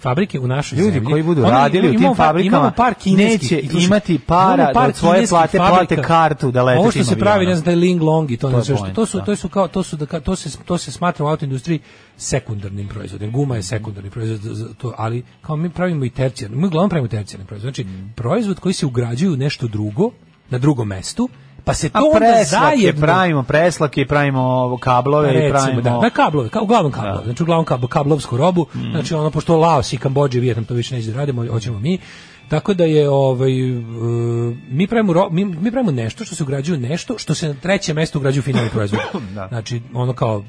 fabrike u našoj
Ljudi
zemlji.
koji budu
Ono,
radili u
imamo
tim
par-
fabrikama
imamo par kineskih,
neće
i slušaj,
imati para
imamo
da od svoje
kineskih
plate plate
fabrika.
kartu da lete
Ovo što
tim
se pravi,
avionom.
ne znam, taj Ling Long i to,
To
ne
je
znam što,
point,
to su
da.
to su kao to su da ka- to se to se smatra u autoindustriji sekundarnim proizvodom. Guma je sekundarni proizvod za- za to, ali kao mi pravimo i tercijarni. Mi uglavnom pravimo tercijarni proizvod. Znači,
Mm.
proizvod koji se ugrađuje u nešto drugo, na drugom mestu, pa se
A
to onda
preslake
zajedno
pravimo, preslake pravimo ovo, kablove i
recimo,
pravimo...
da, na kablove, ka, uglavnom kablove,
Da. Mm.
znači uglavnom kablo, kablovsku robu, znači ono pošto Laos i Kambodža i Vijetnam to više neće da radimo, hoćemo mi. Tako da je ovaj e, mi pravimo ro- mi, mi pravimo nešto što se ugrađuje u nešto što se na treće mesto ugrađuje u finalni proizvod.
Da.
Znači ono kao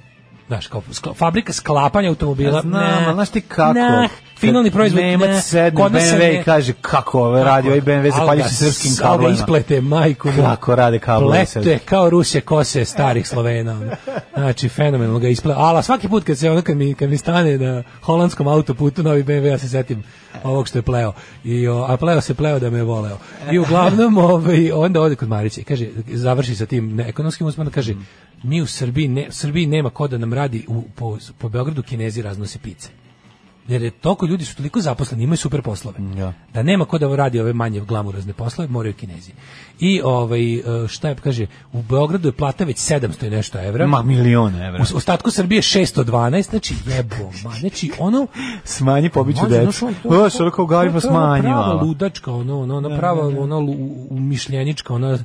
znaš, kao skla- fabrika sklapanja automobila.
Ja znam,
ne,
ali znaš ti kako?
ne, finalni
Kad
proizvod.
Nemac
ne,
sedne
kod
u
nas se
BMW
ne-
i kaže kako ove radi, ovaj BMW
Al
zapalju
ga
se srpskim
s- al ga
kablovima.
isplete, majku mu.
Kako rade kablove
Plete
srpski.
kao rusje kose starih Slovena. ono. Znači, fenomenalno ga isplete. Ala, svaki put kad se ono, kad mi, kad mi stane na holandskom autoputu, novi BMW, ja se setim ovog što je pleo. I, o, a pleo se pleo da me je voleo. I uglavnom, ovaj, onda ode kod Marića i kaže, završi sa tim ne- ekonomskim usmanom, kaže,
Mm.
mi u Srbiji, ne, Srbiji nema ko da nam radi u, po, po Beogradu kinezi raznose pice jer je toliko ljudi su toliko zaposleni, imaju super poslove.
Ja.
Da nema ko da radi ove manje glamurazne poslove, moraju Kinezi. I ovaj e, šta je kaže, u Beogradu je plata već 700 i nešto evra.
Ma milion evra.
U ostatku Srbije 612, znači jebo, ma, znači ono
Smanji pobiću
Može, znaš,
decu.
ono, to-
Ovo što rekao
to- to-
Gari pa
to je ona
smanji
prava
malo.
ludačka, ono, ono, ona prava, ono, lu- umišljenička, ona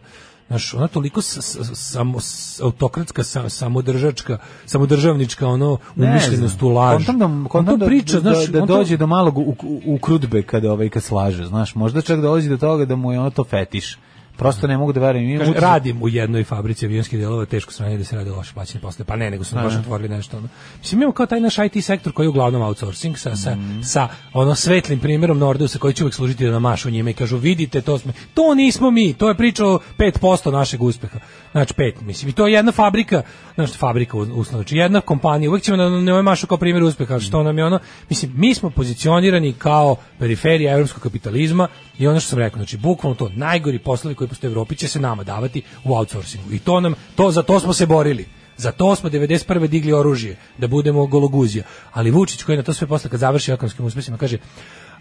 Znaš, ona toliko s, s, samo, s, autokratska, sa, samodržačka, samodržavnička, ono, umišljenost u laž.
Kontam da,
on to
kontam da,
priča,
da,
znaš,
da,
on to-
dođe do malog u, u, ukrudbe kada ovaj kad slaže, znaš, možda čak dolazi do toga da mu je ono to fetiš. Prosto ne mogu da verujem. Imam
Kaže, e,
utisak-
radim u jednoj fabrici avionskih delova, teško sranje da se rade loše plaćene posle. Pa ne, nego su nam baš otvorili nešto. Ono. Mislim, imamo kao taj naš IT sektor koji je uglavnom outsourcing sa, sa, sa ono svetlim primjerom Nordeusa koji će uvek služiti da namašu njime i kažu, vidite, to smo, to nismo mi, to je priča o 5% našeg uspeha. Znači, pet, mislim, i to je jedna fabrika, znači, fabrika u- uslovno, znači, jedna kompanija, uvek ćemo da nam ne mašu kao primjer uspeha, što nam je ono, mislim, mi smo pozicionirani kao periferija evropskog kapitalizma i ono što sam rekao, znači, bukvalno to, najgori poslovi koji postoje u Evropi će se nama davati u outsourcingu i to nam, to, za to smo se borili. Za to smo 91. digli oružje, da budemo gologuzija. Ali Vučić koji je na to sve posle kad završi ekonomskim uspesima kaže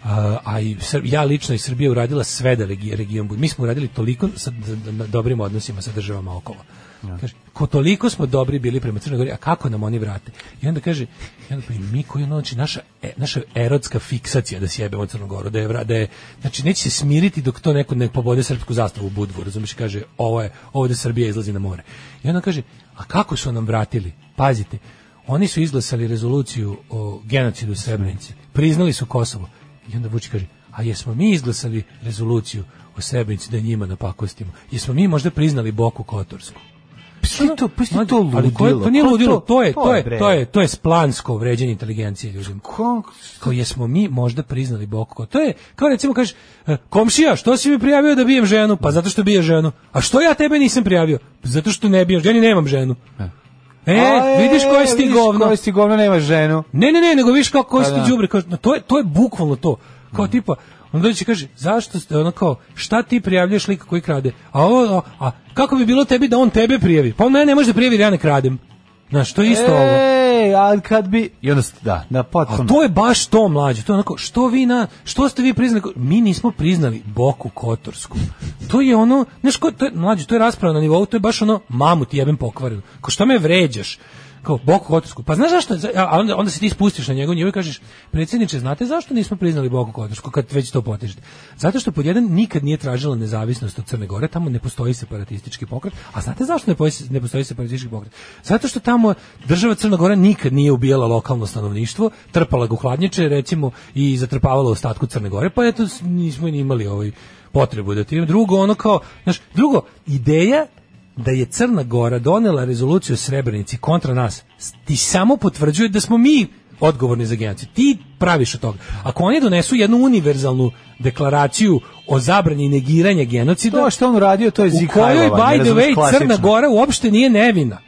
a, a i Sr- ja lično i Srbija uradila sve da regi- region bude. Mi smo uradili toliko sa d- d- na dobrim odnosima sa državama okolo. Kaže, ko toliko smo dobri bili prema Crnoj Gori, a kako nam oni vrate? I onda kaže, i onda, pa i mi koji ono, znači, naša, e, naša erotska fiksacija da sjebemo Crnu Goru, da je, vra- da je, znači, neće se smiriti dok to neko ne pobode srpsku zastavu u Budvu, razumiješ, kaže, ovo je, ovde Srbija izlazi na more. I onda kaže, a kako su nam vratili? Pazite, oni su izglasali rezoluciju o genocidu u Srebrenici, priznali su Kosovo, i onda Vučić kaže, a jesmo mi izglasali rezoluciju o Srebrenici da njima napakostimo? Jesmo mi možda priznali Boku Kotorsku?
Pusti to, pusti to ludilo. Pa
Ali ko je, to nije
Ko
ludilo, to je, to
bre. Pa
je, to je, to je splansko vređanje inteligencije ljudima.
Ko-
Kao jesmo mi možda priznali Boku Kotorsku? To je, kao recimo kažeš, e, komšija, što si mi prijavio da bijem ženu? Pa zato što bije ženu. A što ja tebe nisam prijavio? Pa zato što ne bijem ženu, ja ni nemam ženu. E,
A,
vidiš koje si ti
vidiš
govno.
Koje si ti govno, nema ženu.
Ne, ne, ne, nego viš kako koji
Pa
ste
da. Mm.
đubre, kao, no, to je to je bukvalno to. Kao tipa on dođe i kaže, zašto ste, ono kao, šta ti prijavljaš lika koji krade? A, ovo, a, a kako bi bilo tebi da on tebe prijavi? Pa on mene ne može da prijavi jer ja ne kradem. Znaš, to je
E,
isto ovo.
Ej, ali kad bi... I onda, s- da, da, potpuno.
A to je baš to mlađe, to je onako što vi na što ste vi priznali, mi nismo priznali Boku Kotorsku. To je ono, znaš ko to je mlađe, to je rasprava na nivou, to je baš ono mamu ti jebem pokvarenu. Kao šta me vređaš? Kao Boku Kotorsku. Pa znaš zašto? za- A onda, onda se ti spustiš na njegov nivo i kažeš, predsjedniče, znate zašto nismo priznali Boku Kotorsku kad već to potežete? Zato što pod jedan nikad nije tražila nezavisnost od Crne Gore, tamo ne postoji separatistički pokret. A znate zašto ne postoji, ne postoji separatistički pokret? Zato što tamo država Crna Gora nikad nije ubijala lokalno stanovništvo, trpala ga u hladnjače, recimo, i zatrpavala ostatku Crne Gore, pa eto, s- nismo ni imali ovaj potrebu da ti drugo ono kao znaš drugo ideja da je Crna Gora donela rezoluciju o Srebrenici kontra nas s- ti samo potvrđuje da smo mi odgovorni za genocid ti praviš od toga ako oni donesu jednu univerzalnu deklaraciju o zabrani negiranja genocida
To što on uradio, to je
u
zikajlovanje.
kojoj, by the
razumeš,
way,
klasično.
Crna Gora uopšte nije nevina.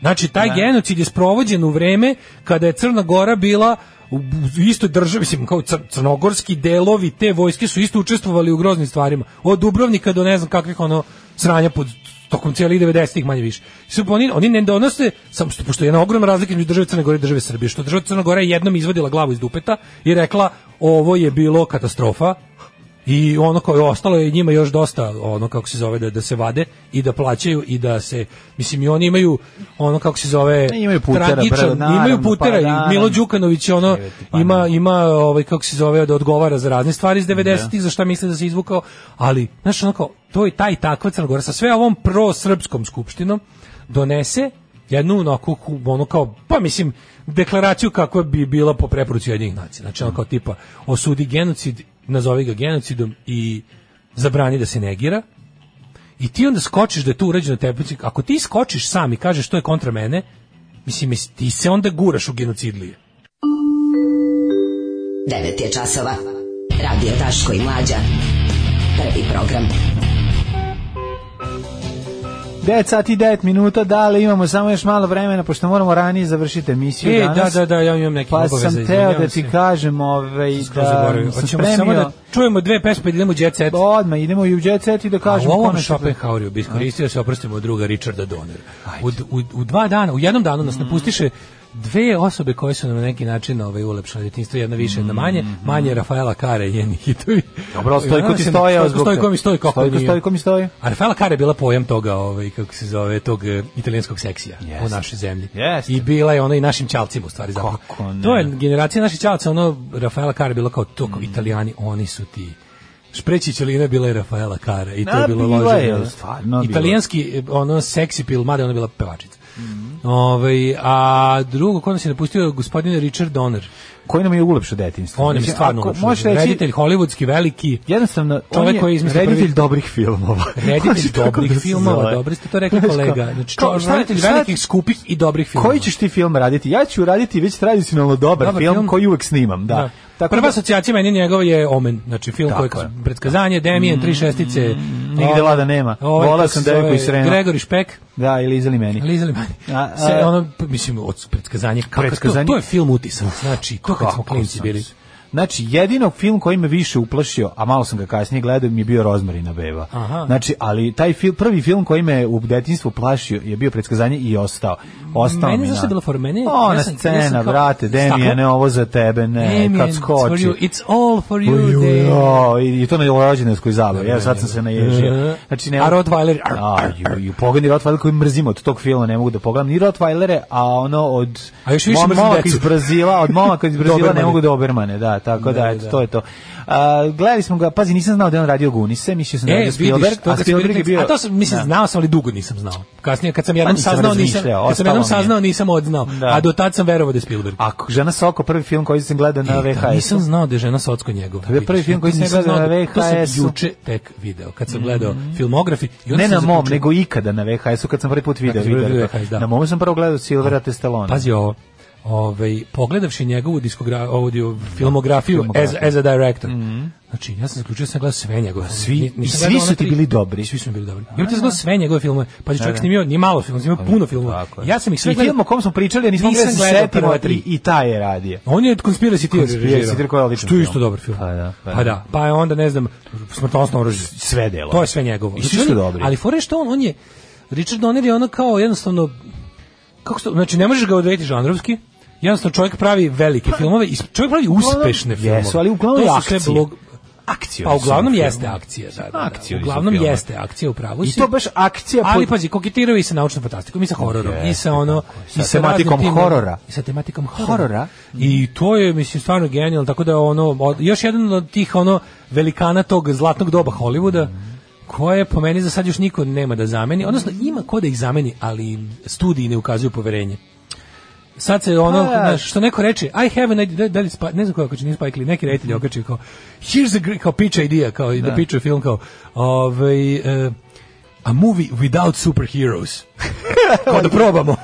Znači, taj genocid je sprovođen u vreme kada je Crna Gora bila u u istoj državi, mislim, kao cr- crnogorski delovi te vojske su isto učestvovali u groznim stvarima. Od Dubrovnika do ne znam kakvih ono sranja pod tokom cijelih 90-ih manje više. Su, oni, oni ne donose, sam, pošto je jedna ogromna razlika između države Crne Gore i države Srbije, što država Crna Gora je jednom izvadila glavu iz dupeta i rekla ovo je bilo katastrofa, i ono koje je ostalo je njima još dosta ono kako se zove da da se vade i da plaćaju i da se mislim i oni imaju ono kako se zove
Ne, imaju putera,
tragičan-
bravo, naravno,
imaju putera
pa naravno.
i Milo Đukanović je ono
Jevete, pa
ima
naravno.
ima ovaj kako se zove da odgovara za razne stvari iz 90-ih za šta misle da se izvukao ali znaš onako to je taj takva Crna Gora sa sve ovom prosrpskom skupštinom donese jednu onako ku- ono kao pa mislim deklaraciju kakva bi bila po preporuci jednih nacija znači ono kao tipa osudi genocid nazovi ga genocidom i zabrani da se negira i ti onda skočiš da je tu urađeno tepici ako ti skočiš sam i kažeš to je kontra mene mislim mis- ti se onda guraš u genocidlije
9 je časova. Radio Daško i Mlađa. Prvi program.
9 sati i 9 minuta, da li imamo samo još malo vremena, pošto moramo ranije završiti emisiju
E, da,
danas.
da, da, ja imam neke
Pa
obaveze.
sam teo
izvinjavam
da
se.
ti kažem ovaj,
Skroz zaboravio.
da sam
Hoćemo samo
spremio...
da čujemo dve pesme i da idemo u jet set.
Da Odmah, idemo i u jet set i da
A u
kažemo
ovom
konačno-
Schopenhaueru bi iskoristio da se oprostimo od druga Richarda Donner. U, d- u, u dva dana, u jednom danu
Mm.
nas napustiše dve osobe koje su nam na neki način ovaj, ulepšale djetinjstvo, jedna više, jedna manje, manje je Rafaela Kare i njeni hitovi.
Mm, Dobro, ali
I
Stojko
ona
ti
se-
stoje.
Stojko, Stojko mi stoji, kako
Stojko,
nije.
Stojko mi stoji.
A Rafaela Kara je bila pojam toga, ovaj, kako se zove, tog eh, italijanskog seksija u
Jeste.
našoj zemlji.
Jeste.
I bila je ona i našim ćalcima u stvari zapravo.
Kako ne? Mm.
To je generacija naših ćalaca, ono Rafaela Kara je bila kao to, kao italijani, oni su ti Špreći ćelina bila je Rafaela Kara i to
A,
je bilo
bila
loženo. da.
je, stvarno bila.
Italijanski eh, ono seksi pil, mada je ona bila pevačica.
Mhm.
Ovaj, a drugo, ko nas je napustio, gospodin Richard Donner.
Koji nam je ulepšao detinjstvo?
On je
Mislim,
stvarno
ako
uopšte.
možeš reći-
reditelj, hollywoodski, veliki.
Jednostavno,
Čovjek
on je
koji je izmislio
reditelj
prvi-
dobrih filmova. Hoće
Reditelj
tako
dobrih
da se
filmova,
zove.
dobro ste to rekli
Znaš,
kolega.
kao-
Znači,
kao,
to,
šta-
reditelj
šta-
velikih, skupih i dobrih filmova.
Koji ćeš ti film raditi? Ja ću raditi već tradicionalno dobar,
Dobar
film,
film.
koji uvek snimam, da.
Da.
Tako
Prva
da-
asocijacija meni njegov je Omen, znači film
Tako
koji
je. Da. Mm,
predskazanje, Demijen, tri šestice.
nigde
ovaj,
lada nema.
ovaj,
Volao
kako
sam
se
devojku
zove,
iz Srema.
Gregory Špek.
Da, ili izali meni.
Lizali
A,
mani.
a-
Se, ono, p- mislim, od predskazanje, kako
Predskazanje-
To, to je film utisak, znači, to kad smo
Kako
klinci
sam
bili.
se- Znači, jedino film koji me više uplašio, a malo sam ga kasnije gledao, mi je bio Rozmarina beba.
Aha.
Znači, ali taj film, prvi film koji me u detinjstvu plašio je bio predskazanje i ostao. Ostao
Meni
mi
zašto
na-
je bilo for mene?
Ona
ja sam- ja sam
scena,
kao-
brate, Demijane, ovo za tebe, ne,
Damien,
kad
it's for
skoči.
you, It's all for you,
Uju,
Damien.
jo, i, i to na rođendanskoj zabavi. Ja sad sam se naježio. Znači ne.
A Rottweiler, ar,
A, ju, ju, pogledaj Rottweiler koji mrzim od tog filma, ne mogu da pogledam ni Rottweilere, a ono od
A još više
mom-
mrzim
momaka
decu.
iz Brazila, od momaka iz Brazila ne
Dobermane.
mogu Dobermane, da, tako da, eto, to je to. A, gledali smo ga, pazi, nisam znao da je on radio Gunise, mislio sam da je
E,
radio Spielberg,
vidiš, to
a
kad sam
Spielberg je
vidio-
bio...
A to sam, mislim,
Da. Pa
znao sam, ali dugo nisam znao. Kasnije, kad sam jednom
nisam
saznao, nisam,
razmišljao,
kad sam jednom
ostalo mi je.
saznao, nisam odznao.
Da.
A do tad sam verovao da je Spielberg.
A Žena Soko, prvi film koji sam gledao na
E, da,
VHS.
Nisam znao da je žena Socko njegov.
To je prvi film koji sam gledao na
da- To
VHS-u.
sam juče tek video, kad sam gledao filmografi. I
Mhm.
onda
Ne
sam
na mom,
zaključio-
nego ikada na VHS-u, kad sam prvi put video.
Kad si prvi
video
put VHS, da.
Na mom sam prvo gledao Silvera Testalona.
Pazi ovo. Ovaj pogledavši njegovu diskogra audio filmografiju as,
Filmografiju. Mhm.
as a director. Znači, ja sam zaključio da sam gledao sve njegove.
Svi-
Ni- nisam
i svi
gledao
su
ona
ti
tri.
bili dobri. Da,
Svi su mi bili dobri. Ja sam gledao sve njegove filmove. Pa je čovjek snimio ni malo filmova, snimio puno filmova.
Pa Tako je.
Ja sam ih sve
I film o
gledao.
kom smo pričali, a nismo
Nisam
gledali, se
gledao
setimo,
prva da tri.
I, I taj je radio.
On je Conspiracy Theory
Conspiracy
režirao.
Theory koji je odličan
Što je isto
film.
dobar film.
Pa da, pa
pa
da.
da. Pa je onda, ne znam, smrtonosno oružje.
Sve delo.
To je sve njegovo.
I svi
Znači,
su
on je-
dobri.
Ali fore što on, on je, Richard Donner je ono kao jednostavno, kako se to, znači ne možeš ga odrediti žanrovski, jednostavno čovjek pravi velike filmove, i čovjek pravi uspešne filmove.
Pa- Jesu, ali uglavnom
To
je
su sve
akcije.
blog-
Akcije
Pa
su
uglavnom
film.
jeste akcija, da, da, da.
Akcije su
Uglavnom
filmovi.
jeste akcija, u pravu
I
si.
to baš akcija
Ali
pod-
pazi, koketiraju i sa naučnom fantastikom, i sa hororom, i
Jeste,
sa ono...
tako je.
i
Sa
raznim
tematikom
tim-
horora.
I sa tematikom horora.
Horora?
I to je, mislim, stvarno genijalno, tako da ono, od- još jedan od tih ono velikana tog zlatnog doba Hollywooda, koje po meni za sad još niko nema da zameni, odnosno ima ko da ih zameni, ali studiji ne ukazuju poverenje. Sad se ono,
Pa,
znaš, što neko reče, I have an idea, da, da li spa, ne znam koja okači, nije Spike Lee, neki reditelj okači kao, here's the great, kao pitch idea, kao i the picture film, kao, ovaj, eh, a movie without superheroes. kao da probamo.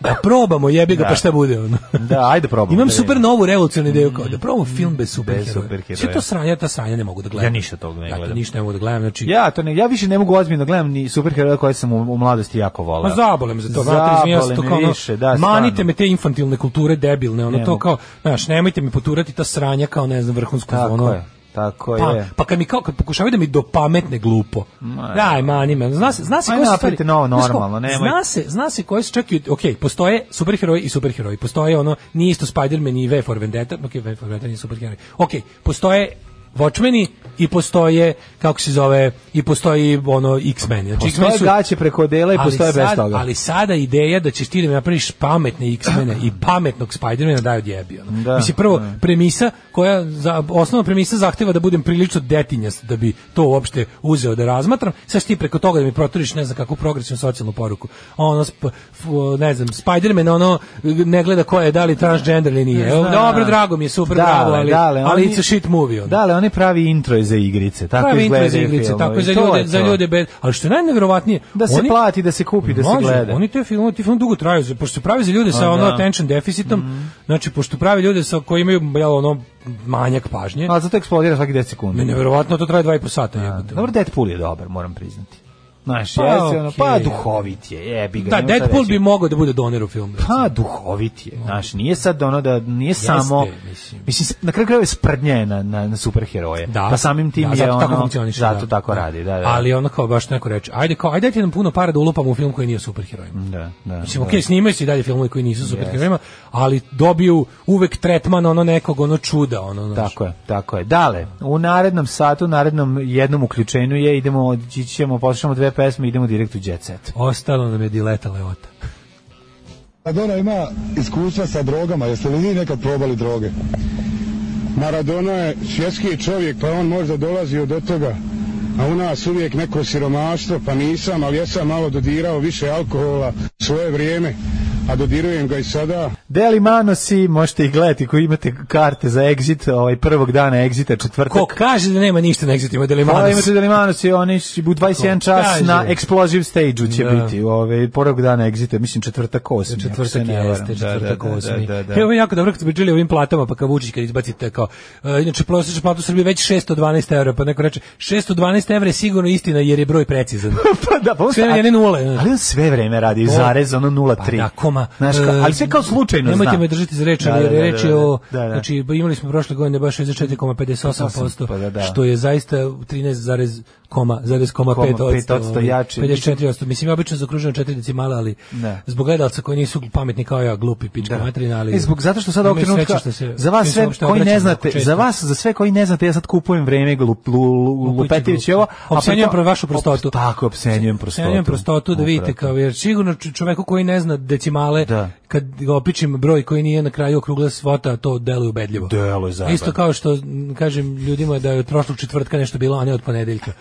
da probamo, jebi ga, pa šta bude ono.
Da, ajde probamo.
Imam
da
super
vidimo. Mm.
novu revolucionarnu ideju kao da probamo film bez superheroja.
superheroja.
Sve to sranje, ja ta sranja ne mogu da gledam.
Ja ništa tog ne
Dakle,
gledam.
ništa ne mogu da gledam, znači
Ja, to ne, ja više ne mogu ozbiljno da gledam ni superheroja koje sam u, u mladosti jako volao.
Ma zabole me za to, brate, mislim, ja sam
Zabole
to
me
kao ono,
više, da,
manite
stvarno.
me te infantilne kulture debilne, ono
Ne
to
mogu.
kao, znaš, nemojte mi poturati ta sranja kao, ne znam, vrhunsku
Tako
ono.
je, tako
Pa,
je.
pa kad mi kao kad pokušavaju da mi dopametne glupo. Daj, mani me. Zna se, zna se
Aj,
koje su
napravite
stvari-
novo
znaš kao,
normalno, nemoj.
Zna se, zna se koje su čak i okej, postoje superheroji i superheroji. Postoje ono nije isto Spider-Man i V for Vendetta, okej, V for Vendetta nije superheroj. Okej, postoje Watchmeni i postoje kako se zove i postoji ono X-Men. Znači,
Postoje
X-Men su-
gaće preko dela i
ali
postoje bez
sad-
toga.
Ali sada ideja da ćeš ti da mi napraviš pametne X-mene i pametnog Spider-mana daj odjebi. Ono.
Da,
Mislim, prvo,
da.
premisa koja, za, osnovna premisa zahteva da budem prilično detinjast da bi to uopšte uzeo da razmatram. Sad ćeš ti preko toga da mi proturiš ne znam kakvu progresivnu socijalnu poruku. Ono, sp- f- o, ne znam, Spider-man ono ne gleda ko je, da li transgender ili nije. Evo,
Znam.
dobro, drago mi je, super,
da. Dale,
bravo, ali,
dale,
ali
oni-
it's a shit movie. Ono.
Da, ali oni pravi intro za igrice, tako
Pravi intro za
izgledaju
igrice,
filmovi.
tako je za
To
ljude,
je
za
to.
ljude bed. Ali što je najneverovatnije,
Da se
oni-
plati, da se kupi, da se
Može,
gleda.
Oni te filmove, ti film dugo traju, za- pošto se pravi za ljude sa
A,
ono
da. Mhm.
attention deficitom, znači pošto pravi ljude sa koji imaju jel, ono manjak pažnje.
Ali zato eksplodira svaki 10 sekundi.
Ne, neverovatno to traje 2 i po sata, jebote.
Dobro, Deadpool je dobar, moram priznati. Znaš,
Pa,
pa, jeste, ono,
okej.
pa duhovit je, jebi ga.
Da,
nema šta
Deadpool
reći.
bi mogao da bude doner u filmu.
Pa duhovit je, znaš, nije sad ono da, nije samo,
mislim.
mislim, na kraju krajeva je sprdnja je na, na, na superheroje,
Da.
pa samim tim
da,
je
zato
ono,
tako funkcioniše.
zato
da.
tako radi, da, da.
Ali ono kao baš neko reče, ajde kao, ajde dajte nam puno para da ulupamo u film koji nije superheroj.
da, da,
Mislim,
da.
okej, snimaju se i dalje filmove koji nisu superherojima, ali dobiju uvek tretman ono nekog ono čuda, ono, znaš.
Tako je, tako je. Dale, u narednom satu, u narednom jednom uključenju je, idemo, ići ćemo, poslušamo dve pesme, idemo direkt u Jet Set.
Ostalo nam je dileta leota.
Maradona ima iskustva sa drogama, jeste li vi nekad probali droge? Maradona je svjetski čovjek, pa on možda dolazi od toga. A u nas uvijek neko siromaštvo, pa nisam, ali ja sam malo dodirao više alkohola svoje vrijeme, a dodirujem ga i sada.
Deli Manosi, možete ih gledati koji imate karte za exit, ovaj prvog dana exita, četvrtak.
Ko kaže da nema ništa na exitima
Pa
Delimanos?
imate Deli Manosi, oni će u 21 čas
Kaže.
na Explosive stage-u će
Da.
biti, ovaj prvog dana exita, mislim četvrtak 8.
četvrtak
Da,
jeste, četvrtak osmi. E, ovo je jako dobro kad smo pričali o ovim platama, pa kao Vučić kad izbacite kao, e, inače prosječna plata u Srbiji je već 612 evra, pa neko reče 612 evra je sigurno istina jer je broj precizan.
pa da, pa on
Sve
sta-
jedne nule, da.
Ali on sve vreme radi,
O.
zarez, ono 0,3.
Pa da, koma.
Znaš, ka,
E,
ali sve kao slučajno zna.
Nemojte me držati za reč, ali
Da, da, da,
reč je
da, da.
o,
Da, da.
znači imali smo prošle godine baš 64,58%,
Pa da, da.
što je zaista 13, koma, zarez koma
Koma,
5
pet odsto jače.
54%. Mislim, ja obično zaokružujem 4 decimala, ali
Da.
zbog gledalca koji nisu pametni kao ja, glupi pička
Da.
materina, ali...
E, zbog zato što sad ovog
imaju sreće
trenutka
što se- da
za vas
što im se
sve
uopšte
koji ne
obraćamo
znate,
tako često.
za vas za sve koji ne znate, ja sad kupujem vreme glup, lu, lu,
Glupići
lupetajući ovo,
glupi. Opsenjujem
pritom-
pro- vašu prostotu.
Op- Tako, opsenjujem prostotu.
Cenjujem prostotu da vidite kao jer sigurno č- čoveku koji ne zna decimale
Da.
kad ga opičim broj koji nije na kraju okrugla svota to deluje ubedljivo.
Deluje zajebano.
Isto kao što m, kažem ljudima da je od prošlog četvrtka nešto bilo a ne od ponedeljka.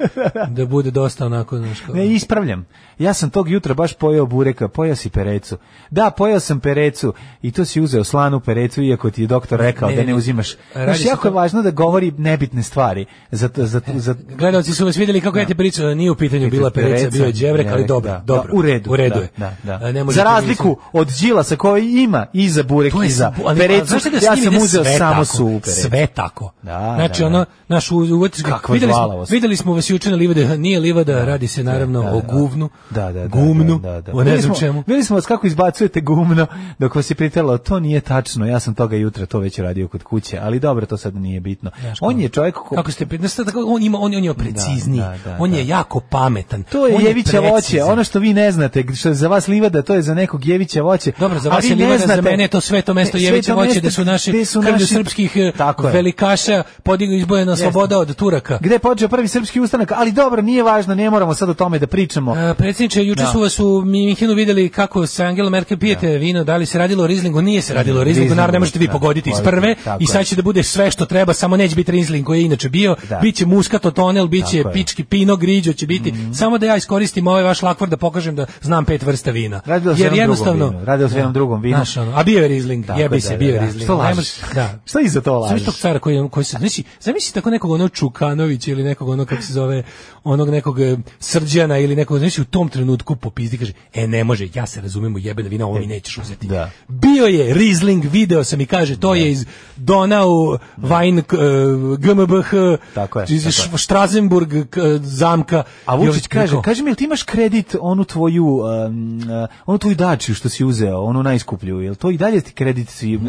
da bude dosta onako znaš kao.
Ne, ispravljam. Ja sam tog jutra baš pojeo bureka, pojeo si perecu. Da, pojeo sam perecu i to si uzeo slanu perecu, iako ti je doktor rekao
Ne,
da
ne.
ne uzimaš.
Radi
Znaš,
se
jako
to-
je važno da govori nebitne stvari. Za, za, za,
Gledalci su vas vidjeli kako ja te pričam, da nije u pitanju bila pereca, bio je đevrek, ali dobro,
Da,
dobro.
da, u redu,
u redu
da,
je.
Da, da.
A, ne možete
za
mi-
razliku od Đilasa koji ima i za burek
To je
i za
svu- ali- ali
perecu,
znaš šta da s
ja
njim
sam
ide
uzeo
sve
samo e.
tako,
suvu perecu.
Sve tako.
Da,
znači,
da, da.
ono, naš u- uvatiš ga,
Kakva
videli smo,
žvalavost.
videli smo vas juče na livade, nije livada, radi se naravno
da,
o
da.
guvnu,
Da, da, da,
gumnu,
da, da, da.
o ne
Videli
znam
smo-
čemu.
Videli smo vas kako izbacujete gumno dok vas je pritelo, to nije tačno, ja sam toga jutra to već radio kod kuće, ali dobro, to sad nije bitno.
Znaš
On
kako-
je čovjek ko...
Kako ste pitali, sad tako, on ima on, on je precizniji.
da, da,
on je
da.
jako pametan.
To je
on
jeviće voće,
precizan.
ono što vi ne znate, što je za vas livada, to je za nekog jeviće voće.
Dobro, za
a
vas
vi
je
ne
livada, za
znate-
mene je to sveto mesto
E,
Jeviće
sveto
voće,
mesto
da su naši,
gde su
krvlju
naši-
srpskih eh,
Tako je.
velikaša podigli izbojena sloboda od Turaka.
Pa Gde je počeo prvi srpski ustanak, ali dobro, nije važno, ne moramo sad o tome da pričamo.
A, E, predsjedniče, juče
Da.
su vas u Minhinu videli kako se Angela Merkel pijete vino, da li se radilo o Rizlingu, nije se radilo o Rizlingu,
Rieslingu,
naravno ne možete vi
da,
pogoditi iz
pogoditi,
prve
tako
i
je.
sad će da bude sve što treba, samo neće biti Rizling koji je inače bio,
Da.
bit će muskato tonel, bit će
Tako je. Mhm.
pički pino, griđo će biti, samo da ja iskoristim ovaj vaš lakvor da pokažem da znam pet vrsta vina. Da.
Radilo se o jednom drugom vinu, radilo se o jednom drugom vinu.
Znaš, ono, a bio je Rizling,
Tako
jebi
da,
se,
da,
bio je
da.
Rizling.
Što
Ne
lažeš?
može- Da.
Što iza to
Znaš
lažeš?
tog cara koji, koji se, znači, zamisli tako nekog ono Čukanovića ili nekog ono kako se zove, onog nekog e, Srđana ili nekog, znači u tom trenutku popizdi kaže, e ne može, ja se razumem u jebena vina, ovo mi nećeš uzeti.
Da.
Bio je Riesling, video sam i kaže, to je iz Donau, e, Vajn, GmbH,
Da. Tako je,
iz
tako
Š- Strazenburg, k- e, zamka.
A
I ovaj
Vučić kaže,
rekao,
kaže mi, jel ti imaš kredit onu tvoju, um, uh, onu tvoju dačiju što si uzeo, onu najskuplju, jel to i dalje ti kredit svi...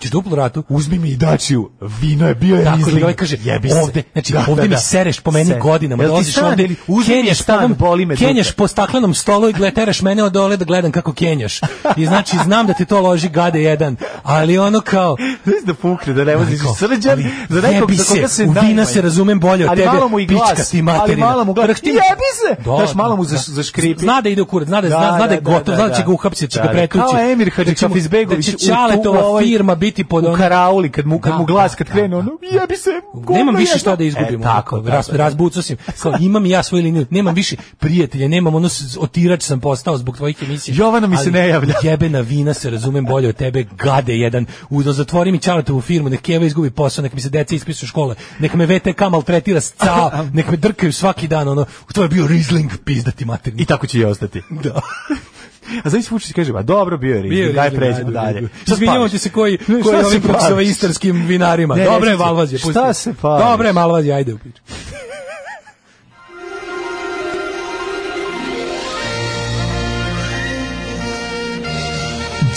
ćeš duplu ratu?
Mm. Uzmi mi i dačiju, vino je bio je
Tako,
Riesling.
ili ovaj kaže,
Jebi se. Da,
ovde, znači ovde mi sereš po meni
Se-
godinama,
Jel ti
dolaziš
stan
ovde,
ili- uzmi mi
kenjaš po,
stan,
ovom-
boli me
kenjaš
dupe.
po staklenom stolu i gle, teraš mene od dole da gledam kako kenjaš. I znači, znam da ti to loži gade jedan, ali ono kao,
Znaš da pukne, da ne vozi
Majko,
srđan,
ali
za nekog
jebi
za koga
se,
se
u vina
najmanje.
se razumem bolje od
ali
tebe,
malo mu i
pička
glas,
ti materina.
Ali malo mu glas,
Vrh ti-
jebi se!
Da,
Znaš, malo mu
da.
za, zaškripi.
Zna da ide u kurac, zna da, zna, zna da je gotov, zna da će ga uhapsiti, će
Da,
ga
da,
pretući.
Kao Emir
će mu-
Hadžikafizbegović
Da će Ćaletova firma biti pod
ovaj u
ono...
karauli, kad mu, kad
Da,
mu glas, kad
da,
krene,
da,
ono, jebi se,
nemam
govno
više
jedno.
šta da izgubim.
E, tako,
raz,
tako,
razbucao sam. Kao, imam i ja svoju liniju, nemam više prijatelja, nemam ono s- otirač sam postao zbog tvojih emisija.
Jovana mi se
Ali
ne javlja.
Jebena vina se razumem bolje od tebe, gade jedan. da Udo zatvori mi Ćaletovu firmu, nek Keva izgubi posao, nek mi se deca ispišu iz škole, nek me VTK maltretira s cao, nek me drkaju svaki dan, ono, to je bio Riesling pizdati materinu.
I tako će i ostati. Da. A zavis Vučić kaže, ba dobro, bio je Riesling, daj pređemo dalje. Šta
Izvinjavam
spališ?
ti se koji
Ne,
koji
šta se
ovim kako se
pališ?
zove, istarskim vinarima.
Ne,
Dobre je
reci ti,
Malvazije,
šta
pusti.
se pališ?
Dobre je Malvazije, ajde u pičku.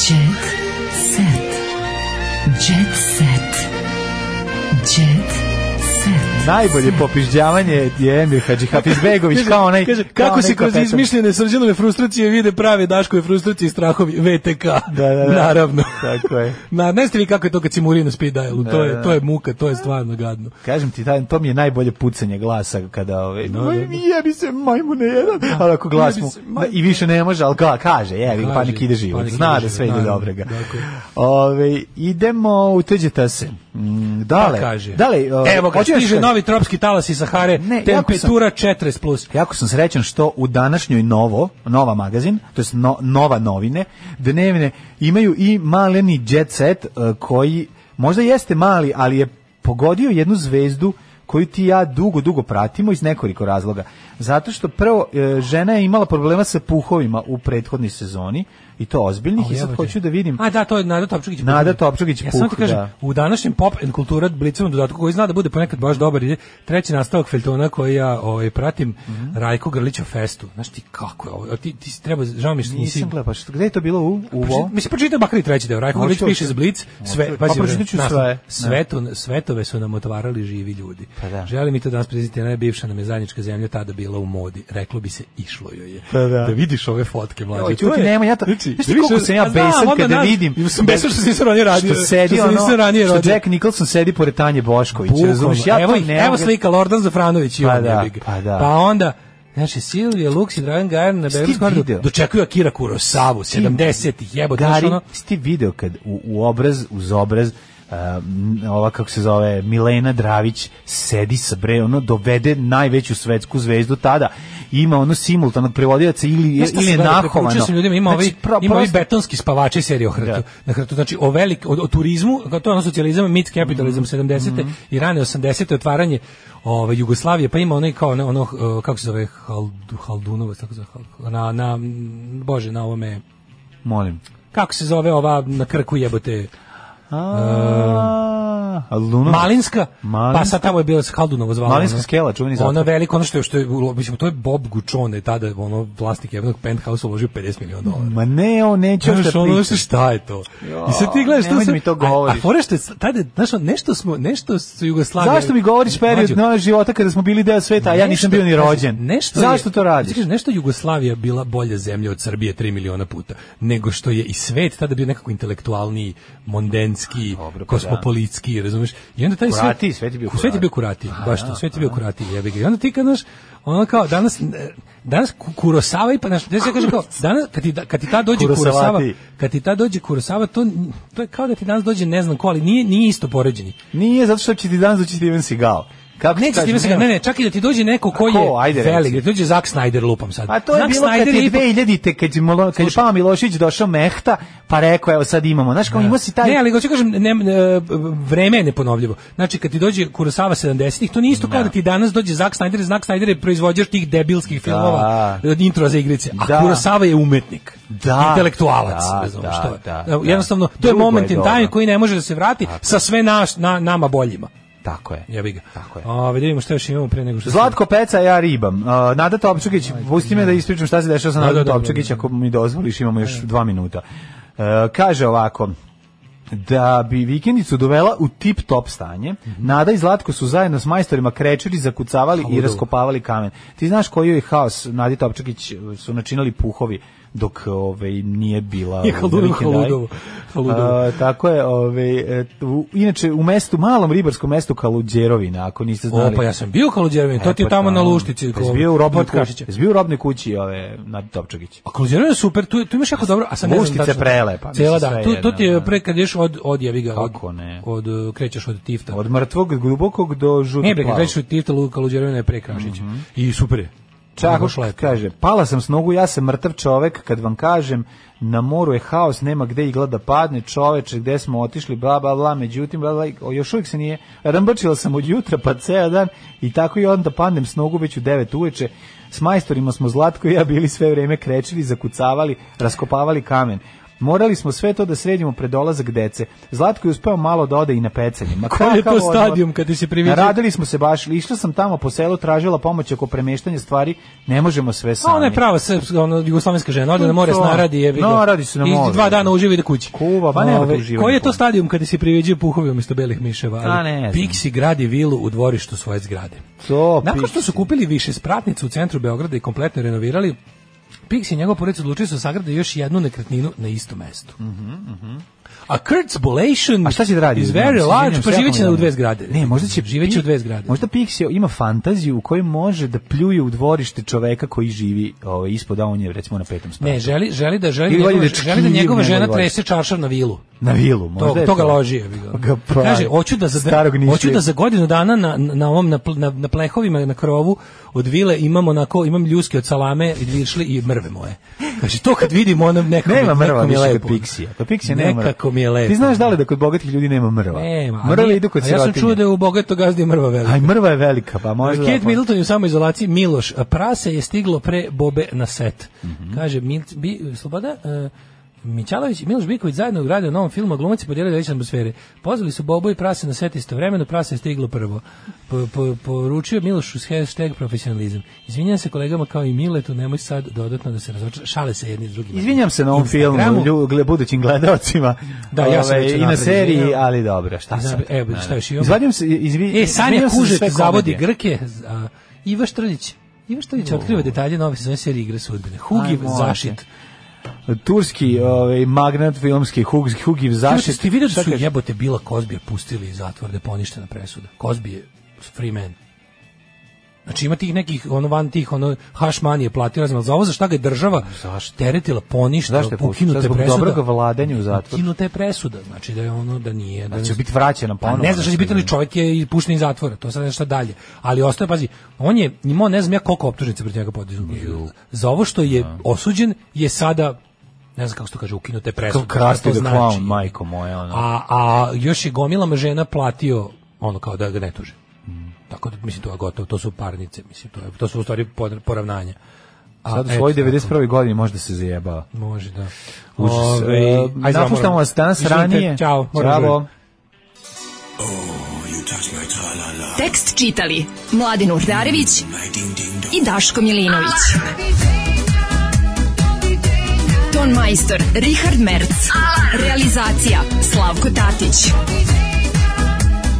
Jet set. Jet set. Jet set.
Najbolje popižđavanje je Emir Hadži Hafizbegović kao onaj...
Kaže,
kao
kako
onaj
se kroz
kapetan.
izmišljene srđanove frustracije vide prave Daškove frustracije i strahovi VTK.
Da, da, da.
Naravno.
Tako je.
Na, ne ste vi kako je to kad si muri na speed dialu, to,
da, da.
je, to je muka, to je stvarno gadno.
Kažem ti, taj, to mi je najbolje pucanje glasa kada ovaj- ove,
da, da.
"Maj, jebi se majmune jedan, ali ako glas
Jebi
mu,
se, majmune.
i više ne može, ali ka, kaže, jebi,
Kaže,
pa nek ide život,
pa nek
zna
ide
da
život,
sve ide
naravno,
dobrega.
tako je.
Ove, idemo u tuđeta se. Mm, Dale,
Pa kaže.
dale, o,
Evo ga,
hoću još
da stiže
kažem,
novi tropski talas iz Sahare,
Ne, jako
temperatura 40 plus.
Jako sam srećan što u današnjoj Novo, Nova magazin, to jest no- Nova novine, dnevne, imaju i maleni jet set eh, koji možda jeste mali, ali je pogodio jednu zvezdu koju ti i ja dugo, dugo pratimo iz nekoliko razloga. Zato što prvo, eh, žena je imala problema sa puhovima u prethodnoj sezoni, i to ozbiljnih, i sad
Jebote.
hoću da vidim...
A da, to je Nada Topčugić.
Nada Topčugić
Ja samo ti
Puh,
kažem,
da.
u današnjem pop and kultura blicovom dodatku koji zna da bude ponekad baš dobar ide treći nastavak Feltona koji ja ovaj pratim
Mhm.
Rajko Grlića festu. Znaš ti kako je ovo? Ti ti si treba žao mi je što nisi
Nisam gledao, pa što, gde je to bilo u, u
Pročit-
ovo?
Mislim, pročitaj makar i treći deo. Rajko
Hoću,
Grlić piše
hoću.
za Blic. Sve,
Hoću.
pazi,
Pa pročitat ću
naslov.
sve.
Sveto, svetove su nam otvarali živi ljudi.
Pa da.
Želi mi to danas preziti, ona je bivša nam je zajednička zemlja tada bila u modi. Reklo bi se, išlo joj je.
Pa da.
vidiš ove fotke, mlađe.
Joj,
To je-
čuti, nemoj, ja to-
Znači,
znaš ti
više-
koliko sam ja
A znam,
besan
onda
kada
znaš,
vidim-
ja sam besan što se nisam ranije radio.
Što sedi
što se nisam ranije
ono, što
radio.
Jack Nicholson sedi pored Tanje Bošković,
Bukvalno.
razumiješ? Ja
evo,
to
ih,
ne
evo
mogu-
slika Lordan Zafranović i
Pa
on
da,
jebi ga.
pa da.
Pa onda Znači, Silvije, Luks i Dragan Gajer na
Jesi ti
Beogradu
video?
Skordu dočekuju Akira Kurosavu, 70-ih, jebote, znaš
Gari,
ono...
si ti video kad u, u obraz, uz obraz, uh, m, ova kako se zove, Milena Dravić sedi sa bre, ono dovede najveću svetsku zvezdu tada, ima ono simultanog prevodioca ili,
Znaš šta
ili
sam
je
gledao,
nahovano. Znači,
preporučio sam ljudima, ima ovi,
pro-
ima ovi
prosto-
betonski spavači serije o hrtu.
Da.
Na hrtu. Znači, o, velik, o, o turizmu, kao to je ono socijalizam, mit
Mhm.
kapitalizam 70. i rane 80. otvaranje ove, Jugoslavije, pa ima onaj kao ono, ono eh, kako se zove, Haldu, Haldunovac, tako se zove, Hal- na, na, mm, bože, na ovome,
Molim.
kako se zove ova na krku jebote,
A, Lunovac.
Malinska,
Malinska?
pa sad tamo je bila Haldunovo zvala.
Malinska
ono.
skela, čuveni zatvor.
Ona veliko, ono što je, što je, ulo- mislim, to je Bob Gučone, tada ono, vlasnik jednog penthouse uložio 50 miliona dolara.
Ma ne, on neće
Znaš,
što
ono,
priča.
znaš, šta je to? I sad ti gledaš, to
nemoj da
sam-
mi to
a-
govoriš.
A, fora što je, tada, znaš, ono, nešto smo, nešto su Jugoslavije...
Zašto mi govoriš period
Mlađo,
nove života kada smo bili deo sveta, a ja nisam bio ni
pazi,
rođen?
Nešto je-
Zašto to
Ti
radiš?
kažeš, nešto je Jugoslavija bila bolja zemlja od Srbije 3 miliona puta, nego što je i svet tada bio nekako intelektualni, mondenski,
Dobro, pa da.
kosmopolitski, razumeš? I onda taj
Kurati,
kurati,
svet je bio
Svet je bio kurati, baš to, svet je bio kurati, jebi ga. I onda ti kad, znaš, ono kao, danas, danas Ku- Kurosava i pa, znaš, znaš, ja kažem kao, danas, kad ti, da- kad ti ta dođe Kurosava,
Kurosavati.
kad ti ta dođe Kurosava, to, to je kao da ti danas dođe ne znam ko, ali nije, nije isto poređenje.
Nije, zato što će ti danas doći Steven Seagal. Kako ti
Neće
kažem,
Steven Seagal, ne,
nema-
ne, čak i da ti dođe neko ko
A ko?
je
Ajde, reci.
velik, da ti dođe Zack Snyder lupam sad.
A to je
Zack
bilo kad
Snyder
je
ipak-
2000-te, kad je, Milo, kad je Pava Milošić došao mehta, pa rekao, evo sad imamo. Znaš, kao imao si taj...
Ne, ali hoću kažem, ne, e, vreme je neponovljivo. Znači, kad ti dođe Kurosawa 70-ih, to nije isto kao da ti danas dođe Zack Snyder, Zack Snyder je proizvođač tih debilskih filmova, od intro za igrice, a
Da.
Kurosawa je umetnik,
Da.
intelektualac,
Da,
ne znam
da,
što je.
da,
Evo,
da.
Jednostavno, to je
Drugo je
moment in time
dobro.
koji ne može da se vrati sa sve naš, na, nama boljima.
Tako je.
Jebi ga.
Tako je.
Ove, da vidimo što još imamo pre nego što...
Zlatko Peca, ja ribam. Uh, Nada Topčugić, pusti me da ispričam šta se dešava sa
Da,
Nadom
da, da,
Topčugić,
da,
ako mi dozvoliš, imamo još dva minuta. Uh, kaže ovako, da bi vikendicu dovela u tip-top stanje,
Mhm.
Nada i Zlatko su zajedno s majstorima krečili, zakucavali i raskopavali kamen. Ti znaš koji je haos, Nadi Topčugić uh, su načinali puhovi dok ovaj nije bila
I
u
Haludovo,
Vikendaj.
Haludovo, Haludovo.
A, tako je, ovaj e, u- inače u mestu malom ribarskom mestu Kaludjerovina, ako niste
O,
znali.
pa ja sam bio u Kaluđervin, to
E,
ti
pa
je tamo na Luštici.
Pa jesi bio u
kod
robnoj kući,
Kašića.
jesi bio u robnoj kući ove Nadi Topčagić.
A Kaluđervin je super, tu, tu imaš jako dobro, a sam ne znam
Luštica je
tačno.
prelepa, mislim,
Cela
sve
da, tu, to ti
jedno,
je
da.
pre kad ješ od, od jeviga. od-
Kako ne?
Od, uh, krećeš od Tifta.
Od mrtvog glubokog do žutog.
ne bre, kad
plavog.
krećeš od Tifta, Luka Kaluđervin je pre Krašić.
Mhm.
I super je.
Čako
Baš lepo.
kaže, pala sam s nogu, ja sam mrtav čovek, kad vam kažem, na moru je haos, nema gde igla da padne, čoveče, gde smo otišli, bla, bla, bla, međutim, bla, bla, o, još uvijek se nije, rambrčila sam od jutra, pa ceo dan, i tako i onda padnem s nogu već u devet uveče, s majstorima smo Zlatko i ja bili sve vreme krečili, zakucavali, raskopavali kamen. Morali smo sve to da sredimo pred dolazak dece. Zlatko je uspeo malo da ode i na pecanje. Ma
Koji je to
kakav odmor.
stadijum kad ti se priviđa?
Naradili smo se baš, išla sam tamo po selu, tražila pomoć oko premeštanja stvari, ne možemo sve sami.
A ona je prava srpska, ono jugoslovenska žena, ode na more
To.
snaradi, jebi ga.
Naradi se na more.
I dva dana uživi da kući.
Kuva, pa nema
Ove,
tu uživanja
Koji je to
kuva.
stadijum kada se priviđaju puhovi umjesto belih miševa? Ali
A, Pa ne znam.
Pixi gradi vilu u dvorištu svoje zgrade.
To,
Nakon što
Pixi.
su kupili više spratnicu u centru Beograda i kompletno renovirali, Pixi i njegov porec odlučili su da sagrade još jednu nekretninu na istom mestu. A Kurt's Bolation
Mhm, A šta će da radi?
is
Izvinjavam se,
very large,
izvinjavam se,
pa
jako mi
živeće
je
u
dobro.
dve zgrade.
Ne, možda će
živeće u dve zgrade.
Možda Pixio ima fantaziju u kojoj može da pljuje u dvorište čoveka koji živi ovaj ispod a on je recimo na petom spratu.
Ne, želi, želi da želi,
Ili
njegova-
voli da
želi da
čkivi
njegova
u njegov
žena
dvorište.
trese čaršav na vilu.
Na vilu, možda
To,
je
to ga loži. jebi ga.
Ga pravi.
Kaže, hoću da, za,
Starog nišlija.
hoću da za godinu dana na, na, ovom, na, pl- na, na plehovima, na krovu od vile imam onako, imam ljuske od salame i dvišli i mrve moje. Kaže, to kad vidim, ono nekako,
Nema mrva
nekako mi je
više
lepo.
kod Pixija. Kod Pixija nema mrva.
Nekako mi je lepo.
Ti znaš da li da kod bogatih ljudi nema mrva?
Nema. a
Mrve
nije-
idu kod
a Ja sam
sirotinje.
čuo da je u bogato gazdi mrva velika.
Aj, mrva je velika, pa možda...
Kate Middleton je u samoizolaciji Miloš, a prase je stiglo pre Bobe na set.
Mhm.
Kaže, Mil, bi, Sloboda, e, Mićalović i Miloš Biković zajedno u gradu novom filmu, a glumac je podijelio veće atmosfere. Pozvali su Bobu i prase na set istovremeno, prase je stiglo prvo. Po, po, poručio je Milošu s hashtag profesionalizam. Izvinjam se kolegama kao i Miletu, nemoj sad dodatno da se razočara. Šale se jedni s drugima.
Izvinjam se na ovom filmu,
Instagramu.
lju, gle- budućim gledalcima.
Da, ja sam
Ovaj,
već
I na
unapred
seriji,
izvinjam.
ali dobro, šta
Izab-
sad?
evo, šta još imamo?
Izvadim se, izvi,
E, Sanja
izvinjam se za
Kužet
sve
zavodi
komedije.
Grke. a, Iva Štrljić. Iva Štrljić otkriva detalje nove sezone serije igre sudbine. Hugiv
Aj, molim te.
Zašit.
turski ovaj magnat filmski Hugis Hugiv
Zašto
Zašet.
ti vidio da su
Šta kaže?
jebote bila Kozbija pustili iz zatvora da je poništena presuda? Kozbi je free man. Znači ima tih nekih, ono van tih, ono hašman je platio, razumel, za ovo za šta ga je država teretila, poništila,
Zašto je pustila?
ukinuta je
Zbog
presuda.
dobrog vladanja u zatvoru.
Ukinuta je presuda, znači da je ono, da nije. Da
Da će
ne-
biti vraćena
Pa
ponovo. znači, da-
ne znaš šta će biti, ali čovjek je i pušten iz zatvora, to sad nešto dalje. Ali ostaje, pazi, on je imao ne znam ja koliko optužnica protiv njega podizu. Za ovo što je
Da.
osuđen je sada, ne znam kako se to kaže, ukinute presude.
Kao krasti
Šta
da
to znači.
clown, majko moja, ono.
A, a još je gomilama žena platio ono kao da ga ne tuže. Tako da, mislim, to je gotovo, to su parnice, mislim, to, je, to su u stvari pod- poravnanja. A,
Sad u
eto,
svojoj
tako.
91. godini možda se zajebala.
Može, da.
Užas.
Ovaj,
E,
ajde, zdravo,
Napuštamo
moram.
vas danas
Izvinite,
ranije.
Ćao, moram
Bravo.
žuriti.
Tekst čitali Mladin Urdarević i Daško Milinović. Ton majstor Richard Merc. Realizacija Slavko Tatić.